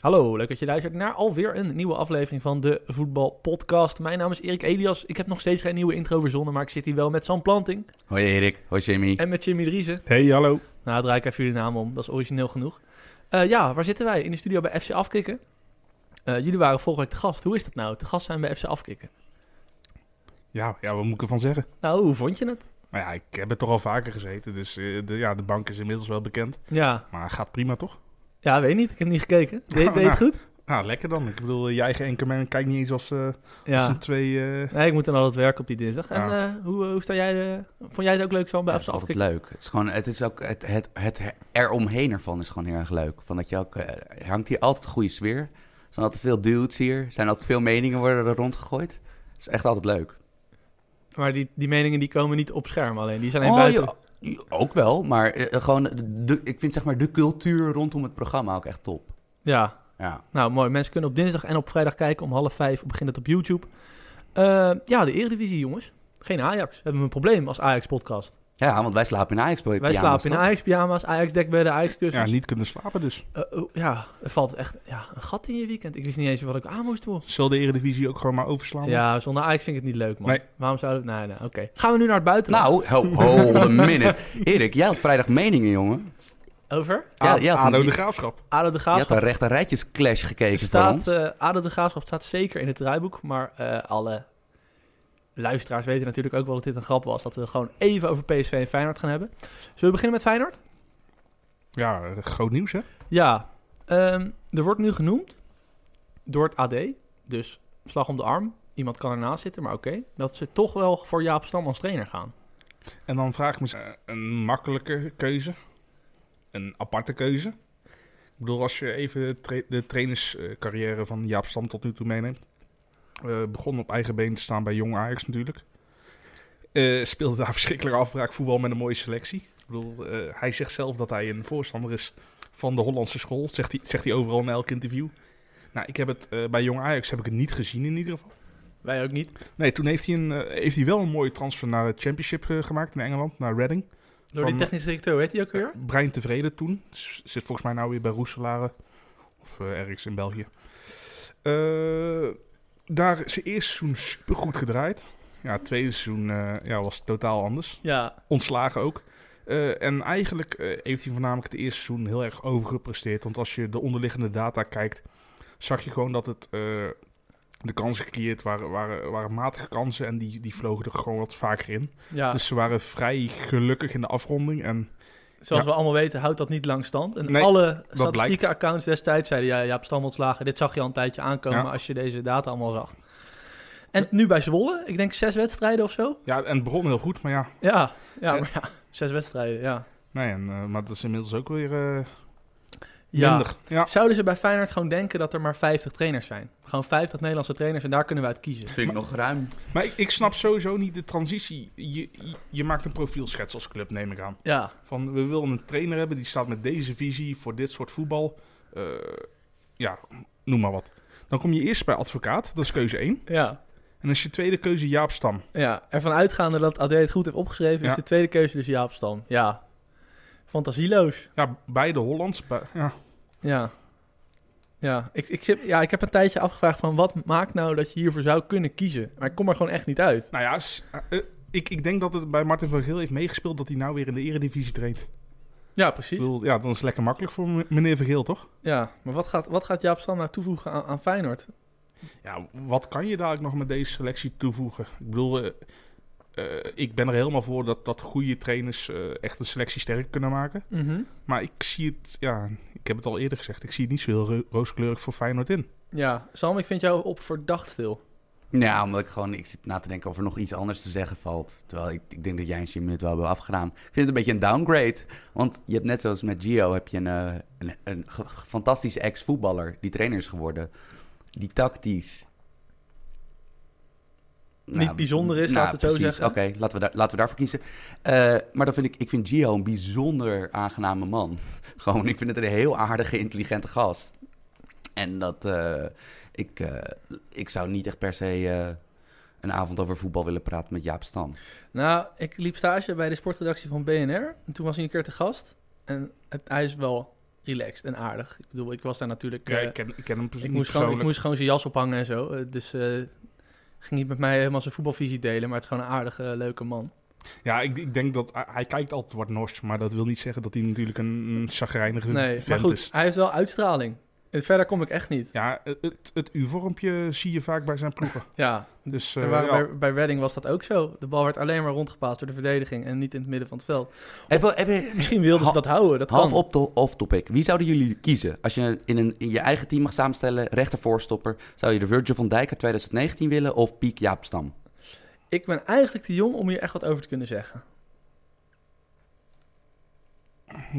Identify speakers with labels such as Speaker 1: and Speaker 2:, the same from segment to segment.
Speaker 1: Hallo, leuk dat je luistert naar alweer een nieuwe aflevering van de Voetbalpodcast. Mijn naam is Erik Elias. Ik heb nog steeds geen nieuwe intro verzonnen, maar ik zit hier wel met Sam Planting
Speaker 2: Hoi Erik, hoi Jimmy.
Speaker 1: en met Jimmy Driessen.
Speaker 3: Hey, hallo.
Speaker 1: Nou, draai ik even jullie naam om. Dat is origineel genoeg. Eh, ja, waar zitten wij? In de studio bij FC Afkikken. Eh, jullie waren vorige week te gast. Hoe is dat nou? Te gast zijn bij FC Afkikken.
Speaker 3: Ja, ja, wat moet ik ervan zeggen?
Speaker 1: Nou, hoe vond je het?
Speaker 3: Nou ja, ik heb er toch al vaker gezeten, dus eh, de, ja, de bank is inmiddels wel bekend.
Speaker 1: Ja,
Speaker 3: Maar gaat prima, toch?
Speaker 1: ja weet niet. Ik heb niet gekeken. Deed,
Speaker 3: Nou,
Speaker 1: deed het goed?
Speaker 3: Nou, lekker dan. Ik bedoel, je eigen enkerman kijkt niet eens als, eh als
Speaker 1: Ja.
Speaker 3: een twee... eh,
Speaker 1: Nee, ik moet dan al het werk op die dinsdag. En
Speaker 3: Ja.
Speaker 1: eh, hoe, hoe sta jij? eh, vond jij het ook leuk zo bij
Speaker 2: Ja,
Speaker 1: FC
Speaker 2: het is altijd
Speaker 1: Afkikken?
Speaker 2: leuk. Het is gewoon, het is ook, het, het, het eromheen ervan is gewoon heel erg leuk. Van dat je ook, eh, er hangt hier altijd een goede sfeer. Er zijn altijd veel dudes hier. Er zijn altijd veel meningen worden er rondgegooid. Het is echt altijd leuk.
Speaker 1: Maar die, die meningen die komen niet op scherm alleen. Die
Speaker 2: Oh,
Speaker 1: zijn alleen buiten.
Speaker 2: ja, ja, ook wel, maar eh, gewoon, de, de- ik vind zeg maar de cultuur rondom het programma ook echt top.
Speaker 1: Ja,
Speaker 2: Ja,
Speaker 1: nou mooi. Mensen kunnen op dinsdag en op vrijdag kijken. Om half vijf begint het op YouTube. Eh, ja, de Eredivisie, jongens. Geen Ajax. We hebben een probleem als Ajax-podcast.
Speaker 2: ja want wij slapen in Ajax.
Speaker 1: Wij slapen in Ajax-pyjama's, Ajax-dekbedden,
Speaker 3: ja,
Speaker 1: Ajax-kussens. Ja,
Speaker 3: niet kunnen slapen dus.
Speaker 1: Eh, oh, ja, er valt echt ja, een gat in je weekend. Ik wist niet eens wat ik aan moest doen.
Speaker 3: Zal de Eredivisie ook gewoon maar overslaan?
Speaker 1: Ja, zonder Ajax vind ik het niet leuk, man.
Speaker 3: Nee.
Speaker 1: Waarom zouden we... Nee, nee, oké. Gaan we nu naar het buitenland?
Speaker 2: Nou, ho, hold a minute. Erik, jij had vrijdag meningen, jongen.
Speaker 3: Nou.
Speaker 1: Over?
Speaker 2: Ja,
Speaker 3: A-
Speaker 2: ja,
Speaker 3: Ah, ADO
Speaker 2: toen-
Speaker 3: de Graafschap.
Speaker 1: ADO de
Speaker 2: Je had
Speaker 1: Graafschap
Speaker 2: een rechter rijtjes clash gekeken van
Speaker 1: staat...
Speaker 2: ons.
Speaker 1: eh ADO de Graafschap staat zeker in het draaiboek. Maar eh, alle luisteraars weten natuurlijk ook wel dat dit een grap was. Dat we gewoon even over PSV en Feyenoord gaan hebben. Zullen we beginnen met Feyenoord?
Speaker 3: Ja, eh, groot nieuws, hè?
Speaker 1: Ja, ehm, er wordt nu genoemd door het AD. Dus slag om de arm. Iemand kan ernaast zitten, maar oké. dat ze toch wel voor Jaap Stam als trainer gaan.
Speaker 3: En dan vraag ik me eens, eh, een makkelijke keuze. Een aparte keuze. Ik bedoel, als je even de, tra- de trainerscarrière van Jaap Stam tot nu toe meeneemt. Eh, begon op eigen been te staan bij Jong Ajax natuurlijk. Eh, speelde daar verschrikkelijk afbraakvoetbal met een mooie selectie. Ik bedoel, eh, hij zegt zelf dat hij een voorstander is van de Hollandse school. Zegt hij, zegt hij overal in elk interview. Nou, ik heb het, eh, bij Jong Ajax heb ik het niet gezien in ieder geval.
Speaker 1: Wij ook niet.
Speaker 3: Nee, toen heeft hij, een, eh, heeft hij wel een mooie transfer naar het Championship eh, gemaakt in Engeland, naar Reading.
Speaker 1: Door die
Speaker 3: Van-
Speaker 1: technische directeur, weet hij ook weer?
Speaker 3: Eh, Brein tevreden toen. S- Zit volgens mij nou weer bij Roeselare. Of eh, ergens in België. Eh, daar is zijn eerste seizoen supergoed gedraaid. Ja, het tweede seizoen eh, ja, was totaal anders.
Speaker 1: Ja,
Speaker 3: Ontslagen ook. Eh, en eigenlijk eh, heeft hij voornamelijk het eerste seizoen heel erg overgepresteerd. Want als je de onderliggende data kijkt, zag je gewoon dat het, eh, de kansen gecreëerd waren, waren, waren matige kansen. En die, die vlogen er gewoon wat vaker in.
Speaker 1: ja.
Speaker 3: Dus ze waren vrij gelukkig in de afronding. En
Speaker 1: zoals
Speaker 3: ja.
Speaker 1: we allemaal weten houdt dat niet lang stand. En
Speaker 3: Nee,
Speaker 1: alle
Speaker 3: blijkt.
Speaker 1: statistieke accounts destijds zeiden... ja, Jaap Stam ontslagen. Dit zag je al een tijdje aankomen
Speaker 3: Ja.
Speaker 1: als je deze data allemaal zag. En nu bij Zwolle, ik denk zes wedstrijden of zo.
Speaker 3: Ja, en het begon heel goed, maar ja.
Speaker 1: Ja, ja,
Speaker 3: Ja.
Speaker 1: maar ja, zes wedstrijden, ja.
Speaker 3: Nee, en, eh, maar dat is inmiddels ook weer eh
Speaker 1: Ja.
Speaker 3: minder. Ja.
Speaker 1: Zouden ze bij Feyenoord gewoon denken dat er maar 50 trainers zijn? Gewoon 50 Nederlandse trainers en daar kunnen we uit kiezen.
Speaker 2: Vind ik nog ruim.
Speaker 3: Maar ik, ik snap sowieso niet de transitie. Je, je, je maakt een profielschets als club, neem ik aan.
Speaker 1: Ja,
Speaker 3: Van, we willen een trainer hebben die staat met deze visie voor dit soort voetbal. Eh, ja, noem maar wat. Dan kom je eerst bij advocaat, dat is keuze 1.
Speaker 1: ja,
Speaker 3: En als je tweede keuze Jaap Stam.
Speaker 1: ja. Ervan uitgaande dat AD het goed heeft opgeschreven, is
Speaker 3: Ja.
Speaker 1: de tweede keuze dus Jaap Stam. Ja. Fantasieloos.
Speaker 3: Ja, beide Hollands. bij- ja.
Speaker 1: Ja. Ja ik, ik, zit- ja, ik heb een tijdje afgevraagd van wat maakt nou dat je hiervoor zou kunnen kiezen? Maar ik kom er gewoon echt niet uit.
Speaker 3: Nou ja, s- eh, eh, ik, ik denk dat het bij Martin van Geel heeft meegespeeld dat hij nou weer in de eredivisie traint.
Speaker 1: Ja,
Speaker 3: Ik
Speaker 1: precies.
Speaker 3: bedoel, ja, dan is het lekker makkelijk voor m- meneer van Geel, toch?
Speaker 1: Ja, maar wat gaat, wat gaat Jaap Stam nou toevoegen aan, aan Feyenoord?
Speaker 3: Ja, wat kan je dadelijk nog met deze selectie toevoegen? Ik bedoel, eh, eh, ik ben er helemaal voor dat, dat goede trainers eh, echt een selectie sterk kunnen maken. Maar ik zie het, ja, ik heb het al eerder gezegd, ik zie het niet zo heel ro- rooskleurig voor Feyenoord in.
Speaker 1: Ja, Sam, ik vind jou op verdacht veel.
Speaker 2: Ja, omdat ik gewoon ik zit na te denken of er nog iets anders te zeggen valt. Terwijl ik, ik denk dat jij en Jimmy het wel hebben afgedaan. Ik vind het een beetje een downgrade. Want je hebt net zoals met Gio heb je een, eh, een, een ge- ge- fantastische ex-voetballer die trainer is geworden. Die tactisch... Nou,
Speaker 1: Niet bijzonder is, laten we het zo
Speaker 2: precies.
Speaker 1: zeggen.
Speaker 2: Oké, laten, we daar- laten we daarvoor kiezen. Eh, maar dan vind ik, ik vind Gio een bijzonder aangename man. Gewoon, ik vind het een heel aardige, intelligente gast. En dat, eh, ik, eh, ik zou niet echt per se eh, een avond over voetbal willen praten met Jaap Stam.
Speaker 1: Nou, ik liep stage bij de sportredactie van BNR. En toen was hij een keer te gast. En het, hij is wel relaxed en aardig. Ik bedoel, ik was daar natuurlijk...
Speaker 3: Ja,
Speaker 1: eh,
Speaker 3: ik, ken, ik ken hem pers-
Speaker 1: ik,
Speaker 3: niet
Speaker 1: moest gewoon, ik
Speaker 3: persoonlijk.
Speaker 1: moest gewoon zijn jas ophangen en zo. Eh, dus eh, ging niet met mij helemaal zijn voetbalvisie delen, maar het is gewoon een aardige, leuke man.
Speaker 3: Ja, ik, ik denk dat ah, hij- hij kijkt altijd wat nors, maar dat wil niet zeggen dat hij natuurlijk een, een chagrijnige
Speaker 1: Nee, maar
Speaker 3: vent
Speaker 1: goed,
Speaker 3: is.
Speaker 1: hij heeft wel uitstraling. En verder kom ik echt niet.
Speaker 3: Ja, het, het U-vormpje zie je vaak bij zijn ploegen.
Speaker 1: Ja,
Speaker 3: Dus eh,
Speaker 1: en waar-
Speaker 3: ja.
Speaker 1: bij, bij Redding was dat ook zo. De bal werd alleen maar rondgepaast door de verdediging en niet in het midden van het veld.
Speaker 2: Even, even
Speaker 1: Misschien wilden ze
Speaker 2: Ha-
Speaker 1: dat houden, dat
Speaker 2: half
Speaker 1: kan.
Speaker 2: op to- off topic. Wie zouden jullie kiezen? Als je in, een, in je eigen team mag samenstellen, rechtervoorstopper, zou je de Virgil van Dijk uit 2019 willen of Piek Jaap Stam?
Speaker 1: Ik ben eigenlijk te jong om hier echt wat over te kunnen zeggen.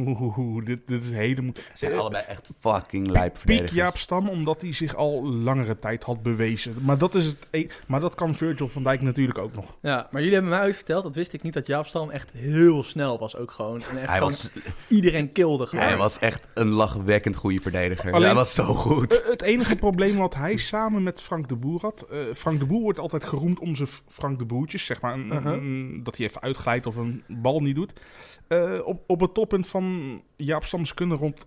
Speaker 3: Oeh, dit, dit is hele mo-
Speaker 2: Ze zijn
Speaker 3: Eh,
Speaker 2: allebei echt fucking lijp
Speaker 3: Piek
Speaker 2: verdedigers.
Speaker 3: Jaap Stam, omdat hij zich al langere tijd had bewezen. Maar dat, is het e- maar dat kan Virgil van Dijk natuurlijk ook nog.
Speaker 1: Ja, maar jullie hebben mij uitverteld, dat wist ik niet, dat Jaap Stam echt heel snel was ook gewoon. En echt
Speaker 2: Hij
Speaker 1: gewoon
Speaker 2: was,
Speaker 1: iedereen kilde gewoon.
Speaker 2: hij was echt een lachwekkend goede verdediger.
Speaker 3: Alleen-
Speaker 2: Hij was zo goed.
Speaker 3: Eh, het enige probleem wat hij samen met Frank de Boer had... eh, Frank de Boer wordt altijd geroemd om zijn Frank de Boertjes, zeg maar. een-
Speaker 1: Uh-huh.
Speaker 3: een- dat hij even uitglijdt of een bal niet doet. Eh, op, op het toppunt van Jaap Stam's kunde rond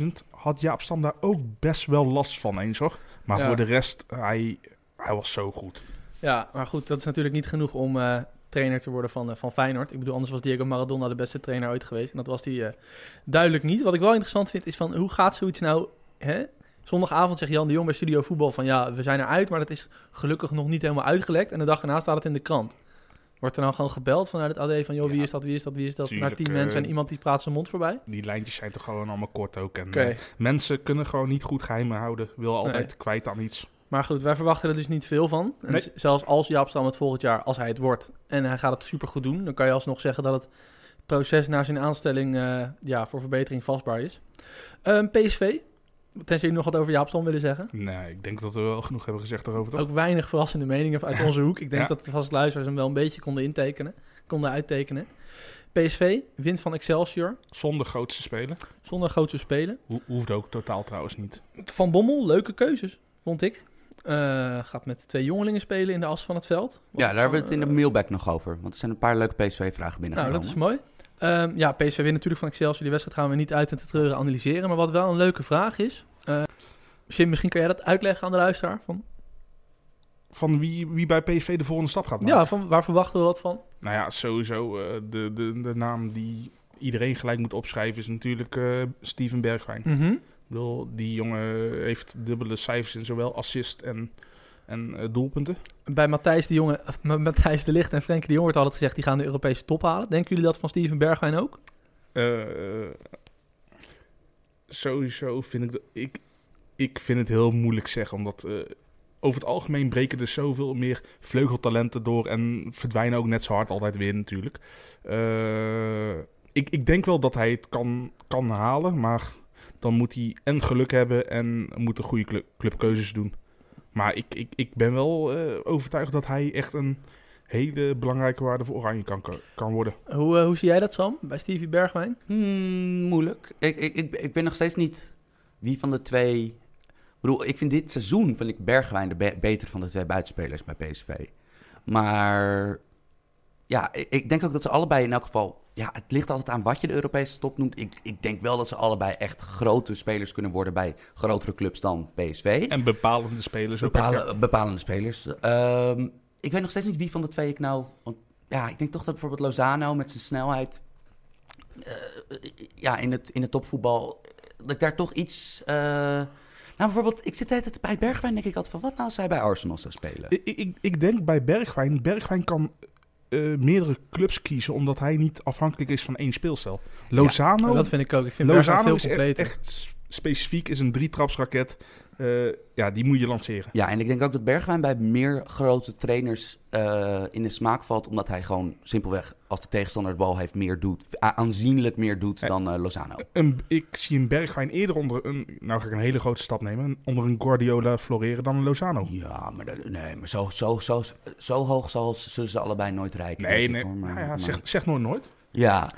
Speaker 3: 98-2000... had Jaap Stam daar ook best wel last van eens, hoor. Maar
Speaker 1: Ja.
Speaker 3: voor de rest, hij, hij was zo goed.
Speaker 1: Ja, maar goed, dat is natuurlijk niet genoeg om eh, trainer te worden van, eh, van Feyenoord. Ik bedoel, anders was Diego Maradona de beste trainer ooit geweest. En dat was hij eh, duidelijk niet. Wat ik wel interessant vind, is van hoe gaat zoiets nou... Hè? Zondagavond zegt Jan de Jong bij Studio Voetbal van... ja, we zijn eruit, maar dat is gelukkig nog niet helemaal uitgelekt. En de dag erna staat het in de krant. Wordt er dan gewoon gebeld vanuit het AD van... joh, wie
Speaker 3: Ja,
Speaker 1: is dat, wie is dat, wie is dat?
Speaker 3: tuurlijk,
Speaker 1: Naar tien
Speaker 3: eh,
Speaker 1: mensen en iemand die praat zijn mond voorbij.
Speaker 3: Die lijntjes zijn toch gewoon allemaal kort ook. En,
Speaker 1: Oké,
Speaker 3: eh, mensen kunnen gewoon niet goed geheimen houden. Wil altijd
Speaker 1: Nee.
Speaker 3: kwijt aan iets.
Speaker 1: maar goed, wij verwachten er dus niet veel van. En
Speaker 3: Nee.
Speaker 1: z- Zelfs als Jaap Stam het volgend jaar, als hij het wordt... en hij gaat het supergoed doen... dan kan je alsnog zeggen dat het proces naar zijn aanstelling... eh, ja, voor verbetering vastbaar is. Ehm, PSV, tenzij jullie nog wat over Jaap Stam willen zeggen...
Speaker 3: Nee, ik denk dat we wel genoeg hebben gezegd daarover, toch?
Speaker 1: Ook weinig verrassende meningen uit onze hoek. Ik denk
Speaker 3: Ja.
Speaker 1: dat de vaste luisteraars hem wel een beetje konden intekenen. Konden uittekenen. PSV wint van Excelsior.
Speaker 3: Zonder grootste spelen.
Speaker 1: Zonder grootste spelen.
Speaker 3: Ho- hoeft ook totaal trouwens niet.
Speaker 1: Van Bommel, leuke keuzes, vond ik. Eh, gaat met twee jongelingen spelen in de as van het veld. Wat
Speaker 2: Ja, daar hebben we het in de
Speaker 1: eh,
Speaker 2: mailback nog over. Want er zijn een paar leuke PSV-vragen
Speaker 1: Nou,
Speaker 2: binnengenomen.
Speaker 1: dat is mooi. Ehm, ja, PSV wint natuurlijk van Excelsior. Die wedstrijd gaan we niet uit en te treuren analyseren. Maar wat wel een leuke vraag is... eh Jim, misschien kan jij dat uitleggen aan de luisteraar? Van,
Speaker 3: Van wie, wie bij PSV de volgende stap gaat maken.
Speaker 1: ja, van, waar verwachten we wat van?
Speaker 3: Nou ja, sowieso eh, de, de, de naam die iedereen gelijk moet opschrijven is natuurlijk eh, Steven Bergwijn.
Speaker 1: Mhm.
Speaker 3: Ik bedoel, die jongen heeft dubbele cijfers in zowel assist en, en eh, doelpunten.
Speaker 1: Bij Matthijs de, Jonge, of Ma- Matthijs de Ligt en Frenkie de Jong wordt altijd gezegd... die gaan de Europese top halen. Denken jullie dat van Steven Bergwijn ook?
Speaker 3: Eh, eh, sowieso vind ik, dat, ik, ik vind het heel moeilijk zeggen, omdat eh, over het algemeen breken er zoveel meer vleugeltalenten door en verdwijnen ook net zo hard altijd weer natuurlijk. Eh, ik, ik denk wel dat hij het kan, kan halen, maar dan moet hij en geluk hebben en moet een goede club, clubkeuzes doen. Maar ik, ik, ik ben wel eh, overtuigd dat hij echt een hele belangrijke waarde voor Oranje kan, kan worden.
Speaker 1: Hoe, eh, hoe zie jij dat, Sam, bij Stevie Bergwijn?
Speaker 2: Hmm, moeilijk. Ik, ik, ik, ik ben nog steeds niet wie van de twee... Ik bedoel, ik vind dit seizoen vind ik Bergwijn de be- beter van de twee buitenspelers bij PSV. Maar ja, ik, ik denk ook dat ze allebei in elk geval... Ja, het ligt altijd aan wat je de Europese top noemt. Ik, ik denk wel dat ze allebei echt grote spelers kunnen worden bij grotere clubs dan PSV.
Speaker 3: En bepalende spelers ook.
Speaker 2: Bepalen- bepalende spelers. Ehm, ik weet nog steeds niet wie van de twee ik nou. want ja, ik denk toch dat bijvoorbeeld Lozano met zijn snelheid. eh, ja, in het, in het topvoetbal. Dat ik daar toch iets. eh, nou, bijvoorbeeld, ik zit de hele tijd bij Bergwijn. Denk ik altijd van wat nou als hij bij Arsenal zou spelen?
Speaker 3: Ik, ik, ik denk bij Bergwijn. Bergwijn kan eh, meerdere clubs kiezen omdat hij niet afhankelijk is van één speelstijl. Lozano,
Speaker 1: dat vind ik ook. Ik vind Bergwijn
Speaker 3: Lozano
Speaker 1: veel
Speaker 3: Nou, is e-
Speaker 1: completer.
Speaker 3: echt s- specifiek is een drietrapsraket. Eh ja, die moet je lanceren.
Speaker 2: Ja, en ik denk ook dat Bergwijn bij meer grote trainers eh, in de smaak valt. Omdat hij gewoon simpelweg, als de tegenstander de bal heeft, meer doet. a- aanzienlijk meer doet
Speaker 3: Eh,
Speaker 2: dan eh, Lozano.
Speaker 3: Een, ik zie een Bergwijn eerder onder een, nou ga ik een hele grote stap nemen, een- onder een Guardiola floreren dan een Lozano.
Speaker 2: Ja, maar, dat- nee, maar zo, zo, zo, zo hoog zal, zullen ze allebei nooit rijken.
Speaker 3: Nee,
Speaker 2: denk ik,
Speaker 3: nee,
Speaker 2: hoor. Maar-
Speaker 3: nou ja,
Speaker 2: maar-
Speaker 3: zeg, zeg nooit nooit.
Speaker 2: Ja.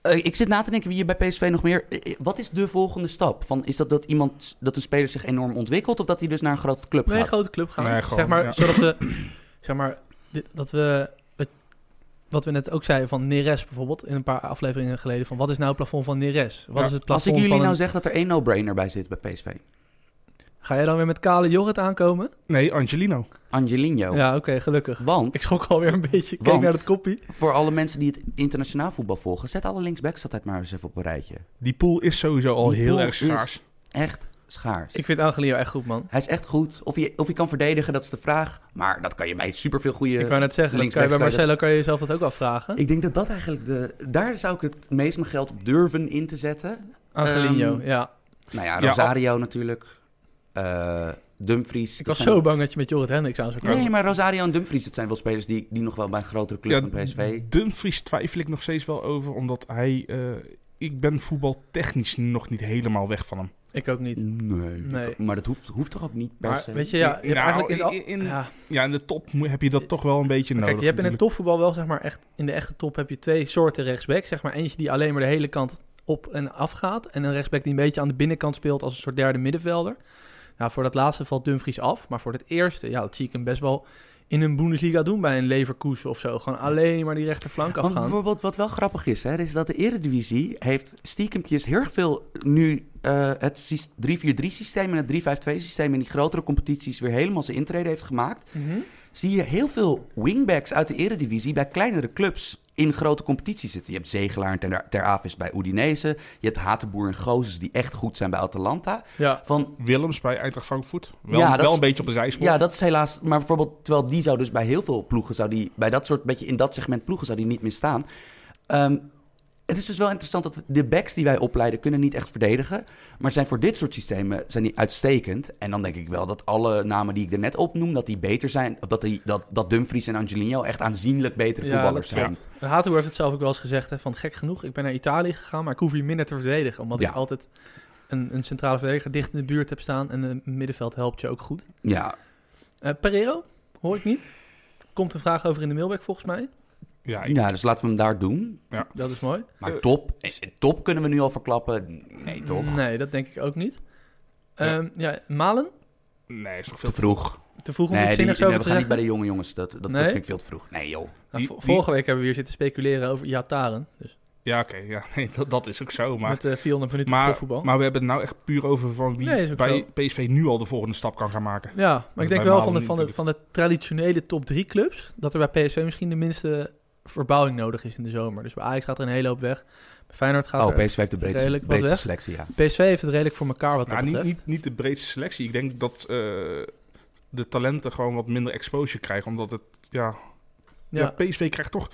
Speaker 2: Eh, ik zit na te denken wie je bij PSV nog meer... eh, eh, Wat is de volgende stap? Van, is dat dat iemand, dat een speler zich enorm ontwikkelt... of dat hij dus naar een grote club
Speaker 1: Nee,
Speaker 2: gaat?
Speaker 1: grote club gaan.
Speaker 3: Nee, gewoon,
Speaker 1: zeg maar,
Speaker 3: ja.
Speaker 1: zodat we... Zeg maar, dit- dat we... dat- wat we net ook zeiden van Neres bijvoorbeeld, in een paar afleveringen geleden, van wat is nou het plafond van Neres? Wat
Speaker 2: Ja,
Speaker 1: is het
Speaker 2: Als
Speaker 1: plafond
Speaker 2: ik jullie
Speaker 1: van
Speaker 2: nou
Speaker 1: een-
Speaker 2: zeg dat er één no-brainer bij zit bij PSV.
Speaker 1: Ga jij dan weer met kale jorrit aankomen?
Speaker 3: Nee, Angelino.
Speaker 2: Angelino.
Speaker 1: Ja, oké, gelukkig. Ik
Speaker 2: Want,
Speaker 1: schrok alweer een beetje. Ik keek
Speaker 2: Want-
Speaker 1: naar dat koppie.
Speaker 2: voor alle mensen die het internationaal voetbal volgen, zet alle linksbacks altijd maar eens even op een rijtje.
Speaker 3: Die pool is sowieso al
Speaker 2: Die
Speaker 3: heel
Speaker 2: pool
Speaker 3: erg schaars.
Speaker 2: Echt schaars.
Speaker 1: Ik vind Angelio echt goed, man.
Speaker 2: Hij is echt goed. Of hij, of hij kan verdedigen, dat is de vraag. Maar dat kan je bij superveel goede...
Speaker 1: ik wou net zeggen, dat kan je bij
Speaker 2: linksbacks kan je
Speaker 1: Marcelo kan je jezelf dat ook afvragen.
Speaker 2: Ik denk dat dat eigenlijk de... Daar zou ik het meest mijn geld op durven in te zetten.
Speaker 1: Angelino,
Speaker 2: Ehm,
Speaker 1: ja.
Speaker 2: Nou ja,
Speaker 3: Ja,
Speaker 2: Rosario natuurlijk. Eh, Dumfries.
Speaker 1: Ik
Speaker 2: Dat
Speaker 1: was
Speaker 2: zijn-
Speaker 1: zo bang dat je met Jorrit Hendricks aan zou komen.
Speaker 2: Nee, maar Rosario en Dumfries, dat zijn wel spelers die, die nog wel bij een grotere club dan PSV...
Speaker 3: Dumfries twijfel ik nog steeds wel over, omdat hij... eh, ik ben voetbaltechnisch nog niet helemaal weg van hem.
Speaker 1: Ik ook niet.
Speaker 2: Nee.
Speaker 1: Nee.
Speaker 2: Maar dat hoeft, hoeft toch ook niet per
Speaker 3: Maar
Speaker 2: se?
Speaker 1: Weet je, ja, je hebt
Speaker 3: Nou,
Speaker 1: eigenlijk in, de al-
Speaker 3: in- in-
Speaker 1: ja.
Speaker 3: Ja, in de top mo- heb je dat toch wel een beetje
Speaker 1: Maar
Speaker 3: nodig.
Speaker 1: Kijk, je hebt in het
Speaker 3: natuurlijk.
Speaker 1: topvoetbal wel, zeg maar, echt in de echte top heb je twee soorten rechtsback. Zeg maar eentje die alleen maar de hele kant op en af gaat. En een rechtsback die een beetje aan de binnenkant speelt als een soort derde middenvelder. Nou, voor dat laatste valt Dumfries af. Maar voor het eerste, ja, dat zie ik hem best wel in een Bundesliga doen bij een Leverkusen of zo. Gewoon alleen maar die rechterflank
Speaker 2: Want
Speaker 1: afgaan.
Speaker 2: bijvoorbeeld, wat wel grappig is, hè, is dat de Eredivisie heeft stiekempjes heel erg veel nu eh, het sys- 3-4-3-systeem en het 3-5-2-systeem in die grotere competities weer helemaal zijn intrede heeft gemaakt.
Speaker 1: Mhm.
Speaker 2: Zie je heel veel wingbacks uit de Eredivisie bij kleinere clubs in grote competities zitten. Je hebt Zegelaar en Ter, Ter Avis bij Udinese. Je hebt Hatenboer en Gozes die echt goed zijn bij Atalanta.
Speaker 1: Ja,
Speaker 2: Van
Speaker 3: Willems bij Eintracht Frankfurt. Wel,
Speaker 2: Ja, dat
Speaker 3: wel
Speaker 2: is-
Speaker 3: een beetje op de zijspoor.
Speaker 2: Ja, dat is helaas. Maar bijvoorbeeld, terwijl die zou dus bij heel veel ploegen, zou die, bij dat soort, beetje in dat segment ploegen, zou die niet meer staan. Ehm, het is dus wel interessant dat we- de backs die wij opleiden kunnen niet echt verdedigen. Maar zijn voor dit soort systemen zijn die uitstekend. En dan denk ik wel dat alle namen die ik er net opnoem, dat die beter zijn. of Dat, die, dat, dat Dumfries en Angelino echt aanzienlijk betere
Speaker 1: Ja,
Speaker 2: voetballers
Speaker 1: dat
Speaker 2: zijn.
Speaker 1: klopt. Hato heeft het zelf ook wel eens gezegd, hè, van gek genoeg, ik ben naar Italië gegaan, maar ik hoef hier minder te verdedigen. Omdat
Speaker 2: Ja.
Speaker 1: ik altijd een, een centrale verdediger dicht in de buurt heb staan en een middenveld helpt je ook goed.
Speaker 2: Ja,
Speaker 1: Eh, Pereiro, hoor ik niet. Komt een vraag over in de mailback volgens mij.
Speaker 3: Ja, ik-
Speaker 2: ja, dus laten we hem daar doen.
Speaker 1: Dat is mooi.
Speaker 2: Maar
Speaker 3: Eh,
Speaker 2: top, eh, top kunnen we nu al verklappen. Nee, toch?
Speaker 1: Nee, dat denk ik ook niet.
Speaker 3: Ja.
Speaker 1: Ehm, ja. Malen,
Speaker 3: Nee, is nog veel
Speaker 2: Te
Speaker 3: te
Speaker 2: vroeg.
Speaker 1: te vroeg om
Speaker 2: Nee,
Speaker 1: iets
Speaker 2: die,
Speaker 1: zinnigs
Speaker 2: nee,
Speaker 1: over
Speaker 2: we
Speaker 1: te
Speaker 2: gaan
Speaker 1: zeggen.
Speaker 2: niet bij de jonge jongens. Dat, dat,
Speaker 1: Nee?
Speaker 2: dat vind ik veel te vroeg. Nee, joh.
Speaker 1: Nou,
Speaker 3: die-
Speaker 1: vo-
Speaker 3: die-
Speaker 1: vorige week hebben we hier zitten speculeren over Iataren. Dus
Speaker 3: Ja, oké. ja, nee, dat, dat is ook zo. Maar,
Speaker 1: met eh 400 minuten voor
Speaker 3: maar,
Speaker 1: voetbal.
Speaker 3: maar we hebben het nou echt puur over van wie
Speaker 1: Nee, is ook
Speaker 3: bij PSV nu al de volgende stap kan gaan maken.
Speaker 1: ja, maar
Speaker 3: bij
Speaker 1: ik denk wel
Speaker 3: Malen
Speaker 1: van de,
Speaker 3: niet
Speaker 1: van, de, van de traditionele top 3 clubs... dat er bij PSV misschien de minste verbouwing nodig is in de zomer. Dus bij Ajax gaat er een hele hoop weg. Bij Feyenoord gaat
Speaker 2: Oh,
Speaker 1: er...
Speaker 2: PSV heeft de breedste,
Speaker 1: redelijk wat
Speaker 2: breedste
Speaker 1: weg.
Speaker 2: selectie, ja.
Speaker 1: PSV heeft het redelijk voor elkaar wat dat
Speaker 3: Nou, niet,
Speaker 1: betreft.
Speaker 3: niet, niet de breedste selectie. Ik denk dat eh, de talenten gewoon wat minder exposure krijgen. Omdat het, ja, ja.
Speaker 1: ja.
Speaker 3: PSV krijgt toch,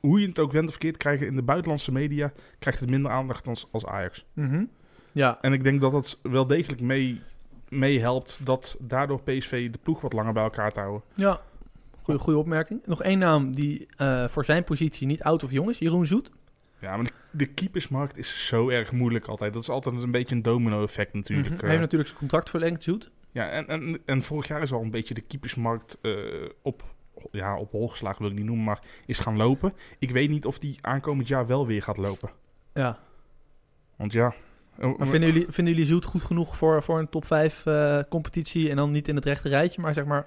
Speaker 3: hoe je het ook wendt of keert, krijgen in de buitenlandse media, krijgt het minder aandacht dan als Ajax.
Speaker 1: Mhm. ja,
Speaker 3: En ik denk dat dat wel degelijk mee, mee helpt dat daardoor PSV de ploeg wat langer bij elkaar te houden.
Speaker 1: Ja, goede, goede opmerking. Nog één naam die eh, voor zijn positie niet oud of jong is. Jeroen Zoet.
Speaker 3: Ja, maar de, de keepersmarkt is zo erg moeilijk altijd. Dat is altijd een beetje een domino-effect natuurlijk.
Speaker 1: Mhm.
Speaker 3: eh.
Speaker 1: Hij heeft natuurlijk zijn contract verlengd, Zoet.
Speaker 3: Ja, en, en, en vorig jaar is al een beetje de keepersmarkt eh, op, ja, op hol geslagen, wil ik niet noemen, maar is gaan lopen. Ik weet niet of die aankomend jaar wel weer gaat lopen.
Speaker 1: Ja.
Speaker 3: Want ja... eh,
Speaker 1: Maar vinden jullie, vinden jullie Zoet goed genoeg voor, voor een top 5 eh, competitie? En dan niet in het rechte rijtje, maar zeg maar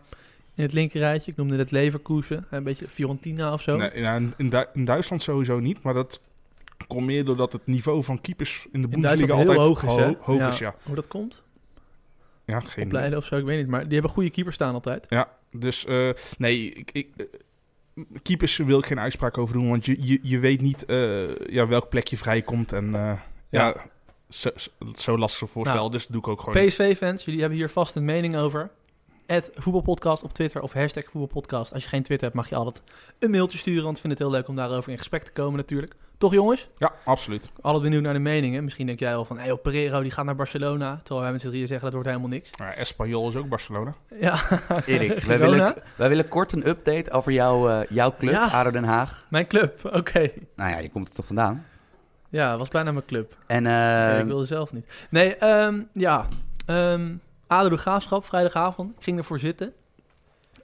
Speaker 1: in het linker rijtje. Ik noemde net Leverkusen, een beetje Fiorentina of zo.
Speaker 3: Nee, ja, in, in, Du- in Duitsland sowieso niet, maar dat komt meer doordat het niveau van keepers in de
Speaker 1: in
Speaker 3: Bundesliga
Speaker 1: Duitsland
Speaker 3: altijd
Speaker 1: heel hoog is, hè?
Speaker 3: ho- hoog is, ja.
Speaker 1: Hoe dat komt?
Speaker 3: Ja, geen
Speaker 1: Opleiden of zo, ik weet niet. Maar die hebben goede keepers staan altijd.
Speaker 3: Dus eh, nee, ik, ik, eh, keepers wil ik geen uitspraak over doen, want je, je, je weet niet eh, ja, welk plekje vrijkomt. En eh, ja, zo, zo- zo lastig voorspel,
Speaker 1: Nou,
Speaker 3: dus dat doe ik ook gewoon.
Speaker 1: PSV-fans, jullie hebben hier vast een mening over. Het voetbalpodcast op Twitter of hashtag voetbalpodcast. Als je geen Twitter hebt, mag je altijd een mailtje sturen. Want ik vind het heel leuk om daarover in gesprek te komen natuurlijk. Toch jongens?
Speaker 3: Ja, absoluut.
Speaker 1: Altijd benieuwd naar de meningen. Misschien denk jij wel van, hey, oh, Pereiro die gaat naar Barcelona. Terwijl wij met z'n drieën zeggen, dat wordt helemaal niks.
Speaker 3: Maar Espanyol is ook Barcelona.
Speaker 1: Ja,
Speaker 2: Erik, wij
Speaker 1: Girona?
Speaker 2: willen, wij willen kort een update over jouw, eh, jouw club,
Speaker 1: Ja.
Speaker 2: ADO Den Haag.
Speaker 1: mijn club. Oké.
Speaker 2: Nou ja, je komt er toch vandaan.
Speaker 1: Ja, was bijna mijn club.
Speaker 2: En
Speaker 1: Nee,
Speaker 2: eh,
Speaker 1: ik wilde zelf niet. Nee, ehm, ja. Ehm Ado de Graafschap, vrijdagavond. Ik ging ervoor zitten.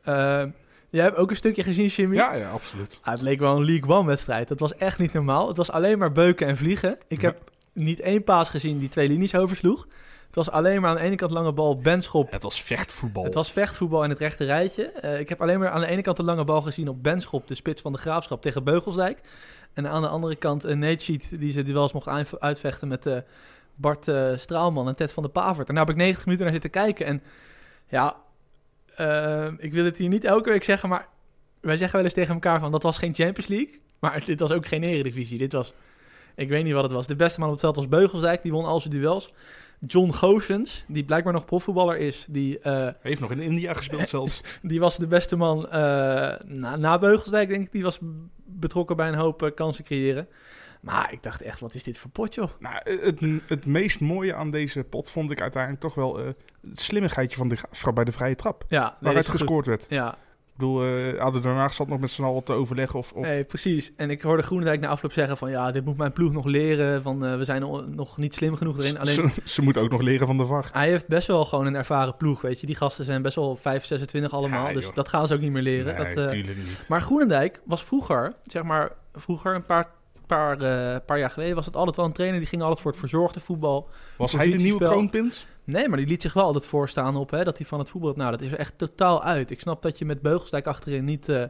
Speaker 1: Ehm, jij hebt ook een stukje gezien, Jimmy?
Speaker 3: Ja, ja, absoluut.
Speaker 1: Ah, het leek wel een League One-wedstrijd. Dat was echt niet normaal. Het was alleen maar beuken en vliegen. Ik
Speaker 3: Ja.
Speaker 1: heb niet één paas gezien die twee linies oversloeg. Het was alleen maar aan de ene kant lange bal, benschop.
Speaker 3: Het was vechtvoetbal.
Speaker 1: Het was vechtvoetbal in het rechte rijtje. Eh, ik heb alleen maar aan de ene kant de lange bal gezien op benschop, de spits van de graafschap tegen Beugelsdijk. En aan de andere kant een Nate Sheet die ze duels mocht uitv- uitvechten met eh, Bart eh, Straalman en Ted van der Pavert. En daar heb ik 90 minuten naar zitten kijken. En ja, eh, ik wil het hier niet elke week zeggen, maar wij zeggen wel eens tegen elkaar van dat was geen Champions League. Maar dit was ook geen Eredivisie. Dit was, ik weet niet wat het was. De beste man op het veld was Beugelsdijk, die won al zijn duels. John Goossens, die blijkbaar nog profvoetballer is, die... eh,
Speaker 3: Heeft nog in India gespeeld zelfs.
Speaker 1: die was de beste man eh, na, na Beugelsdijk, denk ik. Die was b- betrokken bij een hoop eh, kansen creëren. Maar ik dacht echt, wat is dit voor pot, joh?
Speaker 3: nou, het, het meest mooie aan deze pot vond ik uiteindelijk toch wel eh, het slimmigheidje van de graafschap bij de vrije trap.
Speaker 1: Ja, nee,
Speaker 3: Waaruit
Speaker 1: is goed.
Speaker 3: gescoord werd.
Speaker 1: Ja,
Speaker 3: Ik bedoel, eh Aden Den Haag zat nog met z'n allen te overleggen of... of
Speaker 1: nee, precies. En ik hoorde Groenendijk na afloop zeggen van... ja, dit moet mijn ploeg nog leren, van eh, we zijn o- nog niet slim genoeg erin. Alleen,
Speaker 3: ze, ze moet ook nog leren van de VAR.
Speaker 1: hij heeft best wel gewoon een ervaren ploeg, weet je. Die gasten zijn best wel 5, 26 allemaal,
Speaker 3: Ja,
Speaker 1: dus
Speaker 3: joh.
Speaker 1: dat gaan ze ook niet meer leren. dat, eh,
Speaker 3: natuurlijk niet.
Speaker 1: Maar Groenendijk was vroeger, zeg maar, vroeger een paar, paar, eh, paar jaar geleden... was het altijd wel een trainer, die ging altijd voor het verzorgde voetbal...
Speaker 3: Was hij de nieuwe
Speaker 1: positiespel.
Speaker 3: kroonpins?
Speaker 1: Nee, maar die liet zich wel altijd voorstaan op hè, dat hij van het voetbal... Nou, dat is er echt totaal uit. Ik snap dat je met Beugelsdijk achterin niet eh,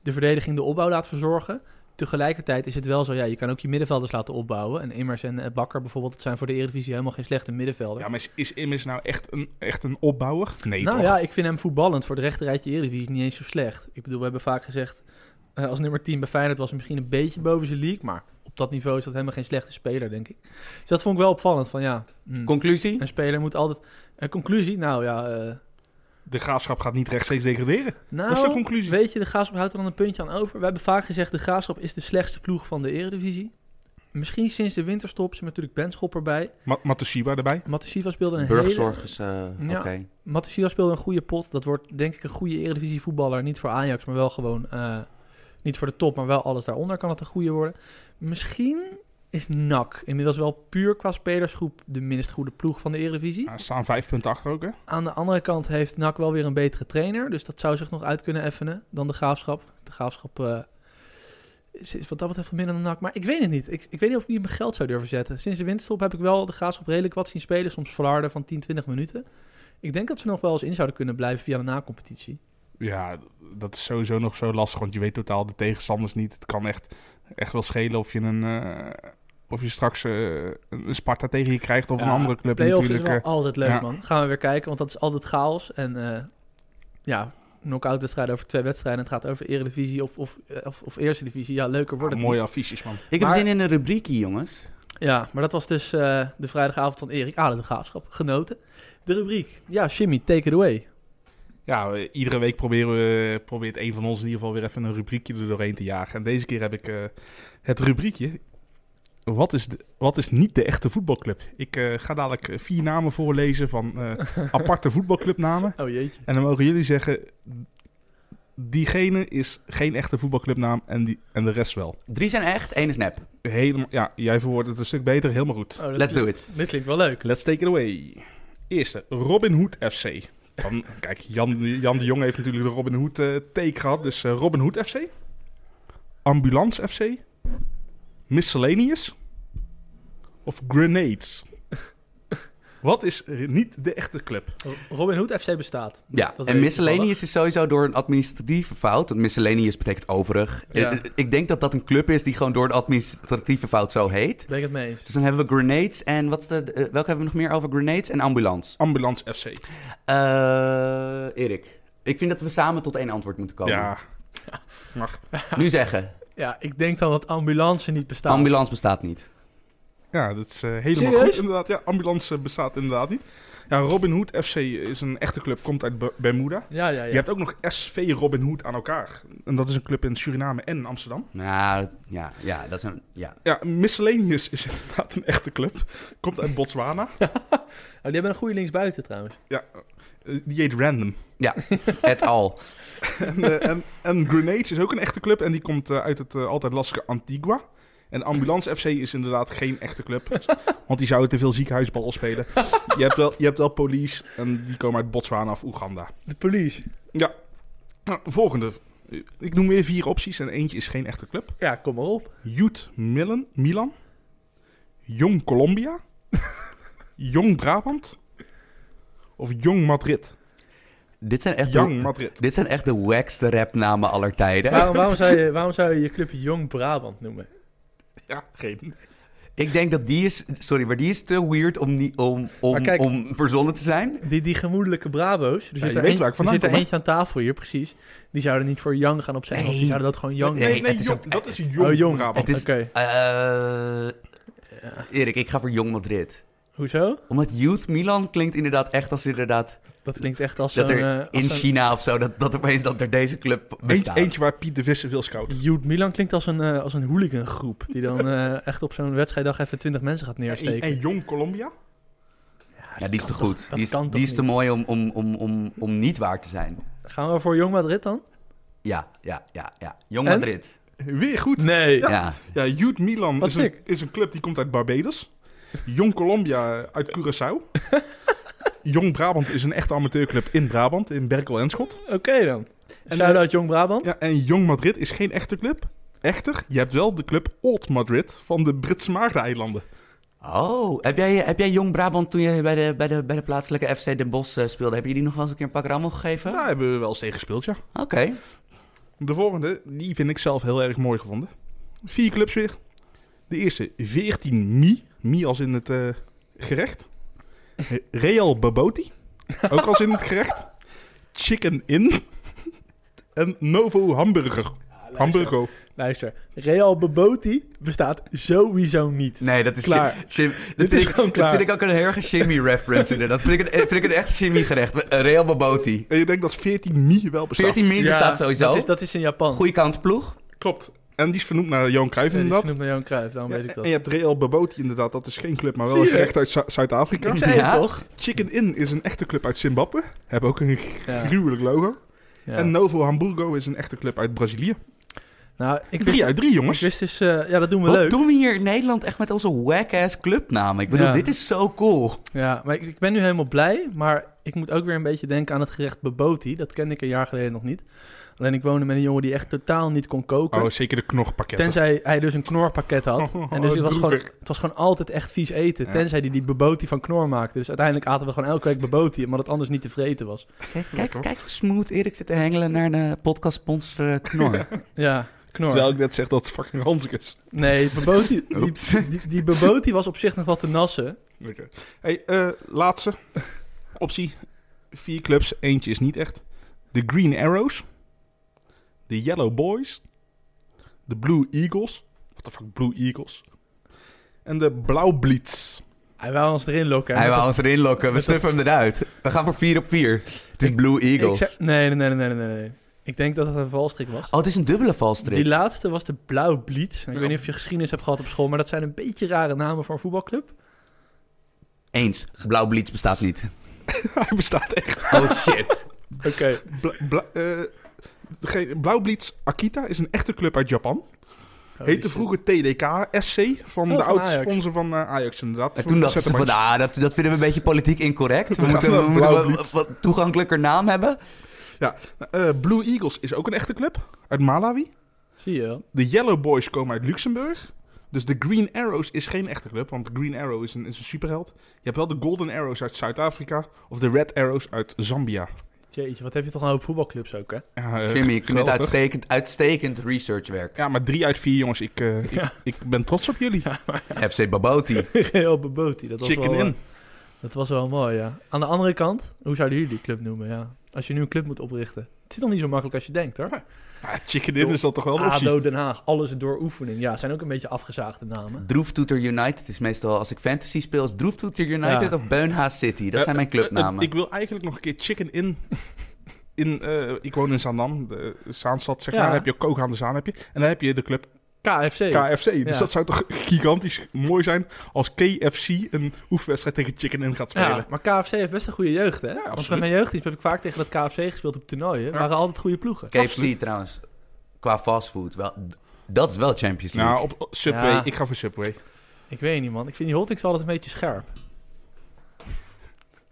Speaker 1: de verdediging de opbouw laat verzorgen. Tegelijkertijd is het wel zo, ja, je kan ook je middenvelders laten opbouwen. En Immers en eh, Bakker bijvoorbeeld, dat zijn voor de Eredivisie helemaal geen slechte middenvelder.
Speaker 3: Ja, maar is, is Immers nou echt een, echt een opbouwer? Nee,
Speaker 1: nou
Speaker 3: toch?
Speaker 1: ja, ik vind hem voetballend voor de rechterrijtje Eredivisie niet eens zo slecht. Ik bedoel, we hebben vaak gezegd, eh, als nummer 10 bij Feyenoord was hij misschien een beetje boven zijn league. Maar op dat niveau is dat helemaal geen slechte speler, denk ik. Dus dat vond ik wel opvallend, van ja... hm,
Speaker 2: Conclusie?
Speaker 1: Een speler moet altijd... Een conclusie? Nou ja... eh,
Speaker 3: De graafschap gaat niet rechtstreeks degraderen.
Speaker 1: nou,
Speaker 3: Dat is de conclusie.
Speaker 1: Weet je, de Graafschap houdt er dan een puntje aan over. We hebben vaak gezegd, de Graafschap is de slechtste ploeg van de Eredivisie. Misschien sinds de winterstop ze natuurlijk Benschop erbij.
Speaker 3: Ma Matusiwa erbij.
Speaker 1: Matusiwa speelde een
Speaker 2: Burgzorg is... eh,
Speaker 1: Ja.
Speaker 2: Oké.
Speaker 1: hele... Matusiwa speelde een goede pot. Dat wordt denk ik een goede Eredivisie voetballer. Niet voor Ajax, maar wel gewoon... eh, niet voor de top, maar wel alles daaronder kan het een goede worden. Misschien is NAC inmiddels wel puur qua spelersgroep... de minst goede ploeg van de Eredivisie.
Speaker 3: Nou, staan vijf punten achter ook, hè?
Speaker 1: Aan de andere kant heeft NAC wel weer een betere trainer. Dus dat zou zich nog uit kunnen effenen dan de Graafschap. De Graafschap eh, is is wat dat betreft wat minder dan NAC. Maar ik weet het niet. Ik, ik weet niet of ik hier mijn geld zou durven zetten. Sinds de winterstop heb ik wel de Graafschap redelijk wat zien spelen. Soms verharden van 10, 20 minuten. Ik denk dat ze nog wel eens in zouden kunnen blijven via de na-competitie.
Speaker 3: Ja, dat is sowieso nog zo lastig, want je weet totaal de tegenstanders niet. Het kan echt, echt wel schelen of je, een, eh, of je straks eh, een Sparta tegen je krijgt of
Speaker 1: Ja,
Speaker 3: een andere club
Speaker 1: Playoffs
Speaker 3: natuurlijk.
Speaker 1: is
Speaker 3: eh.
Speaker 1: wel altijd leuk,
Speaker 3: ja.
Speaker 1: man. Gaan we weer kijken, want dat is altijd chaos. En eh, ja, knock-out wedstrijden over twee wedstrijden. Het gaat over Eredivisie of, of, of, of Eerste Divisie. Ja, leuker wordt
Speaker 3: Ah,
Speaker 1: het
Speaker 3: mooie affiches, man.
Speaker 2: Ik heb
Speaker 1: Maar-
Speaker 2: zin in een rubriekje, jongens.
Speaker 1: Ja, maar dat was dus eh, de vrijdagavond van Erik Aden, de graafschap. Genoten. De rubriek. Ja, Jimmy, take it away.
Speaker 3: Ja, we- iedere week proberen we, probeert een van ons in ieder geval weer even een rubriekje er doorheen te jagen. En deze keer heb ik eh, het rubriekje. Wat is, de, wat is niet de echte voetbalclub? Ik eh, ga dadelijk eh, vier namen voorlezen van eh, aparte voetbalclubnamen.
Speaker 1: Oh jeetje.
Speaker 3: En dan mogen jullie zeggen, diegene is geen echte voetbalclubnaam en, die, en de rest wel.
Speaker 2: Drie zijn echt, één is nep.
Speaker 3: Helemaal, ja, jij verwoordt het een stuk beter, helemaal goed.
Speaker 1: Oh, dat-
Speaker 2: Let's do it.
Speaker 1: Dit klinkt wel leuk.
Speaker 3: Let's take it away. Eerste, Robin Hood FC. Dan, kijk, Jan, Jan de Jong heeft natuurlijk de Robin Hood eh, take gehad. Dus eh, Robin Hood FC. Ambulance FC. Miscellaneous. Of Grenades. Wat is eh, niet de echte club?
Speaker 1: Robin Hood FC bestaat.
Speaker 2: Ja,
Speaker 1: weet
Speaker 2: en
Speaker 1: ik
Speaker 2: miscellaneous is dus sowieso door een administratieve fout. Want miscellaneous betekent overig.
Speaker 1: Ja.
Speaker 2: Eh, eh, Ik denk dat dat een club is die gewoon door een administratieve fout zo heet.
Speaker 1: Ben ik het mee eens.
Speaker 2: Dus dan hebben we grenades en wat is de, eh, welke hebben we nog meer over grenades en ambulance?
Speaker 3: Ambulance FC.
Speaker 2: Eh, Erik, ik vind dat we samen tot één antwoord moeten komen.
Speaker 3: Ja. Mag.
Speaker 2: Nu zeggen,
Speaker 1: Ja, ik denk dan dat ambulance niet bestaat.
Speaker 2: ambulance bestaat niet.
Speaker 3: Ja, dat is eh, helemaal
Speaker 1: Serieus?
Speaker 3: goed inderdaad. Ja, ambulance bestaat inderdaad niet. Ja, Robin Hood FC is een echte club, komt uit Ber- Bermuda.
Speaker 1: ja, ja,
Speaker 3: Je
Speaker 1: ja.
Speaker 3: hebt ook nog SV Robin Hood aan elkaar. En dat is een club in Suriname en Amsterdam.
Speaker 2: Nou, ja, ja, dat is een, ja.
Speaker 3: Ja, Miscellaneous is inderdaad een echte club. Komt uit Botswana.
Speaker 1: Oh, die hebben een goede linksbuiten trouwens.
Speaker 3: Eh, Die heet Random.
Speaker 2: et al.
Speaker 3: En, eh, en, en Grenades is ook een echte club. En die komt eh, uit het eh, altijd lastige Antigua. En Ambulance FC is inderdaad geen echte club. dus, Want die zouden te veel ziekenhuisbal spelen. Je hebt wel, je hebt wel Police. En die komen uit Botswana of Oeganda.
Speaker 1: De police.
Speaker 3: Nou, volgende. Ik noem weer vier opties. En eentje is geen echte club.
Speaker 1: Ja, kom maar op.
Speaker 3: Youth Milan, Milan. Jong Colombia. Jong Brabant. Of Jong Madrid.
Speaker 2: Dit zijn echt,
Speaker 3: Young
Speaker 2: de,
Speaker 3: Madrid.
Speaker 2: dit zijn echt de wackste rapnamen aller tijden.
Speaker 1: Waarom, waarom, zou je, waarom zou je je club Jong Brabant noemen?
Speaker 3: Ja, geen.
Speaker 2: Ik denk dat die is... Sorry, maar die is te weird om, niet, om, om,
Speaker 1: Maar kijk-
Speaker 2: om verzonnen te zijn.
Speaker 1: Die, die gemoedelijke Brabo's, er zit er,
Speaker 3: je weet
Speaker 1: eentje-
Speaker 3: waar ik
Speaker 1: er
Speaker 3: vandaan
Speaker 1: zit er
Speaker 3: kom, hè?
Speaker 1: eentje aan tafel hier, precies. Die zouden niet voor Young gaan opzij, want die
Speaker 2: Nee.
Speaker 1: zouden dat gewoon Young
Speaker 2: Nee,
Speaker 1: noemen.
Speaker 3: Nee, nee,
Speaker 2: het is
Speaker 3: jong,
Speaker 2: ook-
Speaker 3: dat is Jong,
Speaker 1: Oh, jong.
Speaker 3: Brabant.
Speaker 2: Het is...
Speaker 1: Oké.
Speaker 2: eh, Erik, ik ga voor Jong Madrid.
Speaker 1: Hoezo?
Speaker 2: Omdat Youth Milan klinkt inderdaad echt als inderdaad...
Speaker 1: Dat klinkt echt als
Speaker 2: Dat
Speaker 1: zo'n...
Speaker 2: er
Speaker 1: eh, als
Speaker 2: in
Speaker 1: zo'n-
Speaker 2: China of zo, dat, dat opeens dat er deze club
Speaker 3: Eentje,
Speaker 2: bestaat.
Speaker 3: eentje waar Piet de Visser wil scouten.
Speaker 1: Jude Milan klinkt als een, eh, als een hooligangroep. Die dan eh, echt op zo'n wedstrijddag even 20 mensen gaat
Speaker 3: En,
Speaker 1: neersteken.
Speaker 3: en Jong Colombia?
Speaker 2: Ja, die is te goed.
Speaker 1: dat
Speaker 2: die is,
Speaker 1: kan toch
Speaker 2: die is te
Speaker 1: niet?
Speaker 2: mooi om, om, om, om, om niet waar te zijn.
Speaker 1: Gaan we voor Jong Madrid dan?
Speaker 2: Ja, ja, ja, ja. Jong
Speaker 1: En?
Speaker 2: Madrid.
Speaker 3: Weer goed.
Speaker 1: Nee.
Speaker 2: Ja.
Speaker 3: Ja, Youth Milan
Speaker 1: Wat
Speaker 3: is een,
Speaker 1: sick.
Speaker 3: is een club die komt uit Barbados. Jong Colombia uit Curaçao. Jong Brabant is een echte amateurclub in Brabant, in Berkel en Schot.
Speaker 1: Oké dan.
Speaker 3: En,
Speaker 1: Shout-out Jong Brabant.
Speaker 3: Ja, en Jong Madrid is geen echte club. Echter, je hebt wel de club Old Madrid van de Britse Maagdeneilanden.
Speaker 2: Oh, heb jij, heb jij Jong Brabant toen je bij de, bij de, bij de plaatselijke FC Den Bosch eh, speelde, heb je die nog wel eens een keer een pak rammel gegeven?
Speaker 1: Nou.
Speaker 3: Daar hebben we wel eens tegen gespeeld, ja.
Speaker 2: Oké.
Speaker 3: De volgende, die vind ik zelf heel erg mooi gevonden. Vier clubs weer. De eerste, 14 Mi. Mi als in het eh, gerecht. Real Baboti. Ook als in het gerecht. Chicken In. En Novo Hamburger. Hamburgo.
Speaker 1: Luister, Real Beboti bestaat sowieso niet.
Speaker 2: Nee, dat is...
Speaker 1: Klaar.
Speaker 2: shim- shim- dat
Speaker 1: Dit
Speaker 2: vind
Speaker 1: is
Speaker 2: ik-
Speaker 1: gewoon klaar.
Speaker 2: Dat vind ik ook een heel erg shimmy-reference inderdaad. Dat vind ik, een- vind ik een echt shimmy-gerecht. Eh, Real Baboti.
Speaker 3: En je denkt dat 14 Mi wel bestaat.
Speaker 2: 14 min bestaat sowieso.
Speaker 1: Dat is, dat is in Japan.
Speaker 2: Goeie counterploeg.
Speaker 3: Klopt. En die is vernoemd naar Johan Cruijff
Speaker 1: Nee, die is
Speaker 3: inderdaad.
Speaker 1: genoemd naar Johan Cruijff, daarom
Speaker 3: Ja,
Speaker 1: weet ik
Speaker 3: en
Speaker 1: dat.
Speaker 3: je hebt Real Baboti inderdaad, dat is geen club, maar wel
Speaker 1: Zie
Speaker 3: een
Speaker 1: je?
Speaker 3: gerecht uit Zu- Zuid-Afrika.
Speaker 1: Ik zei
Speaker 2: Ja.
Speaker 1: het toch?
Speaker 3: Chicken In is een echte club uit Zimbabwe. Hebben ook een
Speaker 1: Ja.
Speaker 3: gruwelijk logo.
Speaker 1: Ja.
Speaker 3: En Novo Hamburgo is een echte club uit Brazilië.
Speaker 1: nou, ik wist,
Speaker 3: Drie uit drie,
Speaker 1: ik
Speaker 3: jongens.
Speaker 1: wist dus... eh, ja, dat doen we
Speaker 2: Wat
Speaker 1: leuk.
Speaker 2: doen we hier in Nederland echt met onze whack-ass clubnamen? Ik bedoel,
Speaker 1: Ja.
Speaker 2: dit is zo cool.
Speaker 1: Ja, maar ik, ik ben nu helemaal blij. Maar ik moet ook weer een beetje denken aan het gerecht Beboti. Dat kende ik een jaar geleden nog niet. Alleen ik woonde met een jongen die echt totaal niet kon koken.
Speaker 3: Oh, zeker de knorpakketten.
Speaker 1: Tenzij hij dus een knorpakket had.
Speaker 3: Oh,
Speaker 1: En dus het was, gewoon,
Speaker 3: droevig.
Speaker 1: het was gewoon altijd echt vies eten.
Speaker 3: Ja.
Speaker 1: Tenzij hij die beboti van knor maakte. Dus uiteindelijk aten we gewoon elke week beboti. Omdat het anders niet te vreten was.
Speaker 2: Kijk, kijk,
Speaker 3: Lekker.
Speaker 2: kijk hoe smooth Erik zit te hengelen naar de podcast sponsor Knor.
Speaker 1: Ja, knor.
Speaker 3: Terwijl ik net zeg dat het fucking ranzig is.
Speaker 1: Nee, beboti, die,
Speaker 2: Oeps.
Speaker 1: die, die beboti was op zich nog wat te nassen.
Speaker 3: Oké. Hey, eh, laatste optie. Vier clubs, eentje is niet echt. De Green Arrows. De Yellow Boys. De Blue Eagles. What the fuck, Blue Eagles? En de Blauw Blitz.
Speaker 1: Hij wou ons erin lokken.
Speaker 2: Hij
Speaker 1: Met
Speaker 2: wou ons erin lokken. We snuffen hem eruit. We gaan voor 4 op 4. Het is Blue
Speaker 1: dat-
Speaker 2: Eagles.
Speaker 1: Ik zei- nee, nee, nee, nee, nee, nee, nee. Ik denk dat het een valstrik was.
Speaker 2: Oh, het is een dubbele valstrik.
Speaker 1: Die laatste was de Blauw Bleeds. Ik
Speaker 3: Ja.
Speaker 1: weet niet of je geschiedenis hebt gehad op school, maar dat zijn een beetje rare namen voor een voetbalclub.
Speaker 2: Eens. Blauw Bleeds bestaat niet.
Speaker 3: Hij bestaat echt.
Speaker 2: Oh shit.
Speaker 1: Oké.
Speaker 3: Bla, bla, eh, degene- Blauw Blitz Akita is een echte club uit Japan. Heette vroeger TDK SC van
Speaker 1: Oh,
Speaker 3: de
Speaker 1: van
Speaker 3: oud
Speaker 1: Ajax.
Speaker 3: sponsor van eh, Ajax inderdaad.
Speaker 2: En toen dachten ze van,
Speaker 3: Zettermans.
Speaker 2: ah, dat, dat vinden we een beetje politiek incorrect. We
Speaker 3: We
Speaker 2: moeten,
Speaker 3: gaan
Speaker 2: we
Speaker 3: naar
Speaker 2: moeten
Speaker 3: Blauw
Speaker 2: wel
Speaker 3: Blitz.
Speaker 2: wat toegankelijker naam hebben.
Speaker 3: Eh, Blue Eagles is ook een echte club uit Malawi.
Speaker 1: Zie je wel.
Speaker 3: De Yellow Boys komen uit Luxemburg. Dus de Green Arrows is geen echte club, want Green Arrow is een, is een superheld. Je hebt wel de Golden Arrows uit Zuid-Afrika of de Red Arrows uit Zambia.
Speaker 1: Jeetje, wat heb je toch een hoop voetbalclubs ook, hè?
Speaker 3: Ja, eh,
Speaker 2: Jimmy, ik vind dit
Speaker 3: geweldig.
Speaker 2: uitstekend, uitstekend researchwerk.
Speaker 3: Ja, maar drie uit vier jongens, ik, eh, ik, ik ben trots op jullie.
Speaker 2: FC Baboti.
Speaker 1: Geel Beboti. Dat was
Speaker 3: Chicken
Speaker 1: wel, eh,
Speaker 3: in.
Speaker 1: Dat was wel mooi, ja. Aan de andere kant, hoe zouden jullie die club noemen, ja? Als je nu een club moet oprichten. Het is nog niet zo makkelijk als je denkt, hoor.
Speaker 3: Ah, chicken in is dat toch wel de optie?
Speaker 1: ADO Den Haag, alles door oefening. Ja, het zijn ook een beetje afgezaagde namen.
Speaker 2: Droeftoeter United is meestal, als ik fantasy speel, is Droeftoeter United
Speaker 1: Ja.
Speaker 2: of Beunhaas City. Dat
Speaker 3: Eh,
Speaker 2: zijn mijn
Speaker 3: eh, eh,
Speaker 2: clubnamen.
Speaker 3: ik wil eigenlijk nog een keer chicken in. in eh, ik woon in Zaandam, de Zaanstad zeg
Speaker 1: Ja.
Speaker 3: maar. Dan heb je ook Koog aan de Zaan heb je. En dan heb je de club
Speaker 1: KFC.
Speaker 3: KFC. Dus
Speaker 1: Ja.
Speaker 3: dat zou toch gigantisch mooi zijn als KFC een oefenwedstrijd tegen Chicken In gaat
Speaker 1: ja,
Speaker 3: spelen.
Speaker 1: maar KFC heeft best een goede jeugd, hè? Want met
Speaker 3: absoluut.
Speaker 1: mijn jeugddienst heb ik vaak tegen dat KFC gespeeld op toernooien.
Speaker 3: Ja.
Speaker 1: waren altijd goede ploegen.
Speaker 2: KFC trouwens, qua fastfood, wel, dat is wel Champions League.
Speaker 3: Nou, op op Subway.
Speaker 1: Ja.
Speaker 3: Ik ga voor Subway.
Speaker 1: Ik weet niet, man. Ik vind die hotdings altijd een beetje scherp.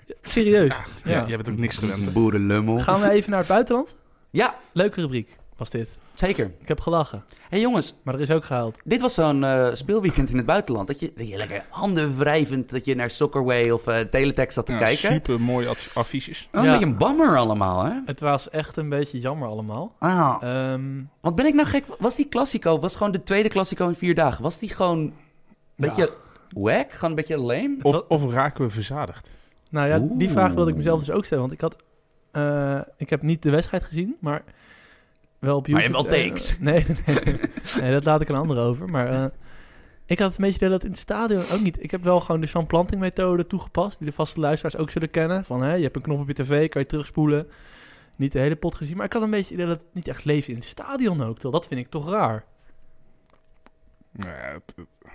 Speaker 1: Ja, Serieus.
Speaker 3: Ja.
Speaker 1: Ja.
Speaker 3: Je hebt ook niks gewend. hè?
Speaker 2: Boerenlummel.
Speaker 1: Gaan we even naar het buitenland?
Speaker 2: Ja,
Speaker 1: Leuke rubriek. was dit.
Speaker 2: Zeker.
Speaker 1: Ik heb gelachen,
Speaker 2: hey jongens,
Speaker 1: maar er is ook gehuild.
Speaker 2: dit was zo'n eh, speelweekend in het buitenland. Dat je, dat je lekker handen wrijvend dat je naar Soccerway of eh Teletext zat te kijken.
Speaker 3: Super mooie affiches.
Speaker 2: Oh, een
Speaker 1: Ja.
Speaker 2: beetje een bammer allemaal, hè?
Speaker 1: Het was echt een beetje jammer allemaal.
Speaker 2: Ah,
Speaker 1: Ehm,
Speaker 2: wat ben ik nou gek? Was die Classico, was gewoon de tweede Classico in vier dagen, was die gewoon een beetje wack? Gewoon een beetje lame?
Speaker 3: Of, of raken we verzadigd?
Speaker 1: nou ja, die
Speaker 2: Oeh.
Speaker 1: vraag wilde ik mezelf dus ook stellen. Want ik had... eh, ik heb niet de wedstrijd gezien, maar wel op
Speaker 2: Maar je
Speaker 1: YouTube.
Speaker 2: hebt wel
Speaker 1: eh,
Speaker 2: takes.
Speaker 1: nee, nee, nee. Nee, dat laat ik een ander over. Maar eh, ik had het een beetje idee dat in het stadion ook niet. Ik heb wel gewoon de Jean Planting methode toegepast. Die de vaste luisteraars ook zullen kennen. Van hè, je hebt een knop op je tv, kan je terugspoelen. Niet de hele pot gezien. Maar ik had een beetje het idee dat het niet echt leeft in het stadion ook. Terwijl dat vind ik toch raar.
Speaker 3: Nou ja, het- het-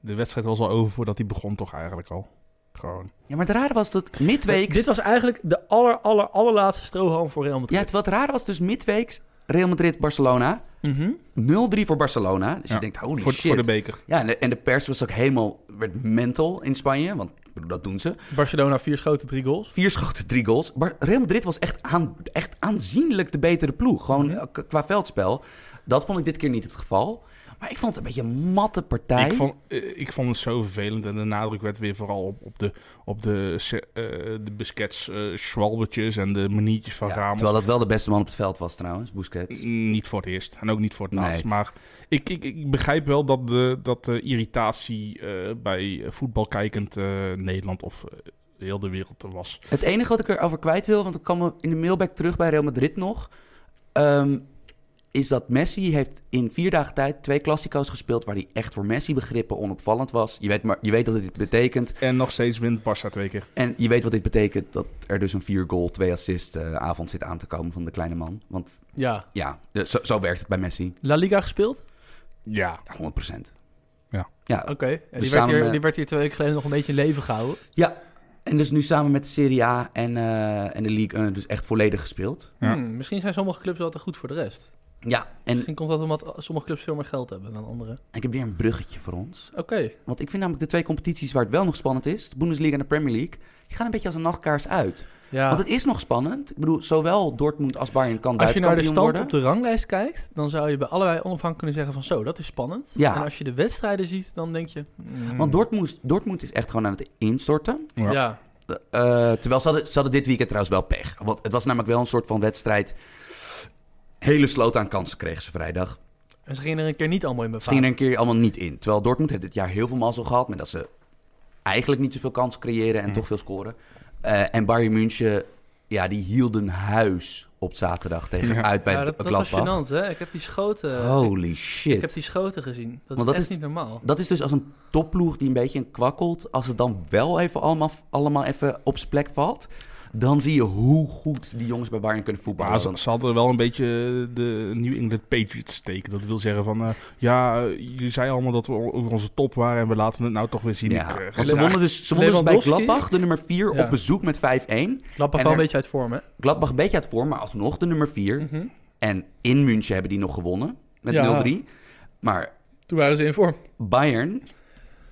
Speaker 3: de wedstrijd was al over voordat die begon toch eigenlijk al. Gewoon.
Speaker 2: Ja, maar het rare was dat midweeks...
Speaker 1: Dit was eigenlijk de aller, aller, allerlaatste strohalm voor Real
Speaker 2: Ja,
Speaker 1: Madrid.
Speaker 2: het, wat raar was dus midweeks Real Madrid-Barcelona.
Speaker 1: Mhm.
Speaker 2: 0-3 voor Barcelona. Dus
Speaker 3: Ja,
Speaker 2: je denkt, holy
Speaker 3: voor,
Speaker 2: shit.
Speaker 3: voor de beker.
Speaker 2: Ja, en de, en de pers was ook helemaal, werd mental in Spanje, want ik bedoel, dat doen ze.
Speaker 1: Barcelona vier schoten, drie goals.
Speaker 2: Vier schoten, drie goals. Maar Real Madrid was echt, aan, echt aanzienlijk de betere ploeg. Gewoon eh, k- qua veldspel. Dat vond ik dit keer niet het geval. Maar ik vond het een beetje een matte partij.
Speaker 3: Ik vond, eh, ik vond het zo vervelend en de nadruk werd weer vooral op, op de, op de, se- eh, de biscuits, eh schwalbertjes en de maniertjes van
Speaker 2: Ja,
Speaker 3: Ramos.
Speaker 2: terwijl dat wel de beste man op het veld was trouwens, Busquets.
Speaker 3: Mm, Niet voor het eerst en ook niet voor het
Speaker 2: Nee.
Speaker 3: laatst. Maar ik, ik, ik begrijp wel dat de, dat de irritatie eh, bij voetbalkijkend eh Nederland of eh, heel de wereld er was.
Speaker 2: Het enige wat ik erover kwijt wil, want ik kwam in de mailback terug bij Real Madrid nog. ehm, is dat Messi heeft in vier dagen tijd twee klassico's gespeeld... waar hij echt voor Messi-begrippen onopvallend was. Je weet, maar, je weet dat dit betekent.
Speaker 3: En nog steeds wint Barça twee keer.
Speaker 2: En je weet wat dit betekent. Dat er dus een vier goal, twee assist eh, avond zit aan te komen van de kleine man. Want
Speaker 1: Ja.
Speaker 2: ja, de- zo, zo werkt het bij Messi.
Speaker 1: La Liga gespeeld?
Speaker 3: Ja.
Speaker 2: Ja, 100%.
Speaker 3: Ja.
Speaker 2: ja.
Speaker 1: Oké. En
Speaker 2: Dus
Speaker 1: die, werd
Speaker 2: samen
Speaker 1: hier,
Speaker 2: met-
Speaker 1: die werd hier twee weken geleden nog een beetje in leven gehouden.
Speaker 2: En dus nu samen met de Serie A en, eh, en de League eh, dus echt volledig gespeeld.
Speaker 3: Ja.
Speaker 1: Hmm, misschien zijn sommige clubs wel te goed voor de rest.
Speaker 2: Ja, en
Speaker 1: Misschien komt dat omdat sommige clubs veel meer geld hebben dan andere.
Speaker 2: ik heb weer een bruggetje voor ons.
Speaker 1: Oké.
Speaker 2: Want ik vind namelijk de twee competities waar het wel nog spannend is, de Bundesliga en de Premier League, die gaan een beetje als een nachtkaars uit.
Speaker 1: Ja.
Speaker 2: Want het is nog spannend. Ik bedoel, zowel Dortmund als Bayern kan
Speaker 1: Als
Speaker 2: Duits
Speaker 1: je naar de
Speaker 2: kampioen
Speaker 1: stand
Speaker 2: worden.
Speaker 1: op de ranglijst kijkt, dan zou je bij allebei onafhankelijk kunnen zeggen van zo, dat is spannend.
Speaker 2: Ja.
Speaker 1: En als je de wedstrijden ziet, dan denk je... hmm.
Speaker 2: Want Dortmund, Dortmund is echt gewoon aan het instorten.
Speaker 1: Ja.
Speaker 2: Eh, terwijl ze hadden, ze hadden dit weekend trouwens wel pech. Want het was namelijk wel een soort van wedstrijd. Hele sloot aan kansen kregen ze vrijdag.
Speaker 1: En ze gingen er een keer niet allemaal in
Speaker 2: Het ging er
Speaker 1: bepalen.
Speaker 2: een keer allemaal niet in. Terwijl Dortmund heeft dit jaar heel veel mazzel gehad. Met dat ze eigenlijk niet zoveel kansen creëren en
Speaker 3: Mm.
Speaker 2: toch veel scoren. Eh, en Bayern München, ja, die hielden huis op zaterdag tegen
Speaker 3: Ja.
Speaker 2: uit bij
Speaker 1: Ja,
Speaker 2: de
Speaker 1: dat, dat was
Speaker 2: Gladbach.
Speaker 1: gênant, hè? Ik heb die schoten...
Speaker 2: Holy
Speaker 1: Ik heb
Speaker 2: shit.
Speaker 1: die schoten gezien. Dat is
Speaker 2: Want dat
Speaker 1: echt
Speaker 2: is-
Speaker 1: niet normaal.
Speaker 2: Dat is dus als een topploeg die een beetje een kwakkelt. Als het dan wel even allemaal, allemaal even op zijn plek valt. Dan zie je hoe goed die jongens bij Bayern kunnen voetballen.
Speaker 3: Maar ze,
Speaker 2: Want-
Speaker 3: ze hadden wel een beetje de New England Patriots steken. Dat wil zeggen van, eh, ja, eh, jullie zeiden allemaal dat we o- over onze top waren en we laten het nou toch weer zien.
Speaker 2: Ja,
Speaker 3: Ik, eh,
Speaker 2: want
Speaker 3: graag.
Speaker 2: ze wonnen dus, ze wonnen dus bij
Speaker 1: Lewandowski.
Speaker 2: Gladbach, de nummer 4,
Speaker 1: Ja.
Speaker 2: op bezoek met 5-1.
Speaker 1: Klappen
Speaker 2: en
Speaker 1: wel een
Speaker 2: er-
Speaker 1: beetje uit vorm, hè?
Speaker 2: Gladbach een beetje uit vorm, maar alsnog de nummer
Speaker 3: Mm.
Speaker 2: 4.
Speaker 1: Mhm.
Speaker 2: En in München hebben die nog gewonnen met
Speaker 1: Ja.
Speaker 2: 0-3. Maar
Speaker 1: Toen waren ze in vorm.
Speaker 2: Bayern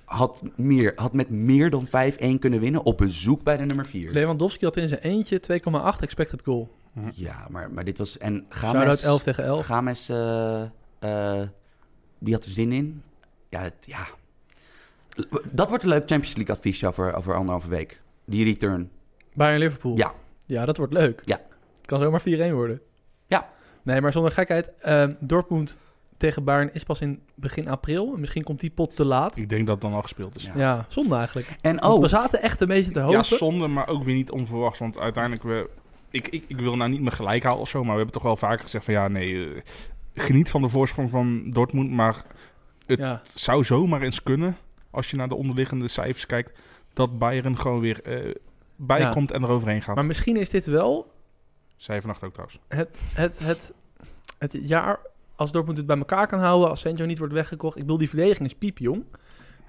Speaker 2: had, meer, had met meer dan 5-1 kunnen winnen op bezoek bij de nummer 4.
Speaker 1: Lewandowski had in zijn eentje 2,8 expected goal.
Speaker 2: ja, maar, maar dit was... En
Speaker 1: Shout-out
Speaker 2: Games,
Speaker 1: 11 tegen 11.
Speaker 2: Games eh, eh, die had er zin in. Ja, het- ja. Dat wordt een leuk Champions League advies over, over anderhalve week. Die return.
Speaker 1: Bayern-Liverpool.
Speaker 2: Ja.
Speaker 1: Ja, dat wordt leuk.
Speaker 2: Ja.
Speaker 1: Het kan zomaar 4-1 worden.
Speaker 2: Ja.
Speaker 1: Nee, maar zonder gekheid. ehm, Dortmund tegen Bayern is pas in begin april. En Misschien komt die pot te laat.
Speaker 3: ik denk dat het dan al gespeeld is.
Speaker 2: Ja.
Speaker 3: Ja,
Speaker 1: Ja, zonde eigenlijk.
Speaker 2: En
Speaker 1: Want
Speaker 2: oh,
Speaker 1: we zaten echt een beetje te hopen.
Speaker 3: zonde, maar ook weer niet onverwacht. Want uiteindelijk, we, ik, ik, ik wil nou niet meer gelijk halen of zo, maar we hebben toch wel vaker gezegd van, ja, nee, eh, geniet van de voorsprong van Dortmund. Maar het-
Speaker 1: Ja.
Speaker 3: het zou zomaar eens kunnen, als je naar de onderliggende cijfers kijkt, dat Bayern gewoon weer eh, bij
Speaker 1: Ja.
Speaker 3: komt en eroverheen gaat.
Speaker 1: Maar misschien is dit wel
Speaker 3: Zij vannacht ook trouwens.
Speaker 1: het, het, het jaar, als Dortmund het bij elkaar kan houden, als Sancho niet wordt weggekocht. Ik bedoel, die verdediging is piepjong.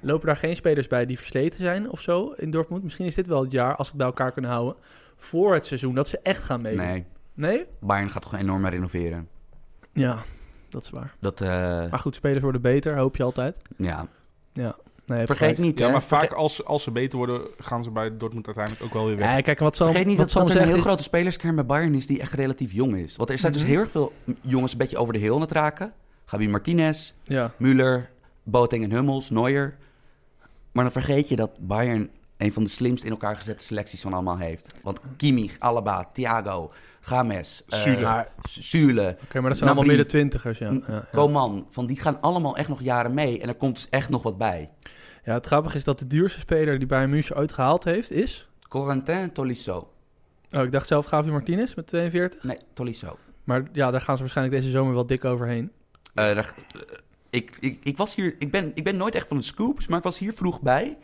Speaker 1: Lopen daar geen spelers bij die versleten zijn of zo in Dortmund? Misschien is dit wel het jaar, als ze het bij elkaar kunnen houden, voor het seizoen, dat ze echt gaan meedoen.
Speaker 2: nee.
Speaker 1: Nee?
Speaker 2: Bayern gaat gewoon enorm renoveren.
Speaker 1: Ja, dat is waar.
Speaker 2: Dat, eh,
Speaker 1: Maar goed, spelers worden beter, hoop je altijd.
Speaker 2: ja.
Speaker 1: Ja. Nee,
Speaker 2: Vergeet niet,
Speaker 3: Ja,
Speaker 2: hè.
Speaker 3: maar vaak
Speaker 2: Verge-
Speaker 3: als, als ze beter worden, gaan ze bij Dortmund uiteindelijk ook wel weer weg.
Speaker 1: Ja, kijk, wat Sam,
Speaker 2: Vergeet niet
Speaker 1: wat
Speaker 2: dat,
Speaker 1: Sam
Speaker 2: dat er een
Speaker 1: zegt
Speaker 2: heel
Speaker 1: is-
Speaker 2: grote spelerskern bij Bayern is die echt relatief jong is. Want er zijn
Speaker 1: Mhm.
Speaker 2: dus heel erg veel jongens een beetje over de heel aan het raken. Gabi Martinez,
Speaker 1: Ja,
Speaker 2: Müller, Boateng en Hummels, Neuer. Maar dan vergeet je dat Bayern een van de slimst in elkaar gezette selecties van allemaal heeft. Want Kimmich, Alaba, Thiago, Games, eh,
Speaker 3: Süle.
Speaker 2: Maar- Mm. Süle,
Speaker 1: oké, maar dat zijn allemaal
Speaker 2: Gnabry.
Speaker 1: midden twintigers, ja. Ja, ja.
Speaker 2: Coman. Van die gaan allemaal echt nog jaren mee. En er komt dus echt nog wat bij.
Speaker 1: Ja, het grappige is dat de duurste speler die Bayern München ooit gehaald heeft is...
Speaker 2: Corentin Tolisso.
Speaker 1: Oh, ik dacht zelf Gavi Martinez met 42.
Speaker 2: Nee, Tolisso.
Speaker 1: Maar ja, daar gaan ze waarschijnlijk deze zomer wel dik overheen.
Speaker 2: Eh, daar- eh, ik, ik, ik, was hier, ik, ben, ik ben nooit echt van de scoops, maar ik was hier vroeg bij.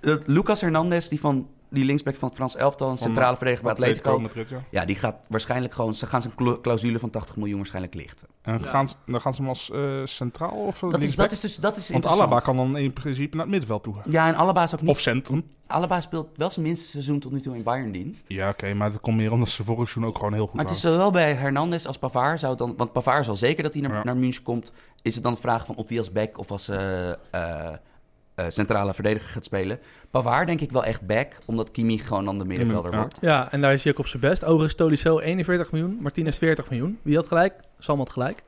Speaker 2: dat Lucas Hernandez, die, van, die linksback van het Frans Elftal, een
Speaker 3: Van
Speaker 2: centrale verdediger bij Atletico.
Speaker 3: Madrid, ja.
Speaker 2: Ja, die gaat waarschijnlijk gewoon... Ze gaan zijn cla- clausule van 80 miljoen waarschijnlijk lichten.
Speaker 3: En
Speaker 1: Ja.
Speaker 3: gaan ze, dan gaan ze hem als eh, centraal of
Speaker 2: Dat is,
Speaker 3: Oh, linksback?
Speaker 2: dat is dus dat is
Speaker 3: Want
Speaker 2: interessant.
Speaker 3: Alaba kan dan in principe naar het middenveld toe.
Speaker 2: Ja, en Alaba is ook niet...
Speaker 3: Of centrum.
Speaker 2: Alaba speelt wel zijn minste seizoen tot nu toe in Bayern-dienst.
Speaker 3: Ja, oké, maar dat komt meer omdat ze vorig seizoen ook gewoon heel goed
Speaker 2: Maar het is
Speaker 3: waren.
Speaker 2: zowel bij Hernandez als Pavard zou het dan... Want Pavard is al zeker dat hij naar,
Speaker 3: Ja.
Speaker 2: naar München komt. Is het dan de vraag van of hij als back of als eh, eh, eh, centrale verdediger gaat spelen? Pavard denk ik wel echt back, omdat Kimi gewoon dan de middenvelder
Speaker 3: Mm, Ja.
Speaker 2: wordt.
Speaker 1: Ja, en daar is hij ook op zijn best. Overigens Tolisso 41 miljoen, Martinez 40 miljoen. Wie had gelijk? Sam had gelijk.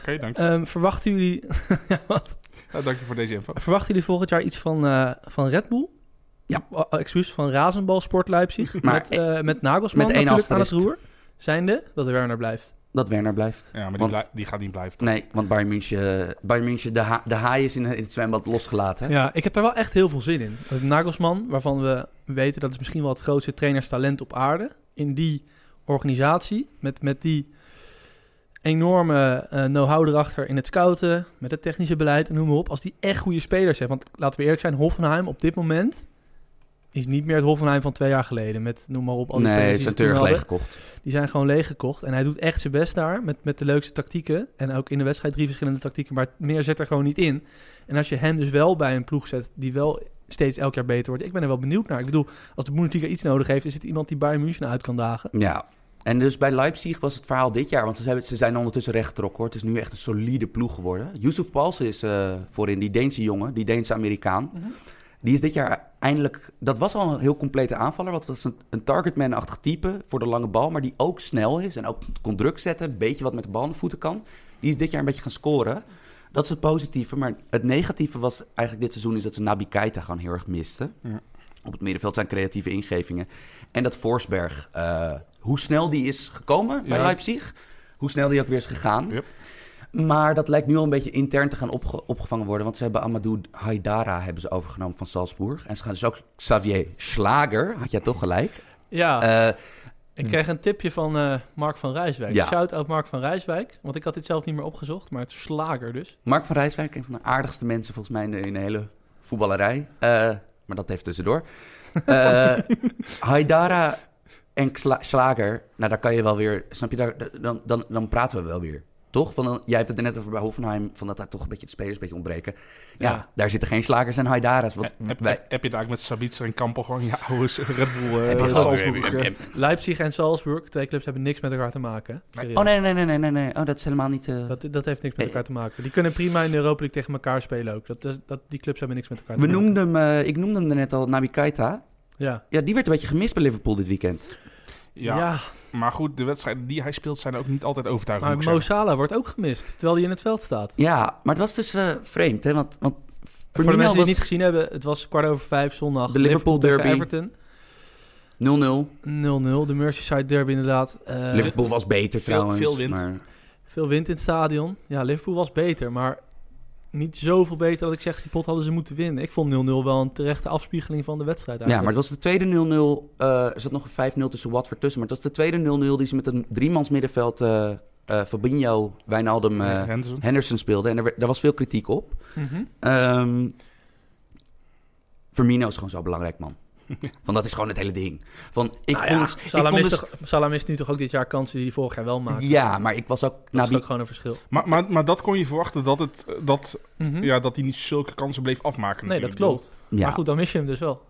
Speaker 3: Oké, dank.
Speaker 1: Ehm, verwachten, jullie,
Speaker 3: Ja, dank je voor deze info.
Speaker 1: verwachten jullie volgend jaar iets van, eh, van Red Bull?
Speaker 2: Ja.
Speaker 1: Oh, oh, excuus, van Razenbal Sport Leipzig.
Speaker 2: Maar-
Speaker 1: met, eh, met Nagelsman
Speaker 2: met één
Speaker 1: natuurlijk aan het
Speaker 2: asterisk.
Speaker 1: roer. Zijnde dat Werner blijft.
Speaker 2: Dat Werner blijft.
Speaker 3: Ja, maar die,
Speaker 2: Want-
Speaker 3: blij- die gaat niet blijven.
Speaker 2: Nee, want Bayern München, Bayern München de, ha- de haai is in, in het zwembad losgelaten. hè?
Speaker 1: Ja, ik heb daar wel echt heel veel zin in. Dat Nagelsman, waarvan we weten dat is misschien wel het grootste trainerstalent op aarde. In die organisatie, met, met die enorme eh, know-how erachter in het scouten, met het technische beleid en noem maar op. Als die echt goede spelers heeft. Want laten we eerlijk zijn, Hoffenheim op dit moment is niet meer het Hoffenheim van twee jaar geleden. Met noem maar op al die
Speaker 2: nee,
Speaker 1: spelers
Speaker 2: ze
Speaker 1: die ze
Speaker 2: zijn
Speaker 1: toen
Speaker 2: terug
Speaker 1: hadden.
Speaker 2: leeggekocht.
Speaker 1: Die zijn gewoon leeggekocht. En hij doet echt zijn best daar. Met, met de leukste tactieken. En ook in de wedstrijd drie verschillende tactieken. Maar meer zet er gewoon niet in. En als je hem dus wel bij een ploeg zet. die wel steeds elk jaar beter wordt. Ik ben er wel benieuwd naar. Ik bedoel, als de Bundesliga iets nodig heeft. is het iemand die Bayern München uit kan dagen.
Speaker 2: Ja. En dus bij Leipzig was het verhaal dit jaar, want ze, hebben, ze zijn ondertussen rechtgetrokken hoor. Het is nu echt een solide ploeg geworden. Yusuf Paulsen is eh, voorin, die Deense jongen, die Deense Amerikaan. Die is dit jaar eindelijk, dat was al een heel complete aanvaller, want dat is een, een targetman-achtig type voor de lange bal, maar die ook snel is en ook kon druk zetten, een beetje wat met de bal aan de voeten kan. Die is dit jaar een beetje gaan scoren. Dat is het positieve, maar het negatieve was eigenlijk dit seizoen is dat ze Nabi Keita gewoon heel erg misten.
Speaker 3: Ja.
Speaker 2: Op het middenveld zijn creatieve ingevingen. En dat Forsberg, eh, hoe snel die is gekomen bij
Speaker 3: Ja.
Speaker 2: Leipzig, hoe snel die ook weer is gegaan.
Speaker 3: Yep.
Speaker 2: Maar dat lijkt nu al een beetje intern te gaan opge- opgevangen worden. Want ze hebben Amadou Haidara hebben ze overgenomen van Salzburg. En ze gaan dus ook Xavier Slager, had jij toch gelijk.
Speaker 3: Ah.
Speaker 1: Ja,
Speaker 2: Eh,
Speaker 1: ik kreeg een tipje van eh, Mark van Rijswijk.
Speaker 2: Ja.
Speaker 1: Shout-out Mark van Rijswijk. Want ik had dit zelf niet meer opgezocht. Maar het is slager dus.
Speaker 2: Mark van Rijswijk, een van de aardigste mensen volgens mij in de, in de hele voetballerij. Eh, maar dat heeft tussendoor. Eh Haidara en Xla- Slager, nou daar kan je wel weer, snap je, daar, dan, dan, dan praten we wel weer. Toch? Van, jij hebt het er net over bij Hoffenheim, van dat daar toch een beetje de spelers een beetje ontbreken. Ja,
Speaker 1: Ja.
Speaker 2: daar zitten geen Slagers en Haidara's. Want
Speaker 3: Eh, heb,
Speaker 2: wij,
Speaker 3: heb, heb je daar eigenlijk met Sabitzer en Kampo gewoon je oude Red Bull eh,
Speaker 2: Heb je gewoon-
Speaker 3: Salzburg, eh,
Speaker 1: Leipzig en Salzburg. Twee clubs hebben niks met elkaar te maken. hè. Serieus.
Speaker 2: Oh nee, nee, nee, nee, nee, nee. Oh, dat is helemaal niet. eh,
Speaker 1: Dat, dat heeft niks met
Speaker 2: Nee.
Speaker 1: elkaar te maken. Die kunnen prima in de Europa League tegen elkaar spelen ook. Dat, dat, dat- die clubs hebben niks met elkaar
Speaker 2: We
Speaker 1: te maken.
Speaker 2: noemden hem, eh, ik noemde hem net al, Nabi Keita.
Speaker 1: Ja.
Speaker 2: Ja, die werd een beetje gemist bij Liverpool dit weekend.
Speaker 3: ja.
Speaker 1: ja,
Speaker 3: maar goed, de wedstrijden die hij speelt zijn ook niet altijd overtuigend.
Speaker 1: maar
Speaker 3: moet ik
Speaker 1: Mo
Speaker 3: zeggen.
Speaker 1: Salah wordt ook gemist, terwijl hij in het veld staat.
Speaker 2: Ja, maar het was dus eh, vreemd, hè? Want, want
Speaker 1: Voor de
Speaker 2: Firmino
Speaker 1: mensen die het niet
Speaker 2: was
Speaker 1: gezien hebben, het was kwart over vijf zondag.
Speaker 2: De Liverpool
Speaker 1: tegen
Speaker 2: derby.
Speaker 1: Everton.
Speaker 2: 0-0.
Speaker 1: 0-0, de Merseyside derby inderdaad. Eh,
Speaker 2: Liverpool was beter
Speaker 3: veel-
Speaker 2: trouwens.
Speaker 3: veel wind.
Speaker 2: Maar,
Speaker 1: veel wind in het stadion. Ja, Liverpool was beter, maar niet zoveel beter dat ik zeg, die pot hadden ze moeten winnen. Ik vond 0-0 wel een terechte afspiegeling van de wedstrijd
Speaker 2: ja, maar
Speaker 1: eigenlijk.
Speaker 2: het was de tweede 0-0. eh, er zat nog een 5-0 tussen Watford tussen. Maar het was de tweede 0-0 die ze met een driemans middenveld... eh eh Fabinho, Wijnaldum, eh,
Speaker 3: Henderson.
Speaker 2: Henderson speelden. En er, werd- daar was veel kritiek op.
Speaker 1: Mhm.
Speaker 2: Ehm Firmino is gewoon zo belangrijk, man. Want dat is gewoon het hele ding. Van, ik
Speaker 1: Nou ja,
Speaker 2: vond het, ik
Speaker 1: Salah,
Speaker 2: vond
Speaker 1: mist
Speaker 2: het-
Speaker 1: toch- Salah mist nu toch ook dit jaar kansen die hij vorig jaar wel maakte.
Speaker 2: Ja, maar ik was ook...
Speaker 1: Dat
Speaker 2: Nabi,
Speaker 1: is ook gewoon een verschil.
Speaker 3: Maar, maar, maar dat kon je verwachten, dat, het, eh, dat,
Speaker 1: Mhm.
Speaker 3: ja, dat hij niet zulke kansen bleef afmaken.
Speaker 1: nee, dat
Speaker 3: natuurlijk.
Speaker 1: klopt.
Speaker 2: ja,
Speaker 1: Maar goed, dan mis je hem dus wel.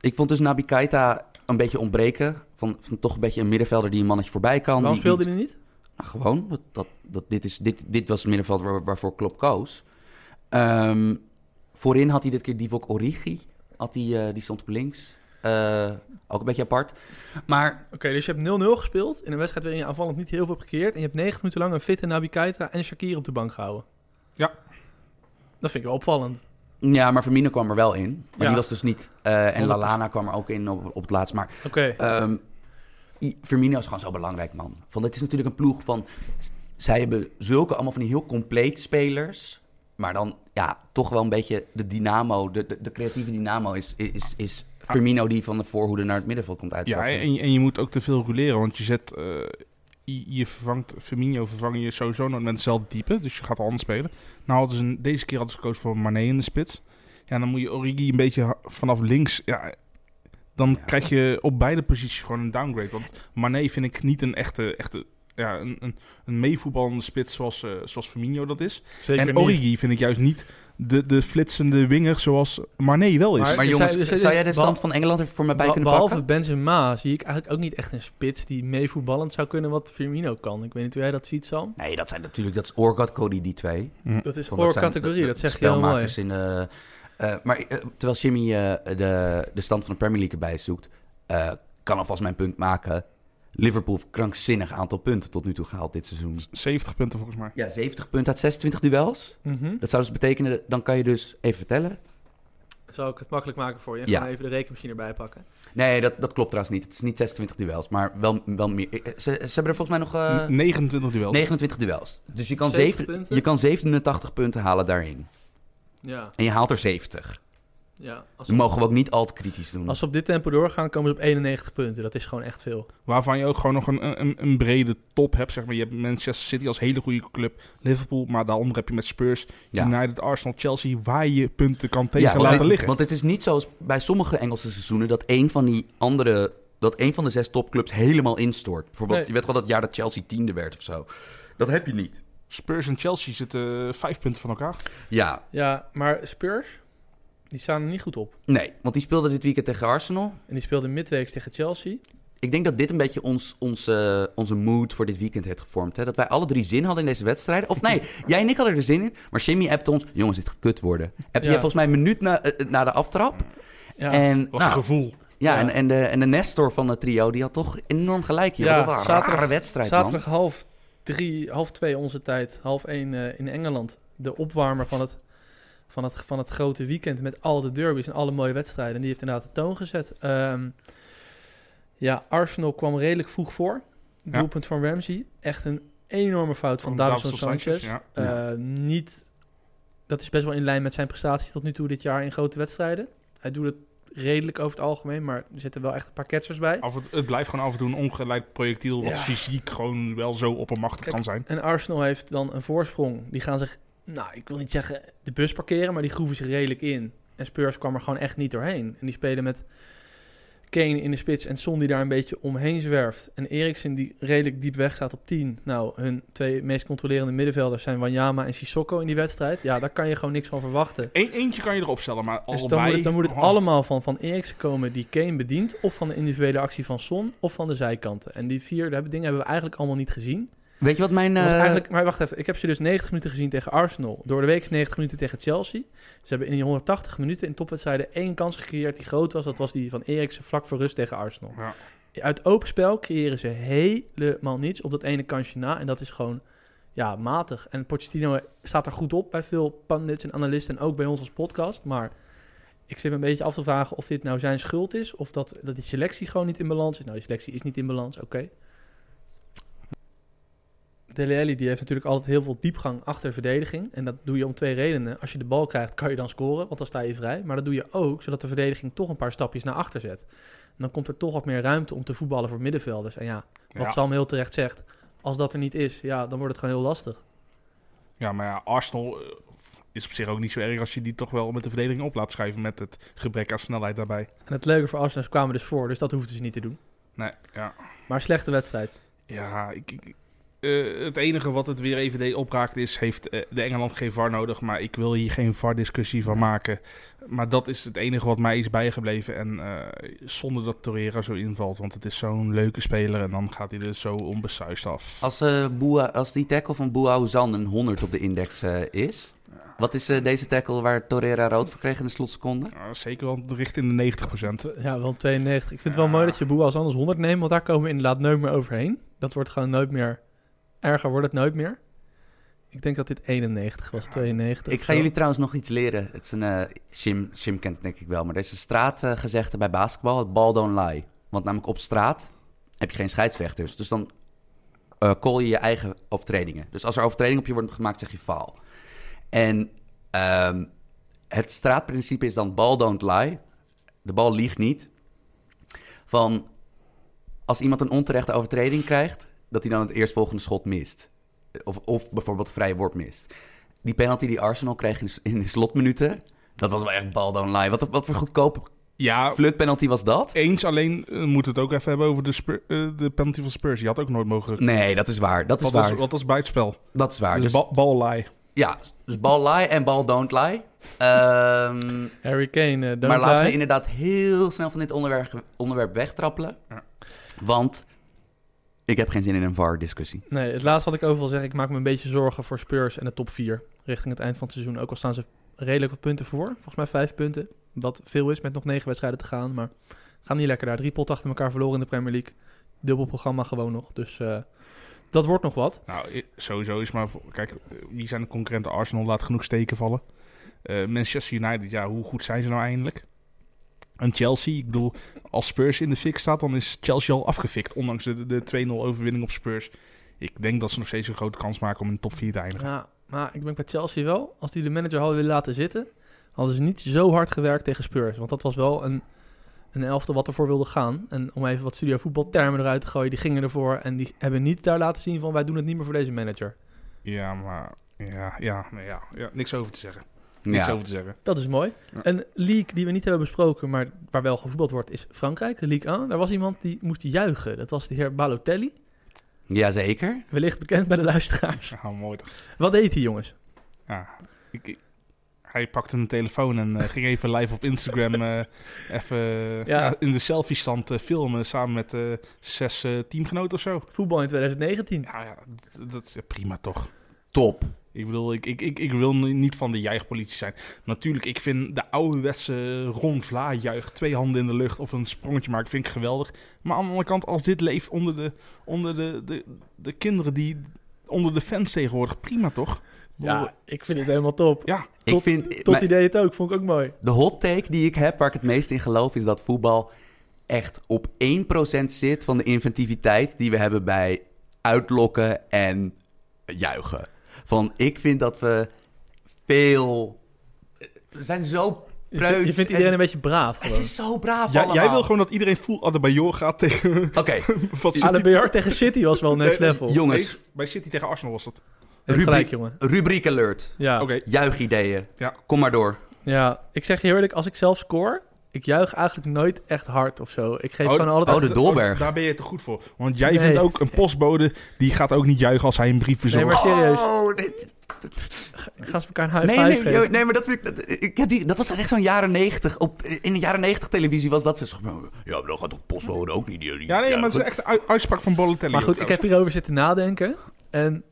Speaker 2: Ik vond dus Nabi Keita een beetje ontbreken. Van, van toch een beetje een middenvelder die een mannetje voorbij kan.
Speaker 1: Waarom
Speaker 2: die-
Speaker 1: speelde
Speaker 2: die-
Speaker 1: hij niet?
Speaker 2: Nou, gewoon. Dat, dat, dat- dit, is, dit, dit was het middenveld waar- waarvoor Klopp koos. Ehm, Voorin had hij dit keer Divock Origi. Had hij, eh, die stond op links. Eh, ook een beetje apart. Maar
Speaker 1: Oké, dus je hebt 0-0 gespeeld in een wedstrijd waarin je aanvallend niet heel veel hebt gecreëerd. En je hebt 90 minuten lang een fitte Nabi Keita en Shakir op de bank gehouden.
Speaker 3: Ja.
Speaker 1: Dat vind ik wel opvallend.
Speaker 2: ja, maar Firmino kwam er wel in. Maar
Speaker 1: Ja.
Speaker 2: die was dus niet... eh, en
Speaker 1: 100%.
Speaker 2: Lalana kwam er ook in op, op het laatst. Maar
Speaker 1: Oké,
Speaker 2: Ehm, I- Firmino is gewoon zo belangrijk, man. Van, het is natuurlijk een ploeg van... s- Zij hebben zulke allemaal van die heel complete spelers. Maar dan, ja, toch wel een beetje de dynamo, de, de, de creatieve dynamo is, is, is Firmino die van de voorhoede naar het middenveld komt
Speaker 3: Ja,
Speaker 2: uitzakken.
Speaker 3: en, je- en je moet ook te veel roleren, want je zet... eh, je je vervangt, Firmino vervang je sowieso nooit met hetzelfde type, dus je gaat al anders spelen. Nou hadden ze, een- deze keer hadden ze gekozen voor Mane in de spits. Ja, dan moet je Origi een beetje ha- vanaf links... Ja, dan
Speaker 2: Ja.
Speaker 3: krijg je op beide posities gewoon een downgrade. Want Mane vind ik niet een echte... echte ja, een, een, een meevoetballende spits zoals, eh, zoals Firmino dat is.
Speaker 1: zeker
Speaker 3: en
Speaker 1: niet.
Speaker 3: Origi vind ik juist niet de, de flitsende winger zoals Mane wel is.
Speaker 1: Maar-
Speaker 2: maar jongens,
Speaker 1: zij- dus-
Speaker 2: zou jij de
Speaker 1: dus-
Speaker 2: stand van Engeland er voor mij bij
Speaker 1: Be-
Speaker 2: kunnen
Speaker 1: Behalve
Speaker 2: pakken?
Speaker 1: Benzema zie ik eigenlijk ook niet echt een spits die meevoetballend zou kunnen wat Firmino kan. Ik weet niet hoe jij dat ziet, Sam.
Speaker 2: Nee, dat zijn natuurlijk, dat is Orgat Cody, die twee.
Speaker 3: Mm.
Speaker 1: Dat is
Speaker 2: Van, dat
Speaker 1: voor
Speaker 2: zijn de-
Speaker 1: categorie,
Speaker 2: de
Speaker 1: dat zeg je heel mooi.
Speaker 2: spelmakers In, de- eh, maar eh, terwijl Jimmy eh, de, de stand van de Premier League erbij zoekt, eh, kan alvast mijn punt maken. Liverpool heeft krankzinnig aantal punten tot nu toe gehaald dit seizoen.
Speaker 3: 70 punten volgens mij.
Speaker 2: Ja, 70 punten uit 26 duels.
Speaker 1: Mhm.
Speaker 2: Dat zou dus betekenen, dan kan je dus even vertellen.
Speaker 1: Zal ik het makkelijk maken voor je?
Speaker 2: Ja.
Speaker 1: Gewoon even de rekenmachine erbij pakken.
Speaker 2: Nee, dat, dat klopt trouwens niet. Het is niet 26 duels, maar wel, wel meer. eh, Ze, ze hebben er volgens mij nog eh,
Speaker 3: 29 duels.
Speaker 2: 29 duels. Dus je kan,
Speaker 1: 70
Speaker 2: zeven,
Speaker 1: punten?
Speaker 2: je kan 87 punten halen daarin.
Speaker 1: Ja,
Speaker 2: En je haalt er 70.
Speaker 1: ja. Als
Speaker 2: Dat mogen we ook niet al te kritisch doen.
Speaker 1: Als ze op dit tempo doorgaan, komen ze op 91 punten. Dat is gewoon echt veel.
Speaker 3: Waarvan je ook gewoon nog een, een, een brede top hebt. Zeg maar. Je hebt Manchester City als hele goede club. Liverpool, maar daaronder heb je met Spurs,
Speaker 2: Ja.
Speaker 3: United, Arsenal, Chelsea... waar je punten kan tegen
Speaker 2: want
Speaker 3: laten
Speaker 2: dit-
Speaker 3: liggen.
Speaker 2: Want het is niet zoals bij sommige Engelse seizoenen dat een van die andere, dat een van de zes topclubs helemaal instort. Bijvoorbeeld,
Speaker 1: Nee.
Speaker 2: je weet wel dat jaar dat Chelsea tiende werd of zo. Dat heb je niet.
Speaker 3: Spurs en Chelsea zitten eh, vijf punten van elkaar.
Speaker 2: Ja,
Speaker 1: Ja, maar Spurs, die staan er niet goed op.
Speaker 2: nee, want die speelde dit weekend tegen Arsenal.
Speaker 1: En die speelden midweeks tegen Chelsea.
Speaker 2: Ik denk dat dit een beetje ons, ons, eh, onze mood voor dit weekend heeft gevormd. Hè? Dat wij alle drie zin hadden in deze wedstrijden. Of nee, jij en ik hadden er zin in. Maar Jimmy appt ons, jongens, dit gaat kut worden. Heb je
Speaker 1: Ja.
Speaker 2: volgens mij een minuut na, eh, na de aftrap.
Speaker 1: Ja.
Speaker 2: en,
Speaker 3: Was
Speaker 2: nou,
Speaker 3: een gevoel.
Speaker 2: ja,
Speaker 1: Ja.
Speaker 2: En, en, de, en de Nestor van het trio, die had toch enorm gelijk. Joh.
Speaker 1: Ja,
Speaker 2: dat was een
Speaker 1: zaterdag-
Speaker 2: rare wedstrijd, man.
Speaker 1: Zaterdag half drie, half twee onze tijd, half één eh, in Engeland. De opwarmer van het, van, het, van het grote weekend met al de derbies en alle mooie wedstrijden. En die heeft inderdaad de toon gezet. Ehm, ja, Arsenal kwam redelijk vroeg voor.
Speaker 3: Ja.
Speaker 1: Doelpunt van Ramsey. Echt een enorme fout van, Davinson Sanchez.
Speaker 3: Ja.
Speaker 2: Ja.
Speaker 1: Eh, Niet, dat is best wel in lijn met zijn prestaties tot nu toe dit jaar in grote wedstrijden. Hij doet het redelijk over het algemeen, maar er zitten wel echt een paar ketsers bij.
Speaker 3: Af en- het blijft gewoon af en toe een ongeleid projectiel... wat
Speaker 1: Ja.
Speaker 3: fysiek gewoon wel zo oppermachtig
Speaker 1: Kijk,
Speaker 3: kan zijn.
Speaker 1: En Arsenal heeft dan een voorsprong. Die gaan zich, nou, ik wil niet zeggen de bus parkeren, maar die groeven zich redelijk in. En Spurs kwam er gewoon echt niet doorheen. En die spelen met Kane in de spits en Son die daar een beetje omheen zwerft. En Eriksen die redelijk diep weg staat op 10. Nou, hun twee meest controlerende middenvelders zijn Wanyama en Sissoko in die wedstrijd. Ja, daar kan je gewoon niks van verwachten.
Speaker 3: Eén E-, eentje kan je erop stellen, maar
Speaker 1: Dus
Speaker 3: allebei...
Speaker 1: dan moet het, dan moet het
Speaker 3: Oh.
Speaker 1: allemaal van, van Eriksen komen die Kane bedient. Of van de individuele actie van Son of van de zijkanten. En die vier hebben- dingen hebben we eigenlijk allemaal niet gezien.
Speaker 2: Weet je wat mijn...
Speaker 1: Dat was
Speaker 2: eh,
Speaker 1: eigenlijk, maar wacht even, ik heb ze dus 90 minuten gezien tegen Arsenal. Door de week 90 minuten tegen Chelsea. Ze hebben in die 180 minuten in topwedstrijden één kans gecreëerd die groot was. Dat was die van Eriksen vlak voor rust tegen Arsenal.
Speaker 3: Ja.
Speaker 1: Uit open spel creëren ze helemaal niets op dat ene kansje na. En dat is gewoon ja, matig. En Pochettino staat er goed op bij veel pundits en analisten. En ook bij ons als podcast. Maar ik zit me een beetje af te vragen of dit nou zijn schuld is. Of dat, dat die selectie gewoon niet in balans is. Nou, die selectie is niet in balans, oké. Dele Alli die heeft natuurlijk altijd heel veel diepgang achter verdediging. En dat doe je om twee redenen. Als je de bal krijgt, kan je dan scoren, want dan sta je vrij. Maar dat doe je ook, zodat de verdediging toch een paar stapjes naar achter zet. En dan komt er toch wat meer ruimte om te voetballen voor middenvelders. En ja, wat
Speaker 3: Ja.
Speaker 1: Sam heel terecht zegt, als dat er niet is, ja, dan wordt het gewoon heel lastig.
Speaker 3: Ja, maar ja, Arsenal eh, is op zich ook niet zo erg als je die toch wel met de verdediging op laat schrijven met het gebrek aan snelheid daarbij.
Speaker 1: En het leuke voor Arsenal, ze kwamen dus voor, dus dat hoefden ze niet te doen.
Speaker 3: Nee, ja.
Speaker 1: Maar slechte wedstrijd.
Speaker 3: Ja, ik, ik, eh, het enige wat het weer even deed opraakt is, heeft eh, de Engeland geen VAR nodig. Maar ik wil hier geen VAR-discussie van maken. Maar dat is het enige wat mij is bijgebleven. En eh, zonder dat Torreira zo invalt, want het is zo'n leuke speler. En dan gaat hij er zo onbesuist af.
Speaker 2: Als, eh Boa, als die tackle van Boao Zan een 100 op de index eh, is, wat is eh, deze tackle waar Torreira rood voor kreeg in de slotseconde?
Speaker 3: Ja, zeker wel richting de 90%.
Speaker 1: Ja, wel 92. Ik vind het wel mooi dat je Boe als anders 100 neemt, want daar komen we inderdaad nooit meer overheen. Dat wordt gewoon nooit meer... Erger wordt het nooit meer. Ik denk dat dit 91 was, 92.
Speaker 2: Ik ga jullie trouwens nog iets leren. Het is een, eh, Jim, Jim kent het denk ik wel, maar er is een straatgezegde bij basketbal, het ball don't lie. Want namelijk op straat heb je geen scheidsrechters. Dus dan eh call je je eigen overtredingen. Dus als er overtreding op je wordt gemaakt, zeg je faal. En ehm, het straatprincipe is dan ball don't lie. De bal liegt niet. Van als iemand een onterechte overtreding krijgt, dat hij dan het eerstvolgende schot mist. Of, of bijvoorbeeld vrije worp mist. Die penalty die Arsenal kreeg in, in de slotminuten, dat was wel echt bal down lie. Wat, wat voor goedkope
Speaker 3: Ja,
Speaker 2: flutpenalty was dat?
Speaker 3: eens alleen eh, moet het ook even hebben over de, Spur- eh, de penalty van Spurs. Die had ook nooit mogen...
Speaker 2: Nee, dat is waar. Dat is
Speaker 3: Wat was,
Speaker 2: waar.
Speaker 3: wat was buitenspel?
Speaker 2: Dat is waar. Dus,
Speaker 3: Dus ba- ballaai.
Speaker 2: ja, dus bal lie en bal don't lie. Ehm,
Speaker 1: Harry Kane, eh, don't
Speaker 2: maar laten
Speaker 1: lie.
Speaker 2: we inderdaad heel snel van dit onderwerp, onderwerp wegtrappelen.
Speaker 3: Ja.
Speaker 2: Want ik heb geen zin in een VAR-discussie.
Speaker 1: Nee, het laatste wat ik over wil zeggen, ik maak me een beetje zorgen voor Spurs en de top 4 richting het eind van het seizoen. Ook al staan ze redelijk wat punten voor, volgens mij vijf punten, wat veel is met nog negen wedstrijden te gaan. Maar gaan niet lekker daar. Drie pot achter elkaar verloren in de Premier League. Dubbel programma gewoon nog, dus eh, dat wordt nog wat.
Speaker 3: Nou, i- sowieso is maar... voor- Kijk, eh, wie zijn de concurrenten? Arsenal laat genoeg steken vallen. Eh, Manchester United, ja, hoe goed zijn ze nou eindelijk? En Chelsea, ik bedoel, als Spurs in de fik staat, dan is Chelsea al afgefikt. Ondanks de, de 2-0 overwinning op Spurs. Ik denk dat ze nog steeds een grote kans maken om in de top 4 te eindigen.
Speaker 1: Ja, maar ik denk bij Chelsea wel, als die de manager hadden willen laten zitten, hadden ze niet zo hard gewerkt tegen Spurs. Want dat was wel een, een elfte wat ervoor wilde gaan. En om even wat studio voetbaltermen eruit te gooien, die gingen ervoor en die hebben niet daar laten zien van wij doen het niet meer voor deze manager.
Speaker 3: Ja, maar... Ja, ja, nee, ja, ja, niks over te zeggen. Niks
Speaker 2: Ja.
Speaker 3: over te zeggen.
Speaker 1: Dat is mooi.
Speaker 3: Ja.
Speaker 1: Een league die we niet hebben besproken, maar waar wel gevoetbald wordt, is Frankrijk, de Ligue 1. Daar was iemand die moest juichen. Dat was de heer Balotelli,
Speaker 2: Jazeker.
Speaker 1: wellicht bekend bij de luisteraars.
Speaker 3: Ja, mooi toch.
Speaker 1: Wat deed hij, jongens?
Speaker 3: Ja, ik, ik- hij pakte een telefoon en eh, ging even live op Instagram eh, even ja, in de selfie-stand eh, filmen samen met eh, zes eh, teamgenoten of zo.
Speaker 1: Voetbal in 2019.
Speaker 3: Ja, ja d- dat is ja, prima toch.
Speaker 2: Top.
Speaker 3: Ik bedoel, ik, ik, ik, ik wil ni- niet van de juichpolitie zijn. Natuurlijk, ik vind de ouderwetse Ron Vla juich, twee handen in de lucht of een sprongetje maken, vind ik geweldig. Maar aan de andere kant, als dit leeft onder de, onder de, de, de kinderen die onder de fans tegenwoordig, prima toch?
Speaker 1: Ja, ik vind het helemaal top.
Speaker 3: Ja,
Speaker 1: Tot-
Speaker 2: ik vind,
Speaker 1: Tot
Speaker 2: mijn-
Speaker 1: hij deed het ook, vond ik ook mooi.
Speaker 2: De hot take die ik heb, waar ik het meest in geloof, is dat voetbal echt op 1% zit van de inventiviteit die we hebben bij uitlokken en juichen. Van ik vind dat we veel. We zijn zo
Speaker 1: Je vindt,
Speaker 2: preuts.
Speaker 1: je vindt iedereen
Speaker 2: en-
Speaker 1: een beetje braaf
Speaker 2: Het
Speaker 1: gewoon.
Speaker 2: is zo braaf.
Speaker 3: Jij,
Speaker 2: allemaal.
Speaker 3: jij wil gewoon dat iedereen full Adebayor gaat tegen
Speaker 2: Oké,
Speaker 3: wat City-
Speaker 1: Adebayor tegen City was wel next
Speaker 3: Nee,
Speaker 1: level. Je
Speaker 2: jongens,
Speaker 3: Nee, bij City tegen Arsenal was dat.
Speaker 1: hebt
Speaker 2: rubriek.
Speaker 1: gelijk, jongen.
Speaker 2: rubriek alert.
Speaker 1: Ja.
Speaker 3: Oké.
Speaker 2: Juichideeën.
Speaker 3: Ja.
Speaker 2: Kom maar door.
Speaker 1: ja, ik zeg je eerlijk, als ik zelf score, ik juich eigenlijk nooit echt hard of zo. Ik geef
Speaker 3: Oh,
Speaker 1: gewoon altijd...
Speaker 2: Oh, de Dolberg.
Speaker 3: Daar ben je te goed voor. Want jij
Speaker 1: Nee.
Speaker 3: vindt ook een postbode die gaat ook niet juichen als hij een brief
Speaker 1: Nee,
Speaker 3: verzorgt.
Speaker 1: maar serieus.
Speaker 2: Oh, dit-
Speaker 1: Gaan ze elkaar een high
Speaker 2: Nee,
Speaker 1: five
Speaker 2: nee,
Speaker 1: geven.
Speaker 2: nee, nee, maar dat, vind ik, dat, ik heb die, dat was echt zo'n jaren negentig. op- In de jaren negentig televisie was dat. Ze zo, ja, maar dan gaat toch postbode ook niet. die- die-
Speaker 3: Ja, nee, maar het
Speaker 2: goed.
Speaker 3: is echt een u- uitspraak van Bolletelli.
Speaker 1: Maar goed, ik heb hierover zitten nadenken. En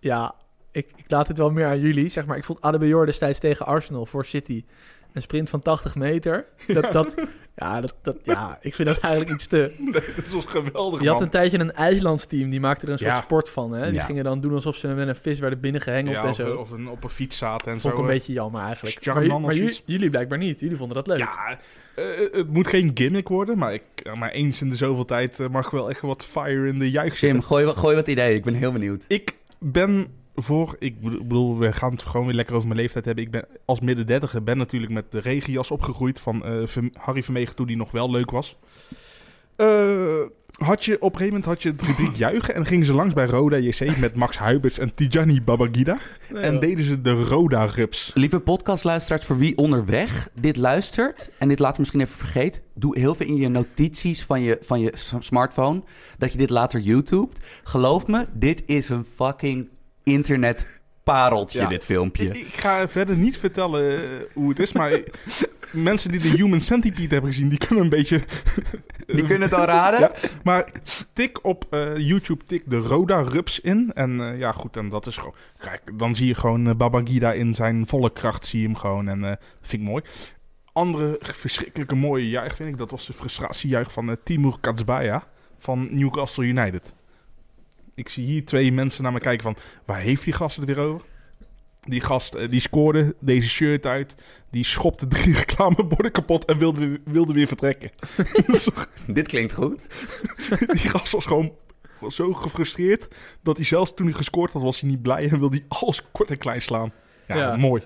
Speaker 1: ja, ik, ik laat het wel meer aan jullie. Zeg maar, ik vond Adebayor destijds tegen Arsenal voor City. Een sprint van 80 meter. Dat, dat, ja, dat, dat, ja, ik vind dat eigenlijk iets te...
Speaker 3: Het was geweldig,
Speaker 1: Je had
Speaker 3: man.
Speaker 1: een tijdje een IJslands team, die maakte er een soort
Speaker 3: Ja.
Speaker 1: sport van. Hè? Die
Speaker 2: Ja.
Speaker 1: gingen dan doen alsof ze met een vis werden binnengehengeld
Speaker 3: Ja,
Speaker 1: en
Speaker 3: of,
Speaker 1: zo.
Speaker 3: of een, op een fiets zaten en
Speaker 1: vond ik
Speaker 3: zo.
Speaker 1: een
Speaker 3: eh.
Speaker 1: beetje jammer eigenlijk. Maar,
Speaker 3: Jarman
Speaker 1: ju-
Speaker 3: of
Speaker 1: maar ju-
Speaker 3: zoiets.
Speaker 1: jullie blijkbaar niet. Jullie vonden dat leuk.
Speaker 3: Ja, eh, het moet geen gimmick worden, maar, ik, eh, maar eens in de zoveel tijd eh, mag wel echt wat fire in de juich zitten.
Speaker 2: Jim, gooi, wat- gooi wat ideeën. Ik ben heel benieuwd.
Speaker 3: Ik ben voor, ik bedo- bedoel, we gaan het gewoon weer lekker over mijn leeftijd hebben. Ik ben als midden dertiger ben natuurlijk met de regenjas opgegroeid van eh, Verm- Harry Vermegen toen die nog wel leuk was. Eh, had je, op een gegeven moment had je het rubriek juichen en gingen ze langs bij Roda JC met Max Huibers en Tijani Babagida.
Speaker 1: Nee,
Speaker 3: En
Speaker 1: joh.
Speaker 3: deden ze de Roda-rups.
Speaker 2: Lieve podcastluisteraars, voor wie onderweg dit luistert en dit later misschien even vergeet, doe heel veel in je notities van je, van je s- smartphone dat je dit later YouTubet. Geloof me, dit is een fucking internetpareltje,
Speaker 3: Ja.
Speaker 2: dit filmpje.
Speaker 3: Ik, ik ga verder niet vertellen eh, hoe het is, maar mensen die de Human Centipede hebben gezien, die kunnen een beetje...
Speaker 2: Die kunnen het al raden.
Speaker 3: Ja, maar tik op eh, YouTube, tik de Roda Rups in. En eh, ja, goed, en dat is gewoon... Kijk, dan zie je gewoon eh, Babangida in zijn volle kracht, zie je hem gewoon. En eh, dat vind ik mooi. Andere verschrikkelijke mooie juich vind ik, dat was de frustratiejuich van eh, Timur Katsbaya van Newcastle United. Ik zie hier twee mensen naar me kijken van, waar heeft die gast het weer over? Die gast, eh, die scoorde deze shirt uit, die schopte drie reclameborden kapot en wilde, weer- wilde weer vertrekken.
Speaker 2: Dit klinkt goed.
Speaker 3: Die gast was gewoon zo gefrustreerd dat hij zelfs toen hij gescoord had, was hij niet blij en wilde hij alles kort en klein slaan. Ja,
Speaker 1: Ja.
Speaker 3: mooi.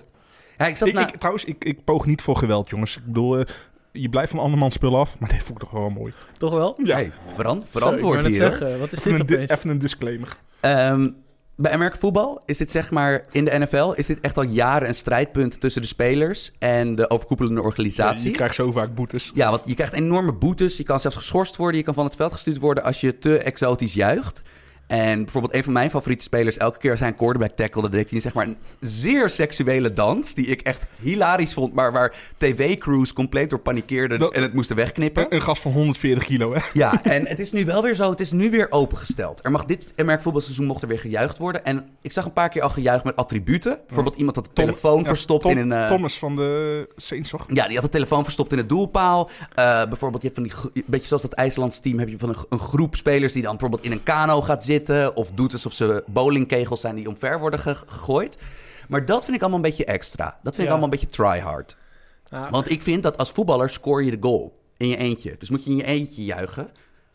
Speaker 2: Ja, ik zat
Speaker 3: Ik,
Speaker 2: na-
Speaker 3: ik, trouwens, ik, ik poog niet voor geweld, jongens. Ik bedoel, eh, je blijft van andermans spullen af, maar dit vond ik toch wel mooi.
Speaker 1: Toch wel?
Speaker 3: Ja.
Speaker 2: Hey, veran-
Speaker 1: Zo, ik
Speaker 2: verantwoord
Speaker 1: wou net
Speaker 2: hier. hoor.
Speaker 1: zeggen, Wat is
Speaker 3: Even
Speaker 1: dit
Speaker 3: een, di-
Speaker 1: opeens?
Speaker 3: even een disclaimer.
Speaker 2: Ehm, bij Amerika voetbal is dit zeg maar in de NFL is dit echt al jaren een strijdpunt tussen de spelers en de overkoepelende organisatie.
Speaker 3: Je krijgt zo vaak boetes.
Speaker 2: Ja, want je krijgt enorme boetes. Je kan zelfs geschorst worden. Je kan van het veld gestuurd worden als je te exotisch juicht. En bijvoorbeeld een van mijn favoriete spelers, elke keer als hij een quarterback tackelde, deed hij zeg maar een zeer seksuele dans. Die ik echt hilarisch vond, maar waar tv-crews compleet door panikeerden
Speaker 3: Dat-
Speaker 2: en het moesten wegknippen.
Speaker 3: Een, een gast van 140 kilo, hè?
Speaker 2: Ja, en het is nu wel weer zo. Het is nu weer opengesteld. Er mag dit merk voetbalseizoen mocht er weer gejuicht worden. En ik zag een paar keer al gejuicht met attributen. Bijvoorbeeld iemand had de telefoon
Speaker 3: Ja,
Speaker 2: verstopt
Speaker 3: Tom-
Speaker 2: in een... eh,
Speaker 3: Thomas van de Saints, toch?
Speaker 2: ja, die had de telefoon verstopt in het doelpaal. Eh, bijvoorbeeld, je hebt van die, gro- beetje zoals dat IJslands team, heb je van een, een groep spelers die dan bijvoorbeeld in een kano gaat zitten. Of doet alsof ze bowlingkegels zijn die omver worden ge- gegooid. Maar dat vind ik allemaal een beetje extra. Dat vind ik
Speaker 1: Ja.
Speaker 2: allemaal een beetje try-hard.
Speaker 1: Ah,
Speaker 2: Want ik vind dat als voetballer scoor je de goal in je eentje. Dus moet je in je eentje juichen.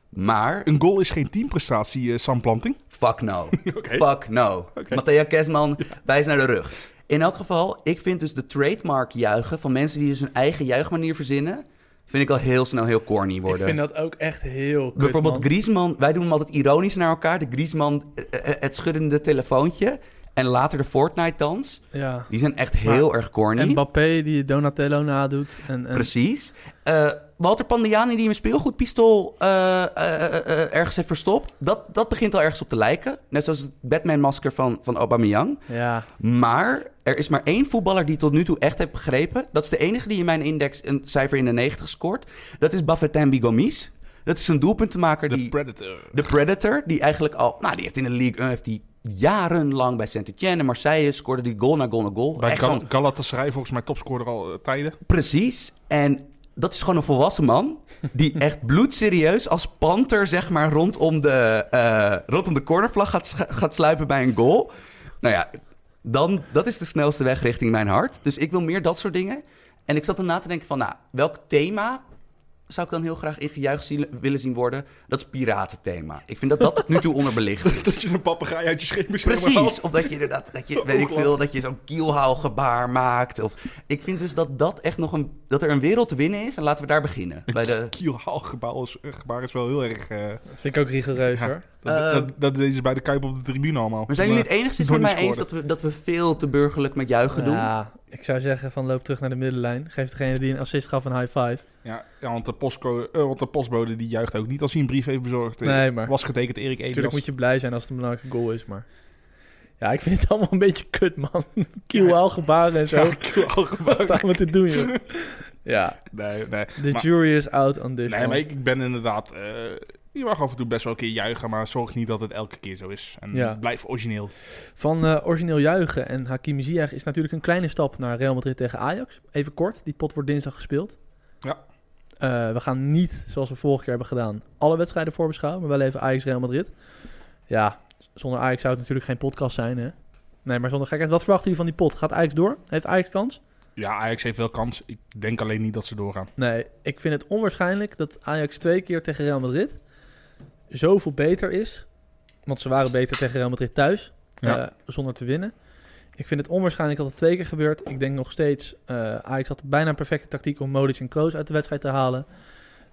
Speaker 2: Maar
Speaker 3: Een goal is geen teamprestatie, eh Sam Planting.
Speaker 2: Fuck no.
Speaker 3: Oké.
Speaker 2: Fuck no. Matthäa Kerstman, wijs naar de rug. In elk geval, ik vind dus de trademark juichen van mensen die dus hun eigen juichmanier verzinnen, vind ik al heel snel heel corny worden.
Speaker 1: Ik vind dat ook echt heel kut,
Speaker 2: Bijvoorbeeld
Speaker 1: man.
Speaker 2: Griezmann, wij doen hem altijd ironisch naar elkaar. De Griezmann, eh, eh, het schuddende telefoontje en later de Fortnite-dans.
Speaker 1: Ja.
Speaker 2: Die zijn echt heel erg corny.
Speaker 1: En Mbappé die Donatello nadoet. En, en
Speaker 2: Precies. Eh, Walter Pandiani die een speelgoedpistool eh, eh, eh, eh, ergens heeft verstopt. Dat, dat begint al ergens op te lijken. Net zoals het Batman-masker van, van Aubameyang.
Speaker 1: ja,
Speaker 2: Maar er is maar één voetballer die tot nu toe echt heeft begrepen. Dat is de enige die in mijn index een cijfer in de 90 scoort. Dat is Bafetin Bigomis. Dat is een doelpuntenmaker.
Speaker 3: De
Speaker 2: die,
Speaker 3: Predator.
Speaker 2: de Predator, die eigenlijk al... Nou, die heeft in de league eh, heeft die jarenlang bij Saint-Etienne en Marseille... scoorde die goal na goal na goal.
Speaker 3: Bij
Speaker 2: Echt
Speaker 3: Gal-
Speaker 2: gewoon-
Speaker 3: Galatasaray volgens mij topscorer al eh, tijden.
Speaker 2: Precies. En dat is gewoon een volwassen man. Die echt bloedserieus als panter, zeg maar, rondom de, eh, rondom de cornervlag gaat, schu- gaat sluipen bij een goal. Nou ja, dan, dat is de snelste weg richting mijn hart. Dus ik wil meer dat soort dingen. En ik zat erna te denken van, nou, welk thema zou ik dan heel graag ingejuicht zien, willen zien worden? Dat is piratenthema. Ik vind dat dat tot nu toe onderbelicht is.
Speaker 3: Dat je een papegaai uit je scherm
Speaker 2: Precies, of dat je inderdaad, dat je, weet ik veel, dat je zo'n kielhouwgebaar maakt. Of, ik vind dus dat dat echt nog een, dat er een wereld te winnen is en laten we daar beginnen. Bij de,
Speaker 3: Kielhaalgebaar is, eh, gebaar is wel heel erg... eh,
Speaker 1: vind ik ook rigoureus
Speaker 3: Ja.
Speaker 1: hoor.
Speaker 3: Dat,
Speaker 2: Eh,
Speaker 3: dat, dat deden ze bij de Kuip op de tribune allemaal.
Speaker 2: maar zijn jullie het enigszins met
Speaker 3: Donnie
Speaker 2: mij eens dat
Speaker 3: scoorde.
Speaker 2: we, dat we veel te burgerlijk met juichen doen?
Speaker 1: Ja, ik zou zeggen van loop terug naar de middenlijn. Geef degene die een assist gaf een high five.
Speaker 3: Ja, ja, want, de postco- eh, want de postbode die juicht ook niet als hij een brief heeft bezorgd. Eh,
Speaker 1: Nee, maar-
Speaker 3: Was getekend Erik Elias.
Speaker 1: Natuurlijk moet je blij zijn als het een belangrijke goal is, maar... Ja, ik vind het allemaal een beetje kut, man. Kiel gebaren en zo. Wat
Speaker 3: Ja,
Speaker 1: staan we te doen, joh? Ja,
Speaker 3: nee, nee.
Speaker 1: the
Speaker 3: Maar-
Speaker 1: jury is out on this
Speaker 3: Nee,
Speaker 1: one.
Speaker 3: maar ik, ik ben inderdaad... eh, je mag af en toe best wel een keer juichen, maar zorg niet dat het elke keer zo is. En
Speaker 1: Ja.
Speaker 3: blijf origineel.
Speaker 1: Van eh, origineel juichen en Hakim Ziyech is natuurlijk een kleine stap naar Real Madrid tegen Ajax. Even kort, die pot wordt dinsdag gespeeld.
Speaker 3: Ja.
Speaker 1: Eh, we gaan niet, zoals we vorige keer hebben gedaan, alle wedstrijden voorbeschouwen, maar wel even Ajax-Real Madrid. Ja, z- zonder Ajax zou het natuurlijk geen podcast zijn, hè? Nee, maar zonder gekheid. Wat verwachten jullie van die pot? Gaat Ajax door? Heeft Ajax kans?
Speaker 3: Ja, Ajax heeft wel kans. Ik denk alleen niet dat ze doorgaan.
Speaker 1: Nee, ik vind het onwaarschijnlijk dat Ajax twee keer tegen Real Madrid zoveel beter is. Want ze waren beter tegen Real Madrid thuis,
Speaker 3: Ja.
Speaker 1: eh, zonder te winnen. Ik vind het onwaarschijnlijk dat het twee keer gebeurt. Ik denk nog steeds, eh Ajax had bijna een perfecte tactiek om Modric en Kroos uit de wedstrijd te halen.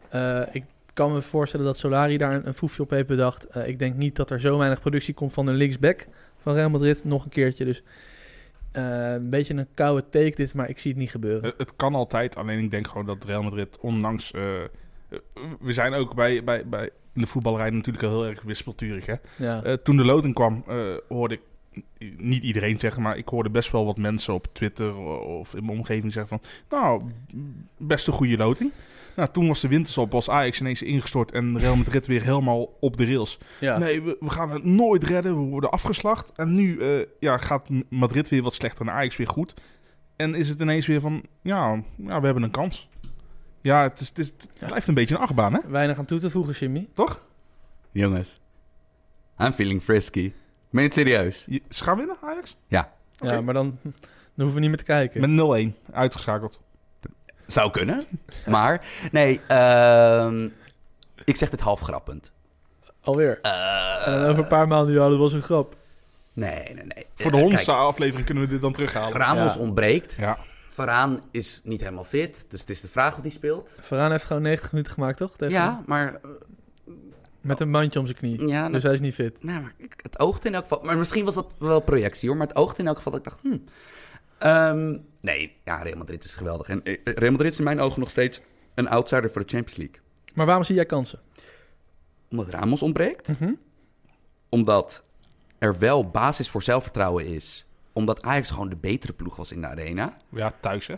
Speaker 1: Eh, ik kan me voorstellen dat Solari daar een, een foefje op heeft bedacht. Eh, ik denk niet dat er zo weinig productie komt van een linksback van Real Madrid. Nog een keertje. Dus eh, een beetje een koude take dit, maar ik zie het niet gebeuren.
Speaker 3: Eh, Het, het kan altijd, alleen ik denk gewoon dat Real Madrid, ondanks... eh, eh, we zijn ook bij, bij, bij, in de voetballerij natuurlijk al heel erg wispelturig. Hè?
Speaker 1: ja.
Speaker 3: Eh, toen de loting kwam, eh, hoorde ik n- niet iedereen zeggen, maar ik hoorde best wel wat mensen op Twitter o- of in mijn omgeving zeggen van, nou, m- best een goede loting. Nou, toen was de wintersop, was Ajax ineens ingestort en Real Madrid weer helemaal op de rails.
Speaker 1: ja.
Speaker 3: Nee, we, we gaan het nooit redden, we worden afgeslacht. En nu eh, ja, gaat M- Madrid weer wat slechter en Ajax weer goed. En is het ineens weer van, ja, ja we hebben een kans. Ja, het, is, het, is, het
Speaker 1: Ja.
Speaker 3: blijft een beetje een achtbaan, hè?
Speaker 1: Weinig aan toe te voegen, Jimmy.
Speaker 2: Jongens, I'm feeling frisky. Ik meen het serieus.
Speaker 3: Je- Ze gaan winnen, Ajax? Oké.
Speaker 1: Ja, maar dan, dan hoeven we niet meer te kijken.
Speaker 3: Met 0-1, uitgeschakeld.
Speaker 2: Zou kunnen, maar nee, ehm, ik zeg dit half grappend.
Speaker 1: Alweer.
Speaker 2: Eh,
Speaker 1: en dan over een paar maanden, ja, dat was een grap.
Speaker 2: Nee, nee, nee.
Speaker 3: Voor de
Speaker 2: Eh,
Speaker 3: honderdste
Speaker 2: kijk,
Speaker 3: aflevering kunnen we dit dan terughalen.
Speaker 2: Ramos
Speaker 1: Ja.
Speaker 2: ontbreekt.
Speaker 3: Ja.
Speaker 2: Varaan is niet helemaal fit, dus het is de vraag of die speelt.
Speaker 1: Varaan heeft gewoon 90 minuten gemaakt, toch? Tegen-
Speaker 2: Ja, maar, eh,
Speaker 1: Met een bandje om zijn knie.
Speaker 2: ja, nou,
Speaker 1: Dus hij is niet fit.
Speaker 2: nou, maar ik- het oogt in elk geval. Maar misschien was dat wel projectie hoor, maar het oogt in elk geval. dat Ik dacht, hm. Ehm, nee, ja, Real Madrid is geweldig. En eh, Real Madrid is in mijn ogen nog steeds een outsider voor de Champions League.
Speaker 1: Maar waarom zie jij kansen?
Speaker 2: Omdat Ramos ontbreekt.
Speaker 1: Mhm.
Speaker 2: Omdat er wel basis voor zelfvertrouwen is. Omdat Ajax gewoon de betere ploeg was in de arena.
Speaker 3: Ja, thuis, hè?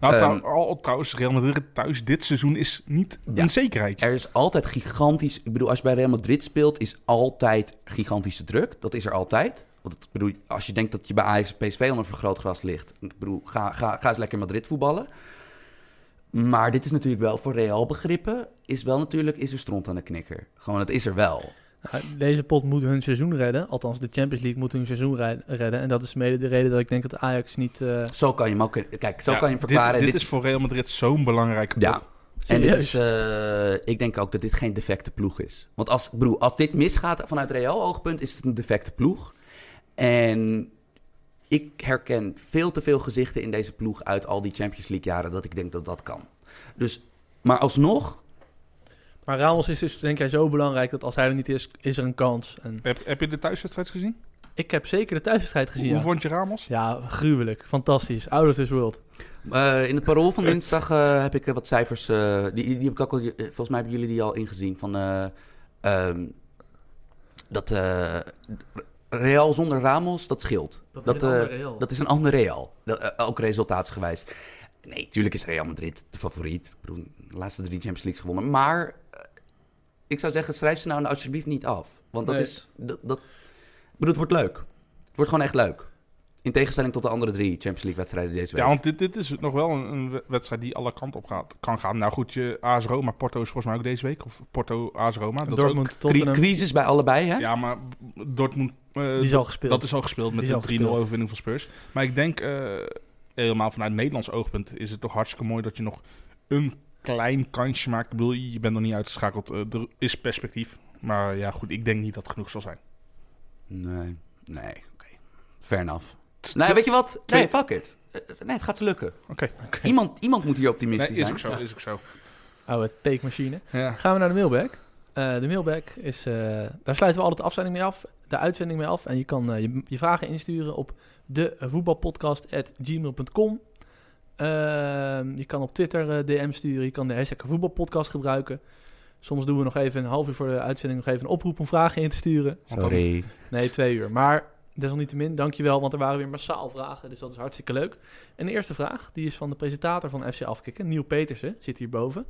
Speaker 3: Nou,
Speaker 2: Ehm.
Speaker 3: trouw- al- trouwens, Real Madrid thuis dit seizoen is niet
Speaker 2: Ja.
Speaker 3: een zekerheid.
Speaker 2: Er is altijd gigantisch... Ik bedoel, als je bij Real Madrid speelt, is altijd gigantische druk. Dat is er altijd. Want ik bedoel, als je denkt dat je bij Ajax en PSV onder een vergrootglas ligt... Ik bedoel, ga, ga, ga eens lekker Madrid voetballen. Maar dit is natuurlijk wel voor Real begrippen... is wel natuurlijk, is er stront aan de knikker. Gewoon, het is er wel.
Speaker 1: Nou, Deze pot moet hun seizoen redden. Althans, de Champions League moet hun seizoen rij- redden. En dat is mede de reden dat ik denk dat Ajax niet... eh,
Speaker 2: Zo kan je hem ook... Kijk, zo
Speaker 3: Ja,
Speaker 2: kan je hem verklaren.
Speaker 3: Dit, dit
Speaker 2: Dit-
Speaker 3: is voor Real Madrid zo'n belangrijke pot.
Speaker 2: Ja. En dit
Speaker 1: Serieus?
Speaker 2: is, eh, ik denk ook dat dit geen defecte ploeg is. Want als, ik bedoel, als dit misgaat vanuit Real oogpunt, is het een defecte ploeg. En ik herken veel te veel gezichten in deze ploeg uit al die Champions League jaren dat ik denk dat dat kan. Dus, maar alsnog,
Speaker 1: Maar Ramos is dus denk jij zo belangrijk dat als hij er niet is, is er een kans. En
Speaker 3: Heb, heb je de thuiswedstrijd gezien?
Speaker 1: ik heb zeker de thuiswedstrijd gezien.
Speaker 3: Hoe
Speaker 1: ja.
Speaker 3: vond je Ramos?
Speaker 1: Ja, gruwelijk. Fantastisch. Out of this world.
Speaker 2: eh, in het parool van dinsdag eh, heb ik eh, wat cijfers, eh, die, die heb ik ook al, eh, volgens mij hebben jullie die al ingezien, van eh, ehm, dat eh, Real zonder Ramos, dat scheelt. eh, Dat is een ander Real. Dat, eh, ook resultaatsgewijs. Nee, tuurlijk is Real Madrid de favoriet. Ik bedoel, de laatste drie Champions Leagues gewonnen. Maar eh, ik zou zeggen, schrijf ze nou alsjeblieft niet af. Want dat
Speaker 1: Nee.
Speaker 2: is... Dat, dat, ik bedoel, het wordt leuk. Het wordt gewoon echt leuk. In tegenstelling tot de andere drie Champions League wedstrijden deze week.
Speaker 3: Ja, want dit, dit is nog wel een, een we- wedstrijd die alle kanten op gaat, kan gaan. Nou goed, je AS Roma, Porto is volgens mij ook deze week. Of Porto, AS Roma. Dat is ook-
Speaker 1: Dortmund,
Speaker 2: Cri-
Speaker 1: Tottenham.
Speaker 2: crisis bij allebei, hè?
Speaker 3: ja, maar Dortmund... eh,
Speaker 1: Die is al gespeeld.
Speaker 3: Dat is al gespeeld met
Speaker 1: Die is al
Speaker 3: de 3-0
Speaker 1: gespeeld.
Speaker 3: overwinning van Spurs. Maar ik denk, eh, helemaal vanuit Nederlands oogpunt, is het toch hartstikke mooi dat je nog een klein kansje maakt. Ik bedoel, je bent nog niet uitgeschakeld. Eh, er is perspectief. Maar ja, goed, ik denk niet dat het genoeg zal zijn.
Speaker 2: Nee. Nee, oké. Fair enough. Nou, weet je wat? Nee,
Speaker 3: twee-
Speaker 2: fuck it. Eh, Nee, het gaat lukken.
Speaker 3: Oké.
Speaker 2: Iemand, iemand moet hier
Speaker 3: Nee,
Speaker 2: optimistisch
Speaker 3: is
Speaker 2: zijn.
Speaker 3: ook zo,
Speaker 1: Ja.
Speaker 3: is ook zo.
Speaker 1: Oude take machine.
Speaker 3: Ja.
Speaker 1: Gaan we naar de mailback. Eh, de mailback is... eh, daar sluiten we altijd de afzending mee af. De uitzending mee af. En je kan eh, je, je vragen insturen op devoetbalpodcast.gmail.com. Ehm je kan op Twitter eh, DM sturen. Je kan de hashtag voetbalpodcast gebruiken. Soms doen we nog even een half uur voor de uitzending nog even een oproep om vragen in te sturen.
Speaker 3: Want dan-
Speaker 2: Sorry.
Speaker 1: Nee, twee uur. Maar desalniettemin, dankjewel, want er waren weer massaal vragen. Dus dat is hartstikke leuk. En de eerste vraag, die is van de presentator van FC Afkikken, Niel Petersen, zit hierboven.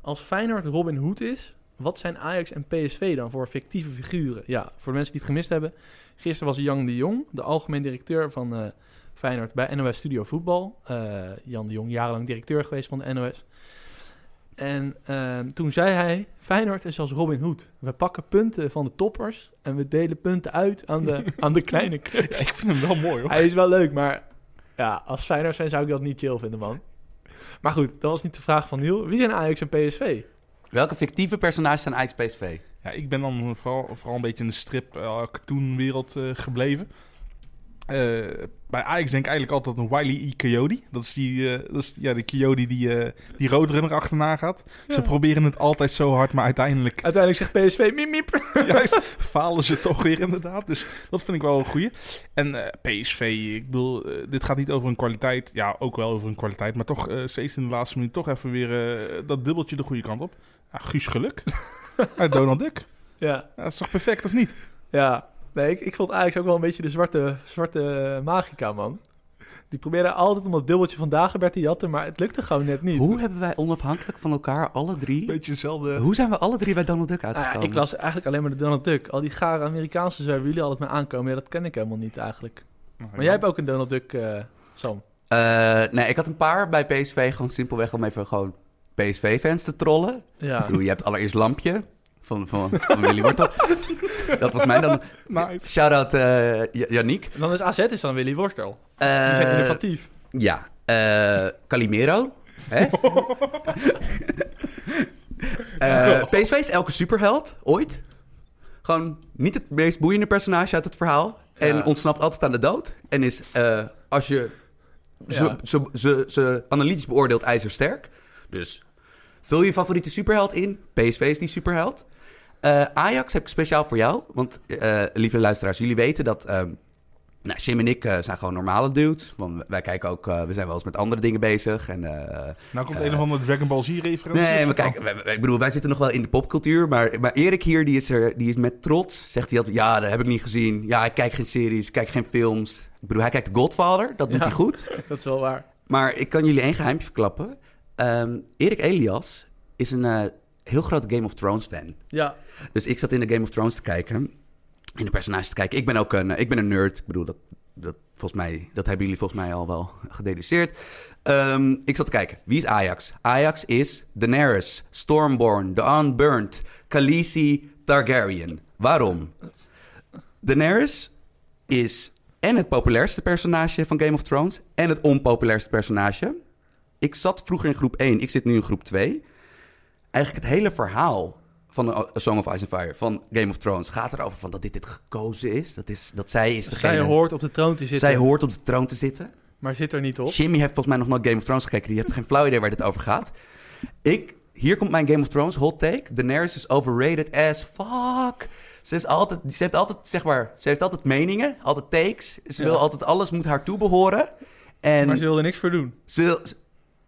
Speaker 1: Als Feyenoord Robin Hood is, wat zijn Ajax en PSV dan voor fictieve figuren? Ja, voor de mensen die het gemist hebben. Gisteren was Jan de Jong, de algemeen directeur van eh, Feyenoord bij NOS Studio Voetbal. Eh, Jan de Jong, jarenlang directeur geweest van de NOS. En eh, toen zei hij, Feyenoord is als Robin Hood. We pakken punten van de toppers en we delen punten uit aan de, aan de kleine clubs.
Speaker 3: Ja, ik vind hem wel mooi, hoor.
Speaker 1: Hij is wel leuk, maar ja, als Feyenoord zijn zou ik dat niet chill vinden, man. Maar goed, dat was niet de vraag van Niel. Wie zijn Ajax en PSV?
Speaker 2: Welke fictieve personages zijn Ajax PSV?
Speaker 3: Ja, ik ben dan vooral, vooral een beetje in de strip eh, cartoonwereld eh, gebleven. eh, bij Ajax denk ik eigenlijk altijd een Wiley E. Coyote. Dat is die, eh, dat is, ja, die Coyote die, eh die Roadrunner achterna gaat. Ze
Speaker 1: Ja.
Speaker 3: proberen het altijd zo hard, maar uiteindelijk
Speaker 1: Uiteindelijk zegt PSV, miep miep.
Speaker 3: juist, falen ze toch weer inderdaad. Dus dat vind ik wel een goeie. En eh, PSV, ik bedoel, eh, dit gaat niet over een kwaliteit. Ja, ook wel over een kwaliteit. Maar toch eh, steeds in de laatste minuut toch even weer eh, dat dubbeltje de goede kant op. Ja, Guus Geluk. Uit Donald Duck.
Speaker 1: Ja,
Speaker 3: Ja, dat is toch perfect, of niet?
Speaker 1: ja. Nee, ik, ik vond Ajax ook wel een beetje de zwarte, zwarte magica, man. Die probeerde altijd om dat dubbeltje van Dagobert te jatten, maar het lukte gewoon net niet.
Speaker 2: Hoe hebben wij onafhankelijk van elkaar, alle drie...
Speaker 3: Beetje hetzelfde.
Speaker 2: Hoe zijn we alle drie bij Donald Duck
Speaker 1: Nou ja,
Speaker 2: uitgekomen?
Speaker 1: ik las eigenlijk alleen maar de Donald Duck. Al die gare Amerikaanse zwerven jullie altijd mee aankomen, ja, dat ken ik helemaal niet eigenlijk. Maar jij hebt ook een Donald Duck, eh, Sam.
Speaker 2: Eh, nee, ik had een paar bij PSV gewoon simpelweg om even gewoon PSV-fans te trollen. Ik
Speaker 1: Ja.
Speaker 2: bedoel, je hebt allereerst Lampje van, van, van Willy Wortel. Dat was mij dan.
Speaker 3: Nice.
Speaker 2: Shout-out eh, Ja- Yannick.
Speaker 1: En dan is AZ is dan Willy Wortel. Die zijn
Speaker 2: Eh,
Speaker 1: innovatief.
Speaker 2: ja, eh, Calimero. Hè? Eh, PSV is elke superheld, ooit. Gewoon niet het meest boeiende personage uit het verhaal. En
Speaker 1: Ja.
Speaker 2: ontsnapt altijd aan de dood. En is, eh, als je ze,
Speaker 1: Ja.
Speaker 2: ze, ze, ze analytisch beoordeelt, ijzersterk. Dus vul je favoriete superheld in. PSV is die superheld. Eh, Ajax heb ik speciaal voor jou. Want, eh, lieve luisteraars, jullie weten dat... ehm nou, Jim en ik eh, zijn gewoon normale dudes. Want wij kijken ook... eh, we zijn wel eens met andere dingen bezig. En eh,
Speaker 3: Nou komt een of andere Dragon Ball Oh, Z-referentie.
Speaker 2: Nee, maar kijk, wij- wij- ik bedoel, wij zitten nog wel in de popcultuur. Maar, maar Erik hier, die is, er, die is met trots. Zegt hij altijd: Ja, dat heb ik niet gezien. Ja, ik kijk geen series, ik kijk geen films. Ik bedoel, hij kijkt The Godfather, dat doet
Speaker 1: Ja.
Speaker 2: hij goed.
Speaker 1: Dat is wel waar.
Speaker 2: Maar ik kan jullie één geheimje verklappen: Ehm, Erik Elias is een eh, heel grote Game of Thrones fan.
Speaker 1: Ja,
Speaker 2: Dus ik zat in de Game of Thrones te kijken. In de personages te kijken. Ik ben ook een, eh, ik ben een nerd. Ik bedoel, dat, dat, volgens mij, dat hebben jullie volgens mij al wel gededuceerd. Ehm, ik zat te kijken. Wie is Ajax? Ajax is Daenerys, Stormborn, The Unburned, Khaleesi, Targaryen. Waarom? Daenerys is en het populairste personage van Game of Thrones... en het onpopulairste personage. Ik zat vroeger in groep 1, ik zit nu in groep 2 eigenlijk het hele verhaal van A A Song of Ice and Fire, van Game of Thrones, gaat erover van dat dit, dit gekozen is. Dat, is, dat zij is degene...
Speaker 1: zij hoort op de troon te zitten,
Speaker 2: zij hoort op de troon te zitten.
Speaker 1: maar zit er niet op.
Speaker 2: Jimmy heeft volgens mij nog nooit Game of Thrones gekeken. Die heeft geen flauw idee waar dit over gaat. Ik, hier komt mijn Game of Thrones hot take. Daenerys is overrated as fuck. Ze, is altijd, ze heeft altijd, zeg maar, ze heeft altijd meningen, altijd takes. Ze
Speaker 1: Ja.
Speaker 2: wil altijd alles, moet haar toebehoren. En
Speaker 1: Maar ze
Speaker 2: ze
Speaker 1: wil er niks voor doen.
Speaker 2: wil,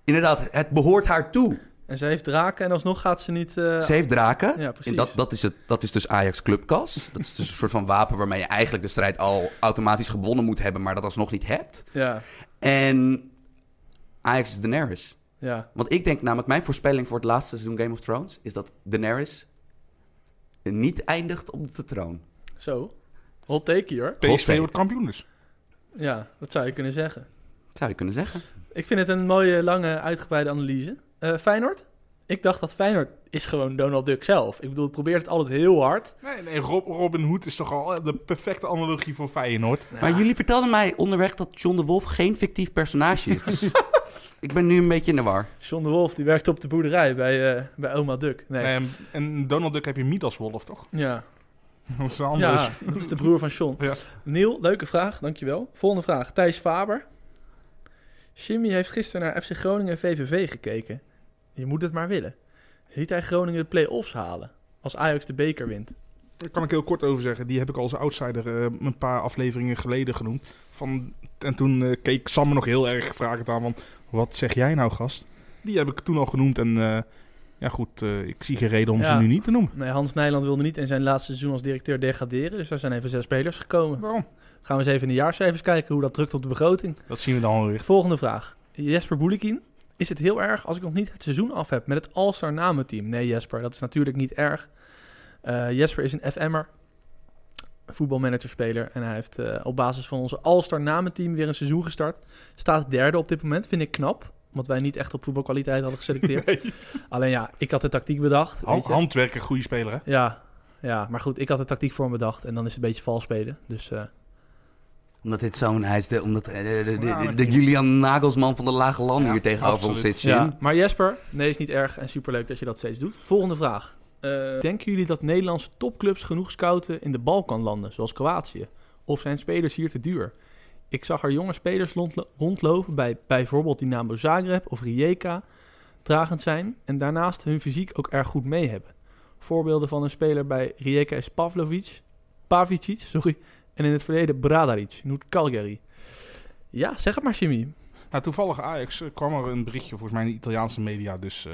Speaker 2: inderdaad, het behoort haar toe.
Speaker 1: En ze heeft draken en alsnog gaat ze niet... eh,
Speaker 2: Ze heeft draken.
Speaker 1: Ja, precies.
Speaker 2: en dat, dat, is het, dat is dus Ajax Clubkas. Dat is dus een soort van wapen waarmee je eigenlijk de strijd al automatisch gewonnen moet hebben, maar dat alsnog niet hebt.
Speaker 1: Ja,
Speaker 2: En Ajax is Daenerys.
Speaker 1: ja.
Speaker 2: Want ik denk namelijk, mijn voorspelling voor het laatste seizoen Game of Thrones is dat Daenerys niet eindigt op de troon.
Speaker 1: Zo. Hot take hier.
Speaker 3: PSV wordt kampioen dus.
Speaker 1: Ja, dat zou je kunnen zeggen.
Speaker 2: Dat zou je kunnen zeggen.
Speaker 1: Ik vind het een mooie, lange, uitgebreide analyse. Eh, Feyenoord? Ik dacht dat Feyenoord is gewoon Donald Duck zelf. Ik bedoel, het probeert het altijd heel hard.
Speaker 3: Nee, nee, Rob, Robin Hood is toch al eh, de perfecte analogie voor Feyenoord.
Speaker 2: Maar jullie vertelden mij onderweg dat John de Wolf geen fictief personage is. Dus ik ben nu een beetje in de war.
Speaker 1: John de Wolf, die werkt op de boerderij bij, eh, bij oma Duck. Nee.
Speaker 3: En, Ehm, en Donald Duck heb je Midas Wolf, toch?
Speaker 1: Ja.
Speaker 3: Dat is anders.
Speaker 1: ja, dat is de broer van John.
Speaker 3: Ja.
Speaker 1: Neil, leuke vraag, dankjewel. Volgende vraag, Thijs Faber. Jimmy heeft gisteren naar FC Groningen VVV gekeken. Je moet het maar willen. Ziet hij Groningen de play-offs halen als Ajax de beker wint?
Speaker 3: Daar kan ik heel kort over zeggen. Die heb ik als outsider eh, een paar afleveringen geleden genoemd. Van, en toen eh, keek Sam me nog heel erg vragend aan. Want wat zeg jij nou, gast? Die heb ik toen al genoemd. En eh, ja, goed, eh, ik zie geen reden om ze
Speaker 1: Ja.
Speaker 3: nu niet te noemen.
Speaker 1: Nee, Hans Nijland wilde niet in zijn laatste seizoen als directeur degraderen. Dus daar zijn even zes spelers gekomen.
Speaker 3: Waarom?
Speaker 1: Gaan we eens even in de jaarcijfers kijken hoe dat drukt op de begroting.
Speaker 3: Dat zien we dan alweer.
Speaker 1: Volgende vraag. Jesper Boelikin. Is het heel erg als ik nog niet het seizoen af heb met het All-Star namenteam? Nee, Jesper, dat is natuurlijk niet erg. Eh, Jesper is een FM'er, voetbalmanagerspeler. En hij heeft eh, op basis van onze All-Star namenteam weer een seizoen gestart. Staat derde op dit moment, vind ik knap. Omdat wij niet echt op voetbalkwaliteit hadden geselecteerd. Alleen ja, ik had de tactiek bedacht.
Speaker 3: Han-
Speaker 1: weet je.
Speaker 3: handwerker, goede speler, hè?
Speaker 1: Ja, ja, maar goed, ik had de tactiek voor hem bedacht. En dan is het een beetje vals spelen. Dus eh,
Speaker 2: Omdat dit zo'n hij is de, omdat eh, de, de-
Speaker 3: Ja,
Speaker 2: de- de
Speaker 3: natuurlijk.
Speaker 2: Julian Nagelsman van de lage landen
Speaker 3: Nou, Ja,
Speaker 2: hier tegenover ons
Speaker 3: absoluut.
Speaker 2: zit. Jim.
Speaker 1: Ja, maar Jesper, nee, is niet erg en superleuk dat je dat steeds doet. Volgende vraag. Eh, denken jullie dat Nederlandse topclubs genoeg scouten in de Balkanlanden, zoals Kroatië? Of zijn spelers hier te duur? Ik zag er jonge spelers rondlo- rondlopen bij bijvoorbeeld Dynamo Zagreb of Rijeka dragend zijn en daarnaast hun fysiek ook erg goed mee hebben. Voorbeelden van een speler bij Rijeka is Pavlovic, Pavicic, sorry, en in het verleden Bradaric, Noord Calgary. Ja, zeg het maar, Jimmy.
Speaker 3: Nou, toevallig Ajax eh, kwam er een berichtje volgens mij in de Italiaanse media. Dus eh,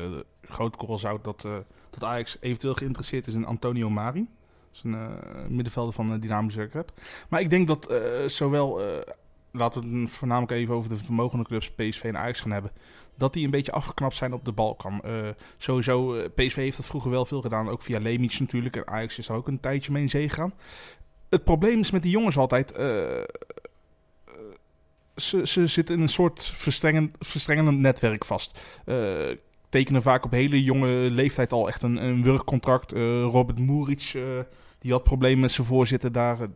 Speaker 3: groot korrel zout dat, eh, dat Ajax eventueel geïnteresseerd is in Antonio Mari. Dat is een eh, middenvelder van eh, Dynamo Zagreb. Maar ik denk dat eh, zowel, eh, laten we het voornamelijk even over de vermogende clubs PSV en Ajax gaan hebben. Dat die een beetje afgeknapt zijn op de Balkan. Eh, sowieso, eh, PSV heeft dat vroeger wel veel gedaan. Ook via Lemic natuurlijk. En Ajax is daar ook een tijdje mee in zee gegaan. Het probleem is met die jongens altijd... eh, ze, ze zitten in een soort verstrengend, verstrengend netwerk vast. Eh, tekenen vaak op hele jonge leeftijd al echt een, een wurgcontract. Eh, Robert Muric, eh, die had problemen met zijn voorzitter daar. Eh,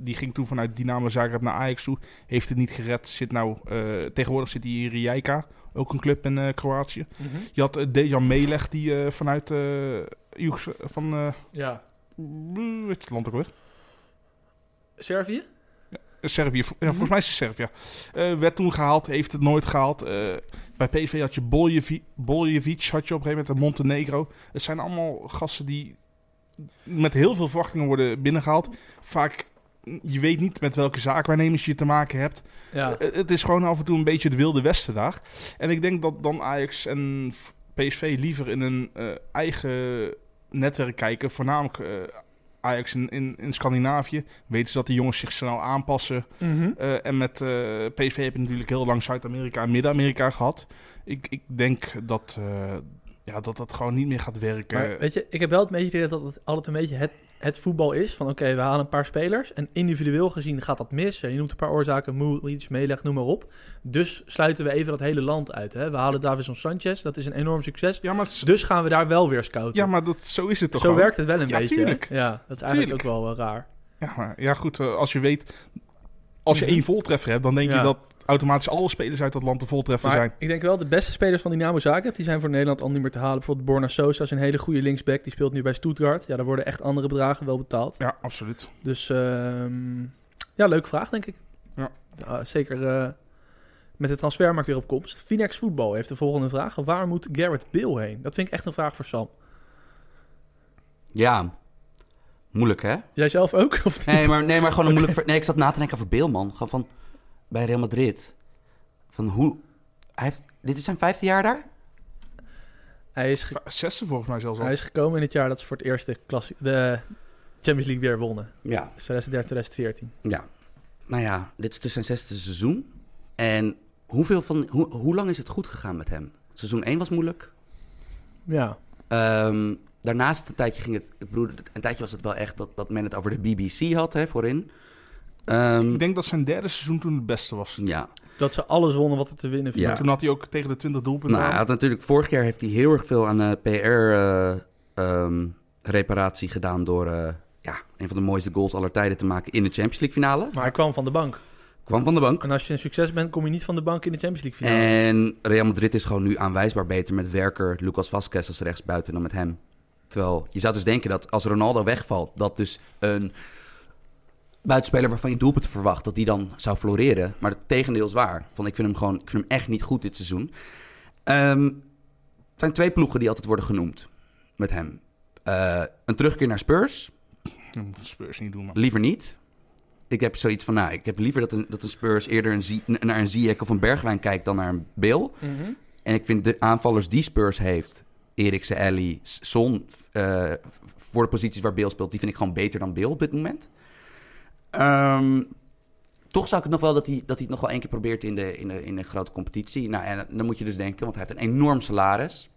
Speaker 3: Die ging toen vanuit Dynamo Zagreb naar Ajax toe. Heeft het niet gered. Zit nou, eh, tegenwoordig zit hij in Rijeka, ook een club in eh, Kroatië.
Speaker 1: Mhm.
Speaker 3: Je had eh, Dejan Meleg, die eh, vanuit... eh, Joegse- van... eh
Speaker 1: Ja.
Speaker 3: hoe heet het land ook weer?
Speaker 1: Servië?
Speaker 3: Servië, vo- ja, volgens mij is het Servië. Eh, werd toen gehaald, heeft het nooit gehaald. Eh, bij PSV had je Boljevi- Boljevic, had je op een gegeven moment en Montenegro. Het zijn allemaal gasten die met heel veel verwachtingen worden binnengehaald. Vaak, mm, je weet niet met welke zaakwaarnemers je te maken hebt.
Speaker 1: Ja.
Speaker 3: Eh, het is gewoon af en toe een beetje het wilde westen daar. En ik denk dat dan Ajax en v- PSV liever in hun eh, eigen netwerk kijken. Voornamelijk eh, Ajax in, in, in Scandinavië. Weten ze dat die jongens zich snel aanpassen.
Speaker 1: Mhm.
Speaker 3: Eh, en met eh, PSV heb je natuurlijk heel lang Zuid-Amerika en Midden-Amerika gehad. Ik, ik denk dat, eh, ja, dat dat gewoon niet meer gaat werken.
Speaker 1: Maar eh, weet je, ik heb wel het beetje het idee dat het altijd een beetje het, het voetbal is. Van oké, we halen een paar spelers. En individueel gezien gaat dat mis. Je noemt een paar oorzaken, Moeric, Meleg, noem maar op. Dus sluiten we even dat hele land uit. Hè? We halen Davison Sanchez, dat is een enorm succes.
Speaker 3: ja, maar, het is-
Speaker 1: Dus gaan we daar wel weer scouten.
Speaker 3: ja, maar dat, zo is het toch
Speaker 1: Zo
Speaker 3: gewoon?
Speaker 1: werkt het wel een
Speaker 3: Ja,
Speaker 1: beetje. hè?
Speaker 3: tuurlijk.
Speaker 1: Ja, dat is eigenlijk
Speaker 3: Tuurlijk.
Speaker 1: ook wel eh, raar.
Speaker 3: Ja, maar, ja goed, eh, als je weet... Als je één voltreffer hebt, dan denk
Speaker 1: Mhm. Ja.
Speaker 3: je dat automatisch alle spelers uit dat land de voltreffer
Speaker 1: Maar
Speaker 3: zijn.
Speaker 1: ik denk wel, de beste spelers van Dynamo Zagreb, die zijn voor Nederland al niet meer te halen. Bijvoorbeeld Borna Sosa is een hele goede linksback. Die speelt nu bij Stuttgart. Ja, daar worden echt andere bedragen wel betaald.
Speaker 3: Ja, absoluut.
Speaker 1: Dus ehm, ja, leuke vraag, denk ik.
Speaker 3: Ja.
Speaker 1: Nou, zeker eh, met de transfermarkt weer op komst. Phoenix Voetbal heeft de volgende vraag. Waar moet Garrett Bill heen? Dat vind ik echt een vraag voor Sam.
Speaker 2: Ja. Moeilijk, hè?
Speaker 1: Jij zelf ook? Of niet?
Speaker 2: Nee, maar, nee, maar gewoon een moeilijk... ver- Nee, ik zat na te denken over Beelman. Gewoon van... Bij Real Madrid. Van hoe... Hij heeft... Dit is zijn vijfde jaar daar?
Speaker 1: Hij, is ge-
Speaker 3: Va- Zesde volgens mij zelfs al.
Speaker 1: hij is gekomen in het jaar dat ze voor het eerst de, klassie- de Champions League weer wonnen.
Speaker 2: Ja.
Speaker 1: Dus 2013, 2014.
Speaker 2: Ja. Nou ja, dit is dus zijn zesde seizoen. En hoeveel van... Hoe, hoe lang is het goed gegaan met hem? Seizoen 1 was moeilijk.
Speaker 1: Ja.
Speaker 2: Ehm, daarnaast een tijdje ging het... Ik bedoel, een tijdje was het wel echt dat, dat men het over de BBC had, hè, voorin. Ehm,
Speaker 3: Ik denk dat zijn derde seizoen toen het beste was.
Speaker 2: Ja.
Speaker 1: Dat ze alles wonnen wat er te winnen viel.
Speaker 2: Ja.
Speaker 3: Toen had hij ook tegen de 20 doelpunten.
Speaker 2: Nou, hij
Speaker 3: aan.
Speaker 2: had natuurlijk vorig jaar heeft hij heel erg veel aan eh, PR-reparatie eh, ehm, gedaan door eh, ja, een van de mooiste goals aller tijden te maken in de Champions League finale.
Speaker 1: Maar hij kwam van de bank.
Speaker 2: Kwam van de bank.
Speaker 1: En als je een succes bent, kom je niet van de bank in de Champions League finale.
Speaker 2: En Real Madrid is gewoon nu aanwijsbaar beter met Werker, Lucas Vasquez als rechtsbuiten dan met hem. Terwijl je zou dus denken dat als Ronaldo wegvalt, dat dus een buitenspeler waarvan je doelpunt verwacht, dat die dan zou floreren. Maar het tegendeel is waar. Van, ik vind hem gewoon, ik vind hem echt niet goed dit seizoen. Ehm, het zijn twee ploegen die altijd worden genoemd met hem. Eh, een terugkeer naar Spurs,
Speaker 3: Dat moet Spurs niet doen, man.
Speaker 2: liever niet. Ik heb zoiets van, nou, ik heb liever dat een, dat een Spurs eerder een Zie- naar een Ziyech of een Bergwijn kijkt dan naar een Bill.
Speaker 3: Eh,
Speaker 1: Mhm.
Speaker 2: En ik vind de aanvallers die Spurs heeft, Eriksen, Ellie, Son, eh, voor de posities waar Beel speelt, die vind ik gewoon beter dan Beel op dit moment. Ehm, toch zou ik het nog wel dat hij, dat hij het nog wel één keer probeert in de, in de, in de grote competitie. Nou, en dan moet je dus denken, want hij heeft een enorm salaris.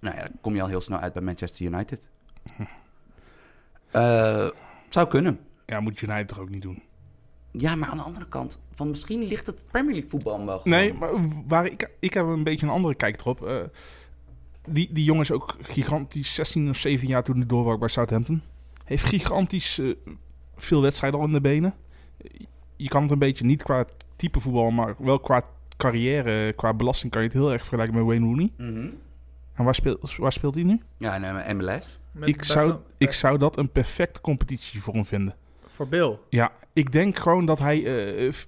Speaker 2: Nou ja, dan kom je al heel snel uit bij Manchester United. Eh, zou kunnen.
Speaker 3: Ja, moet United toch ook niet doen.
Speaker 2: Ja, maar aan de andere kant, van misschien ligt het Premier League voetbal hem wel gewoon.
Speaker 3: Nee, maar w- waar ik, ik heb een beetje een andere kijk erop. Eh, die, die jongen is ook gigantisch, 16 of 17 jaar toen hij doorbrak bij Southampton. Heeft gigantisch eh, veel wedstrijden al in de benen. Je kan het een beetje niet qua type voetbal, maar wel qua carrière, qua belasting kan je het heel erg vergelijken met Wayne Rooney.
Speaker 2: Mhm.
Speaker 3: En waar speelt, waar speelt hij nu?
Speaker 2: Ja, en eh, MLS.
Speaker 1: Met-
Speaker 3: Ik
Speaker 1: bij-
Speaker 3: zou,
Speaker 1: bij-
Speaker 3: ik zou dat een perfecte competitie voor hem vinden.
Speaker 1: Voor Bill.
Speaker 3: Ja, ik denk gewoon dat hij eh, f-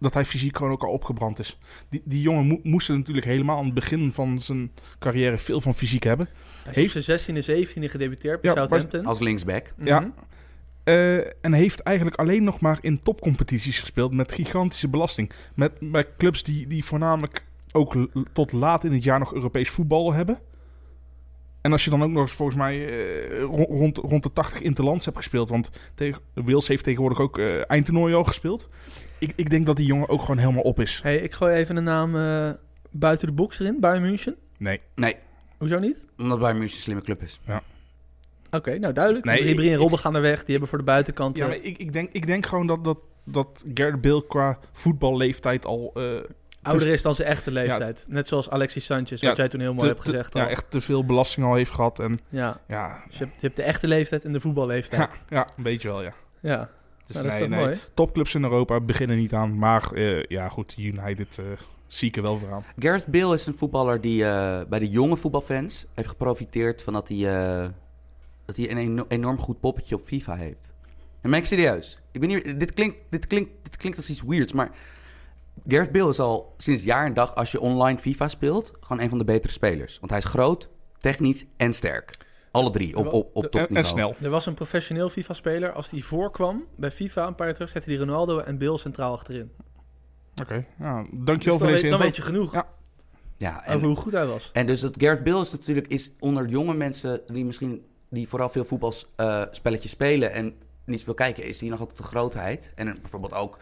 Speaker 3: dat hij fysiek gewoon ook al opgebrand is. Die, die jongen mo- moest er natuurlijk helemaal aan het begin van zijn carrière veel van fysiek hebben.
Speaker 1: Hij
Speaker 3: Heeft-
Speaker 1: heeft zijn 16e, 17e gedebuteerd bij
Speaker 3: Ja, maar-
Speaker 1: Southampton.
Speaker 2: Als linksback.
Speaker 1: Mhm.
Speaker 3: ja. Eh, en heeft eigenlijk alleen nog maar in topcompetities gespeeld met gigantische belasting. Met, bij clubs die, die voornamelijk ook l- tot laat in het jaar nog Europees voetbal hebben. En als je dan ook nog eens volgens mij eh, ro- rond, rond de 80 interlands hebt gespeeld. Want tegen, Wales heeft tegenwoordig ook eh eindtoernooi al gespeeld. Ik, ik denk dat die jongen ook gewoon helemaal op is.
Speaker 1: Hey, ik gooi even een naam eh, buiten de box erin, Bayern München.
Speaker 3: Nee.
Speaker 1: Hoezo niet?
Speaker 2: Omdat Bayern München een slimme club is.
Speaker 1: Oké, nou duidelijk.
Speaker 3: Nee,
Speaker 1: Nee, Ribéry
Speaker 3: ik-
Speaker 1: en
Speaker 3: ik-
Speaker 1: Robben gaan er weg. Die hebben voor de buitenkant...
Speaker 3: Ja,
Speaker 1: eh,
Speaker 3: maar ik, ik, denk, ik denk gewoon dat, dat, dat Gerrit Beel qua voetballeeftijd al eh,
Speaker 1: ouder is dan zijn echte leeftijd. Net zoals Alexis Sanchez, wat
Speaker 3: Ja,
Speaker 1: jij toen heel mooi
Speaker 3: te-
Speaker 1: hebt
Speaker 3: te-
Speaker 1: gezegd. al.
Speaker 3: ja, echt te veel belasting al heeft gehad. En
Speaker 1: Ja.
Speaker 3: ja,
Speaker 1: Dus je hebt, je hebt de echte leeftijd en de voetballeeftijd.
Speaker 3: ja,
Speaker 1: Ja,
Speaker 3: ja een beetje wel, ja. Dus
Speaker 1: Nou, dat is
Speaker 3: nee,
Speaker 1: toch
Speaker 3: nee.
Speaker 1: mooi?
Speaker 3: Topclubs in Europa beginnen niet aan. Maar eh, ja, goed, United eh zie ik er wel voor aan.
Speaker 2: Gareth Bale is een voetballer die eh, bij de jonge voetbalfans heeft geprofiteerd van dat hij, eh, dat hij een eno- enorm goed poppetje op FIFA heeft. En ben ik serieus. Ik ben hier, dit, klinkt, dit, klinkt, dit klinkt als iets weirds, maar Gareth Bale is al sinds jaar en dag, als je online FIFA speelt, gewoon een van de betere spelers. Want hij is groot, technisch en sterk. Alle drie op, op, op
Speaker 3: En,
Speaker 2: topniveau.
Speaker 3: en snel.
Speaker 1: Er was een professioneel FIFA-speler. Als die voorkwam bij FIFA een paar jaar terug, zette hij Ronaldo en Bale centraal achterin.
Speaker 3: Oké, nou,
Speaker 1: Dus
Speaker 3: dankjewel
Speaker 1: dan,
Speaker 3: voor
Speaker 1: weet,
Speaker 3: deze
Speaker 1: dan
Speaker 3: info.
Speaker 1: weet je genoeg
Speaker 3: Ja.
Speaker 2: Ja, en,
Speaker 1: over hoe goed hij was.
Speaker 2: En dus dat Gareth Bale is natuurlijk is onder jonge mensen die misschien die vooral veel voetbalspelletjes spelen en niet zoveel kijken, is hij nog altijd de grootheid. En dan bijvoorbeeld ook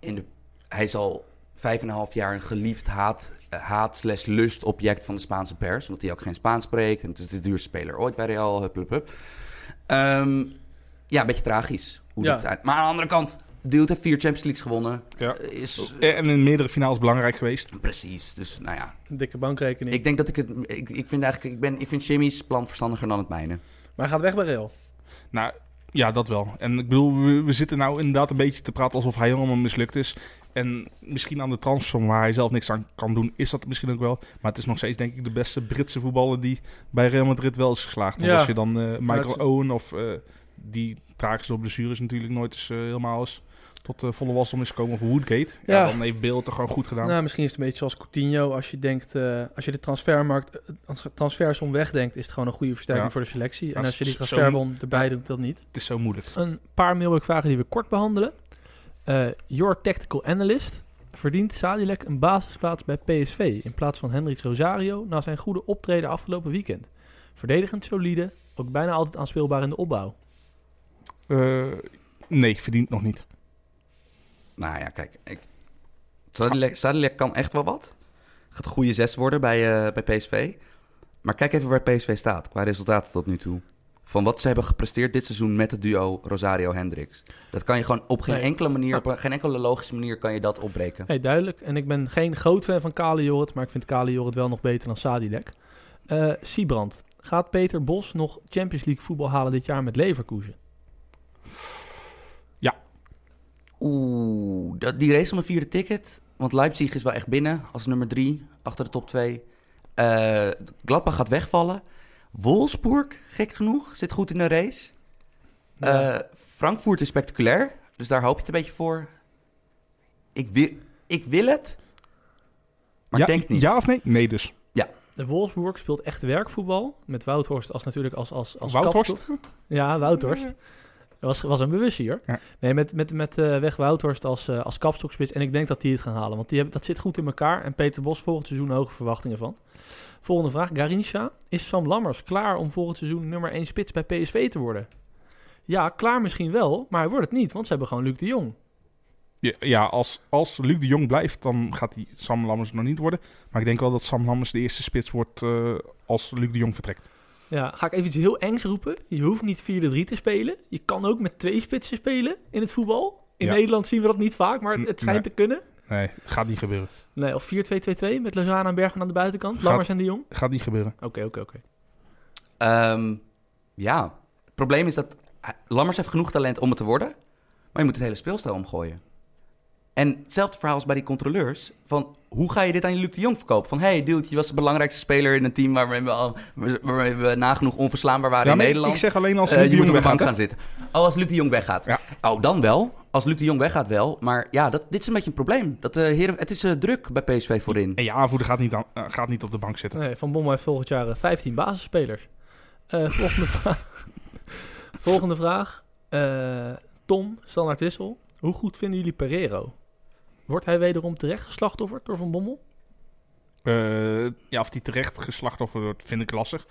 Speaker 2: in de, hij is al vijf en een half jaar een geliefd haat, eh, haat slash lust object van de Spaanse pers, omdat hij ook geen Spaans spreekt en het is de duurste speler ooit bij Real. Hup, hup, hup. Ehm, ja, een beetje tragisch. Hoe
Speaker 1: Ja.
Speaker 2: dat uit- maar aan de andere kant, dude heeft vier Champions Leagues gewonnen.
Speaker 3: Ja.
Speaker 2: Is,
Speaker 3: Eh, En in meerdere finales belangrijk geweest.
Speaker 2: precies. Dus nou ja,
Speaker 1: Een dikke bankrekening.
Speaker 2: ik denk dat ik het. Ik, ik vind eigenlijk. Ik, ben, ik vind Jimmy's plan verstandiger dan het mijne.
Speaker 1: Maar hij gaat weg bij Real.
Speaker 3: Nou, ja, dat wel. En ik bedoel, we, we zitten nou inderdaad een beetje te praten alsof hij helemaal mislukt is. En misschien aan de transfer waar hij zelf niks aan kan doen, is dat misschien ook wel. Maar het is nog steeds, denk ik, de beste Britse voetballer die bij Real Madrid wel is geslaagd. Want
Speaker 1: Ja.
Speaker 3: als je dan eh, Michael
Speaker 1: dat is-
Speaker 3: Owen of eh, die tragisch door blessures natuurlijk nooit eens, eh, helemaal is tot eh, volle wasdom is gekomen, of Woodgate. Ja,
Speaker 1: Ja.
Speaker 3: dan heeft Bale het er gewoon goed gedaan.
Speaker 1: Nou, misschien is het een beetje zoals Coutinho. Als je denkt, eh, als je de transfermarkt, eh, trans- transfersom wegdenkt, is het gewoon een goede versterking
Speaker 3: Ja.
Speaker 1: voor de selectie. en
Speaker 3: Ja,
Speaker 1: als je die
Speaker 3: zo- zo-
Speaker 1: transferbon erbij doet, dat niet.
Speaker 3: Het is zo moeilijk.
Speaker 1: Een paar mailbreukvragen die we kort behandelen. Eh, your Tactical Analyst. Verdient Sadilek een basisplaats bij PSV in plaats van Hendrix Rosario na zijn goede optreden afgelopen weekend? Verdedigend solide, ook bijna altijd aanspeelbaar in de opbouw.
Speaker 3: Eh, nee, verdient nog niet.
Speaker 2: Nou ja, kijk. Ik, Sadilek, Sadilek kan echt wel wat. Gaat een goede zes worden bij, eh, bij PSV. Maar kijk even waar PSV staat qua resultaten tot nu toe. Van wat ze hebben gepresteerd dit seizoen met het duo Rosario-Hendricks. Dat kan je gewoon op geen
Speaker 1: Nee.
Speaker 2: enkele manier, op geen enkele logische manier kan je dat opbreken.
Speaker 1: Nee, duidelijk. En ik ben geen groot fan van Kale Jorrit, maar ik vind Kale Jorrit wel nog beter dan Sadilek. Eh Siebrand. Gaat Peter Bos nog Champions League voetbal halen dit jaar met Leverkusen?
Speaker 2: Oeh, dat, die race om een vierde ticket. Want Leipzig is wel echt binnen als nummer drie, achter de top twee. Eh Gladbach gaat wegvallen. Wolfsburg, gek genoeg, zit goed in de race.
Speaker 1: Nou,
Speaker 2: Eh, Frankfurt is spectaculair, dus daar hoop je het een beetje voor. Ik wil, ik wil het, maar
Speaker 3: ja,
Speaker 2: ik denk het niet.
Speaker 3: Ja of nee? Nee dus.
Speaker 1: De Wolfsburg speelt echt werkvoetbal. Met Woudhorst als natuurlijk als, als, als
Speaker 3: Woudhorst?
Speaker 1: kapstok. Ja, Woudhorst. Dat was, was een bewust hier.
Speaker 3: Ja.
Speaker 1: Nee, met, met, met eh, weg Woudhorst als, eh als kapstokspits. En ik denk dat die het gaan halen. Want die hebben, dat zit goed in elkaar. En Peter Bos volgend seizoen hoge verwachtingen van. Volgende vraag. Garincha. Is Sam Lammers klaar om volgend seizoen nummer 1 spits bij PSV te worden? Ja, klaar misschien wel. Maar hij wordt het niet. Want ze hebben gewoon Luc de Jong.
Speaker 3: Ja, ja als, als Luc de Jong blijft, dan gaat die Sam Lammers nog niet worden. Maar ik denk wel dat Sam Lammers de eerste spits wordt eh, als Luc de Jong vertrekt.
Speaker 1: Ja, ga ik even iets heel engs roepen. Je hoeft niet 4-3 te spelen. Je kan ook met twee spitsen spelen in het voetbal. In
Speaker 3: Ja.
Speaker 1: Nederland zien we dat niet vaak, maar
Speaker 3: N-
Speaker 1: het, het schijnt te kunnen.
Speaker 3: Nee, gaat niet gebeuren.
Speaker 1: Nee, of 4-2-2-2 met Lozano en Bergen aan de buitenkant.
Speaker 3: Gaat-
Speaker 1: Lammers en de Jong.
Speaker 3: Gaat niet gebeuren.
Speaker 1: Oké, oké, oké.
Speaker 2: Ehm, ja, het probleem is dat hij- Lammers heeft genoeg talent om het te worden, maar je moet het hele speelstijl omgooien. En hetzelfde verhaal als bij die controleurs. Van, hoe ga je dit aan je Luc de Jong verkopen? Van, hey dude, je was de belangrijkste speler in een team waarmee we, al, waarmee we nagenoeg onverslaanbaar waren
Speaker 3: Ja,
Speaker 2: in
Speaker 3: maar ik-
Speaker 2: Nederland.
Speaker 3: Ik zeg alleen als
Speaker 2: Eh,
Speaker 3: Luc
Speaker 2: je
Speaker 3: de
Speaker 2: moet
Speaker 3: Jong
Speaker 2: op de bank
Speaker 3: weggaat. hè?
Speaker 2: gaan zitten. Oh, als Luc de Jong weggaat.
Speaker 3: Ja.
Speaker 2: Oh, dan wel. Als Luc de Jong weggaat wel. Maar ja, dat, dit is een beetje een probleem. Dat, eh, heren, het is eh, druk bij PSV voorin.
Speaker 3: En je aanvoerder gaat niet, aan- eh, gaat niet op de bank zitten.
Speaker 1: Nee, Van Bommel heeft volgend jaar eh, 15 basisspelers. Eh, volgende vraag. volgende vraag. Eh, Tom, standaard wissel. Hoe goed vinden jullie Pereiro? Wordt hij wederom terecht geslachtofferd door Van Bommel?
Speaker 3: Eh, ja, of die terecht geslachtoffer wordt, vind ik lastig.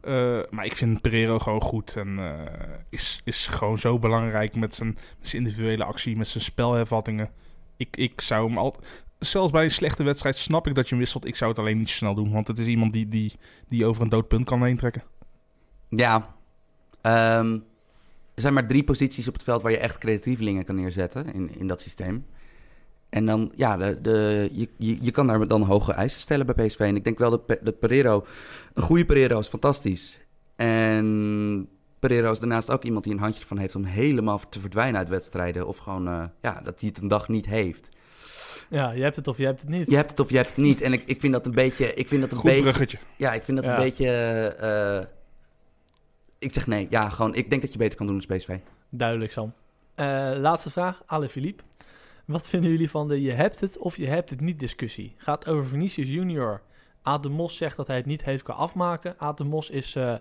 Speaker 3: Eh, maar ik vind Pereiro gewoon goed. En eh, is, is gewoon zo belangrijk met zijn, met zijn individuele actie, met zijn spelhervattingen. Ik, ik zou hem altijd... Zelfs bij een slechte wedstrijd snap ik dat je hem wisselt. Ik zou het alleen niet snel doen. Want het is iemand die, die, die over een dood punt kan heen trekken.
Speaker 2: Ja. Ehm, er zijn maar drie posities op het veld waar je echt creatievelingen kan neerzetten in, in dat systeem. En dan, ja, de, de, je, je, je kan daar dan hoge eisen stellen bij PSV. En ik denk wel dat, Pe- dat Pereiro, een goede Pereiro is fantastisch. En Pereiro is daarnaast ook iemand die een handje van heeft om helemaal te verdwijnen uit wedstrijden. Of gewoon, eh, ja, dat hij het een dag niet heeft.
Speaker 1: Ja, je hebt het of je hebt het niet.
Speaker 2: Je hebt het of je hebt het niet. En ik, ik vind dat een beetje, ik vind dat een
Speaker 3: Goed
Speaker 2: beetje
Speaker 3: bruggetje.
Speaker 2: ja, ik vind dat
Speaker 1: Ja.
Speaker 2: een beetje. eh, ik zeg nee. Ja, gewoon. Ik denk dat je beter kan doen als PSV.
Speaker 1: Duidelijk, Sam. Eh, laatste vraag, Ale Philippe. Wat vinden jullie van de je hebt het of je hebt het niet discussie? Gaat over Vinicius Junior. Aad de Mos zegt dat hij het niet heeft kunnen afmaken. Aad de Mos is eh,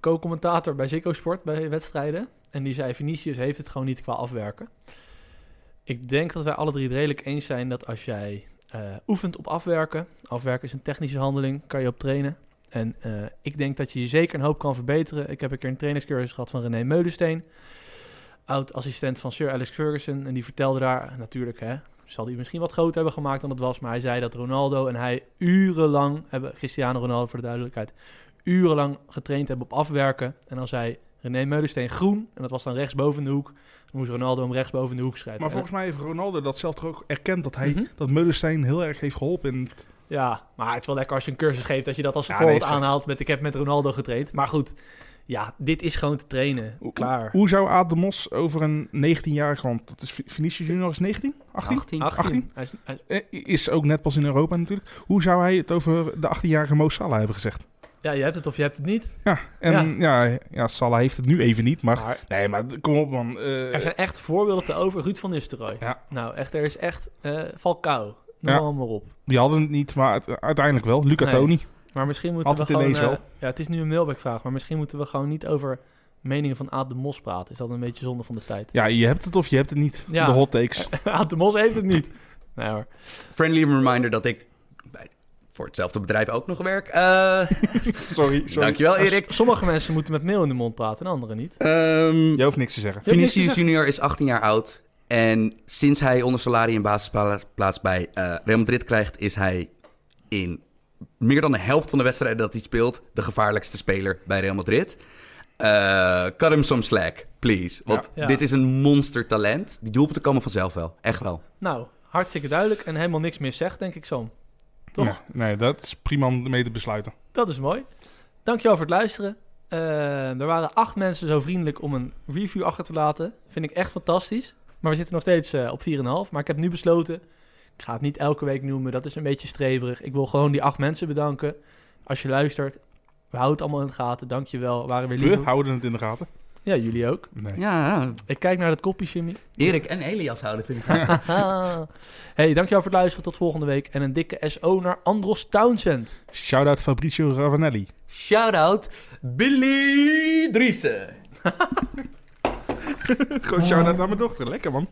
Speaker 1: co-commentator bij Ziggo Sport, bij wedstrijden. En die zei, Vinicius heeft het gewoon niet qua afwerken. Ik denk dat wij alle drie het redelijk eens zijn dat als jij eh, oefent op afwerken... Afwerken is een technische handeling, kan je op trainen. En eh, ik denk dat je je zeker een hoop kan verbeteren. Ik heb een keer een trainerscursus gehad van René Meulensteen. Oud-assistent van Sir Alex Ferguson. En die vertelde daar, natuurlijk hè, zal hij misschien wat groter hebben gemaakt dan het was. Maar hij zei dat Ronaldo en hij urenlang hebben, Cristiano Ronaldo voor de duidelijkheid, urenlang getraind hebben op afwerken. En dan zei René Meulensteen groen. En dat was dan rechtsboven de hoek. Dan moest Ronaldo hem rechtsboven de hoek schrijven.
Speaker 3: Maar
Speaker 1: En-
Speaker 3: volgens mij heeft Ronaldo dat zelf toch ook erkend. Dat, hij,
Speaker 1: eh, Mhm.
Speaker 3: dat Meulenstein heel erg heeft geholpen. In,
Speaker 1: Ja, maar het is wel lekker als je een cursus geeft dat je dat als
Speaker 3: Ja,
Speaker 1: voorbeeld
Speaker 3: nee, zo.
Speaker 1: aanhaalt met ik heb met Ronaldo getraind. Maar goed, ja, dit is gewoon te trainen.
Speaker 3: Hoe-
Speaker 1: Klaar.
Speaker 3: hoe zou Aad de Mos over een 19-jarige... Want dat is Fi- Vinicius Junior is 19? 18?
Speaker 2: 18.
Speaker 3: 18?
Speaker 1: Hij is, hij is-
Speaker 3: Eh, Is ook net pas in Europa natuurlijk. Hoe zou hij het over de 18-jarige Mo Salah hebben gezegd?
Speaker 1: ja, je hebt het of je hebt het niet.
Speaker 3: Ja, en ja. Ja, Salah heeft het nu even niet, maar...
Speaker 1: Maar
Speaker 3: Nee, maar d- kom op man. Eh,
Speaker 1: er zijn echt voorbeelden te over. Ruud van Nistelrooy.
Speaker 3: Ja.
Speaker 1: Nou, echt, er is echt eh Falcao. Noem
Speaker 3: Ja.
Speaker 1: allemaal op.
Speaker 3: Die hadden het niet, maar het- uiteindelijk wel. Luca
Speaker 1: Nee.
Speaker 3: Toni.
Speaker 1: Maar misschien moeten
Speaker 3: Altijd
Speaker 1: we gewoon...
Speaker 3: ineens
Speaker 1: eh,
Speaker 3: wel.
Speaker 1: ja, het is nu een mailbackvraag, maar misschien moeten we gewoon niet over meningen van Aad de Mos praten. Is dat een beetje zonde van de tijd?
Speaker 3: Ja, je hebt het of je hebt het niet.
Speaker 1: Ja.
Speaker 3: De hot takes.
Speaker 1: Aad de Mos heeft het niet. Nee hoor.
Speaker 2: Friendly reminder dat ik bij, voor hetzelfde bedrijf ook nog werk. Eh
Speaker 3: sorry, sorry.
Speaker 2: dankjewel, Erik.
Speaker 1: S- Sommige mensen moeten met mail in de mond praten en anderen niet.
Speaker 2: Ehm
Speaker 3: Je hoeft niks te zeggen.
Speaker 1: hebt niks
Speaker 2: Vinicius
Speaker 1: gezegd.
Speaker 2: Junior is 18 jaar oud. En sinds hij onder salarie en basisplaats bij eh, Real Madrid krijgt, is hij in meer dan de helft van de wedstrijden dat hij speelt de gevaarlijkste speler bij Real Madrid. Eh cut him some slack, please. Want
Speaker 1: Ja.
Speaker 2: dit is een monster talent. Die doelpunten komen vanzelf wel. Echt wel.
Speaker 1: Nou, hartstikke duidelijk en helemaal niks meer zegt, denk ik zo. Toch?
Speaker 3: Ja, nee, dat is prima om mee te besluiten.
Speaker 1: Dat is mooi. Dankjewel voor het luisteren. Eh, er waren acht mensen zo vriendelijk om een review achter te laten. Vind ik echt fantastisch. Maar we zitten nog steeds eh, op 4,5. Maar ik heb nu besloten, ik ga het niet elke week noemen. Dat is een beetje streberig. Ik wil gewoon die acht mensen bedanken. Als je luistert, we houden het allemaal in de gaten. Dankjewel. We waren weer
Speaker 3: We
Speaker 1: lief.
Speaker 3: houden het in de gaten.
Speaker 1: Ja, jullie ook.
Speaker 3: Nee.
Speaker 2: Ja,
Speaker 1: Ik kijk naar dat kopje, Jimmy.
Speaker 2: Erik en Elias houden het in de gaten.
Speaker 1: Haha. hey, dankjewel voor het luisteren. Tot volgende week. En een dikke SO naar Andros Townsend.
Speaker 3: Shout-out Fabrizio Ravanelli.
Speaker 2: Shout-out Billy Driessen.
Speaker 3: Gewoon shout-out naar mijn dochter. Lekker man.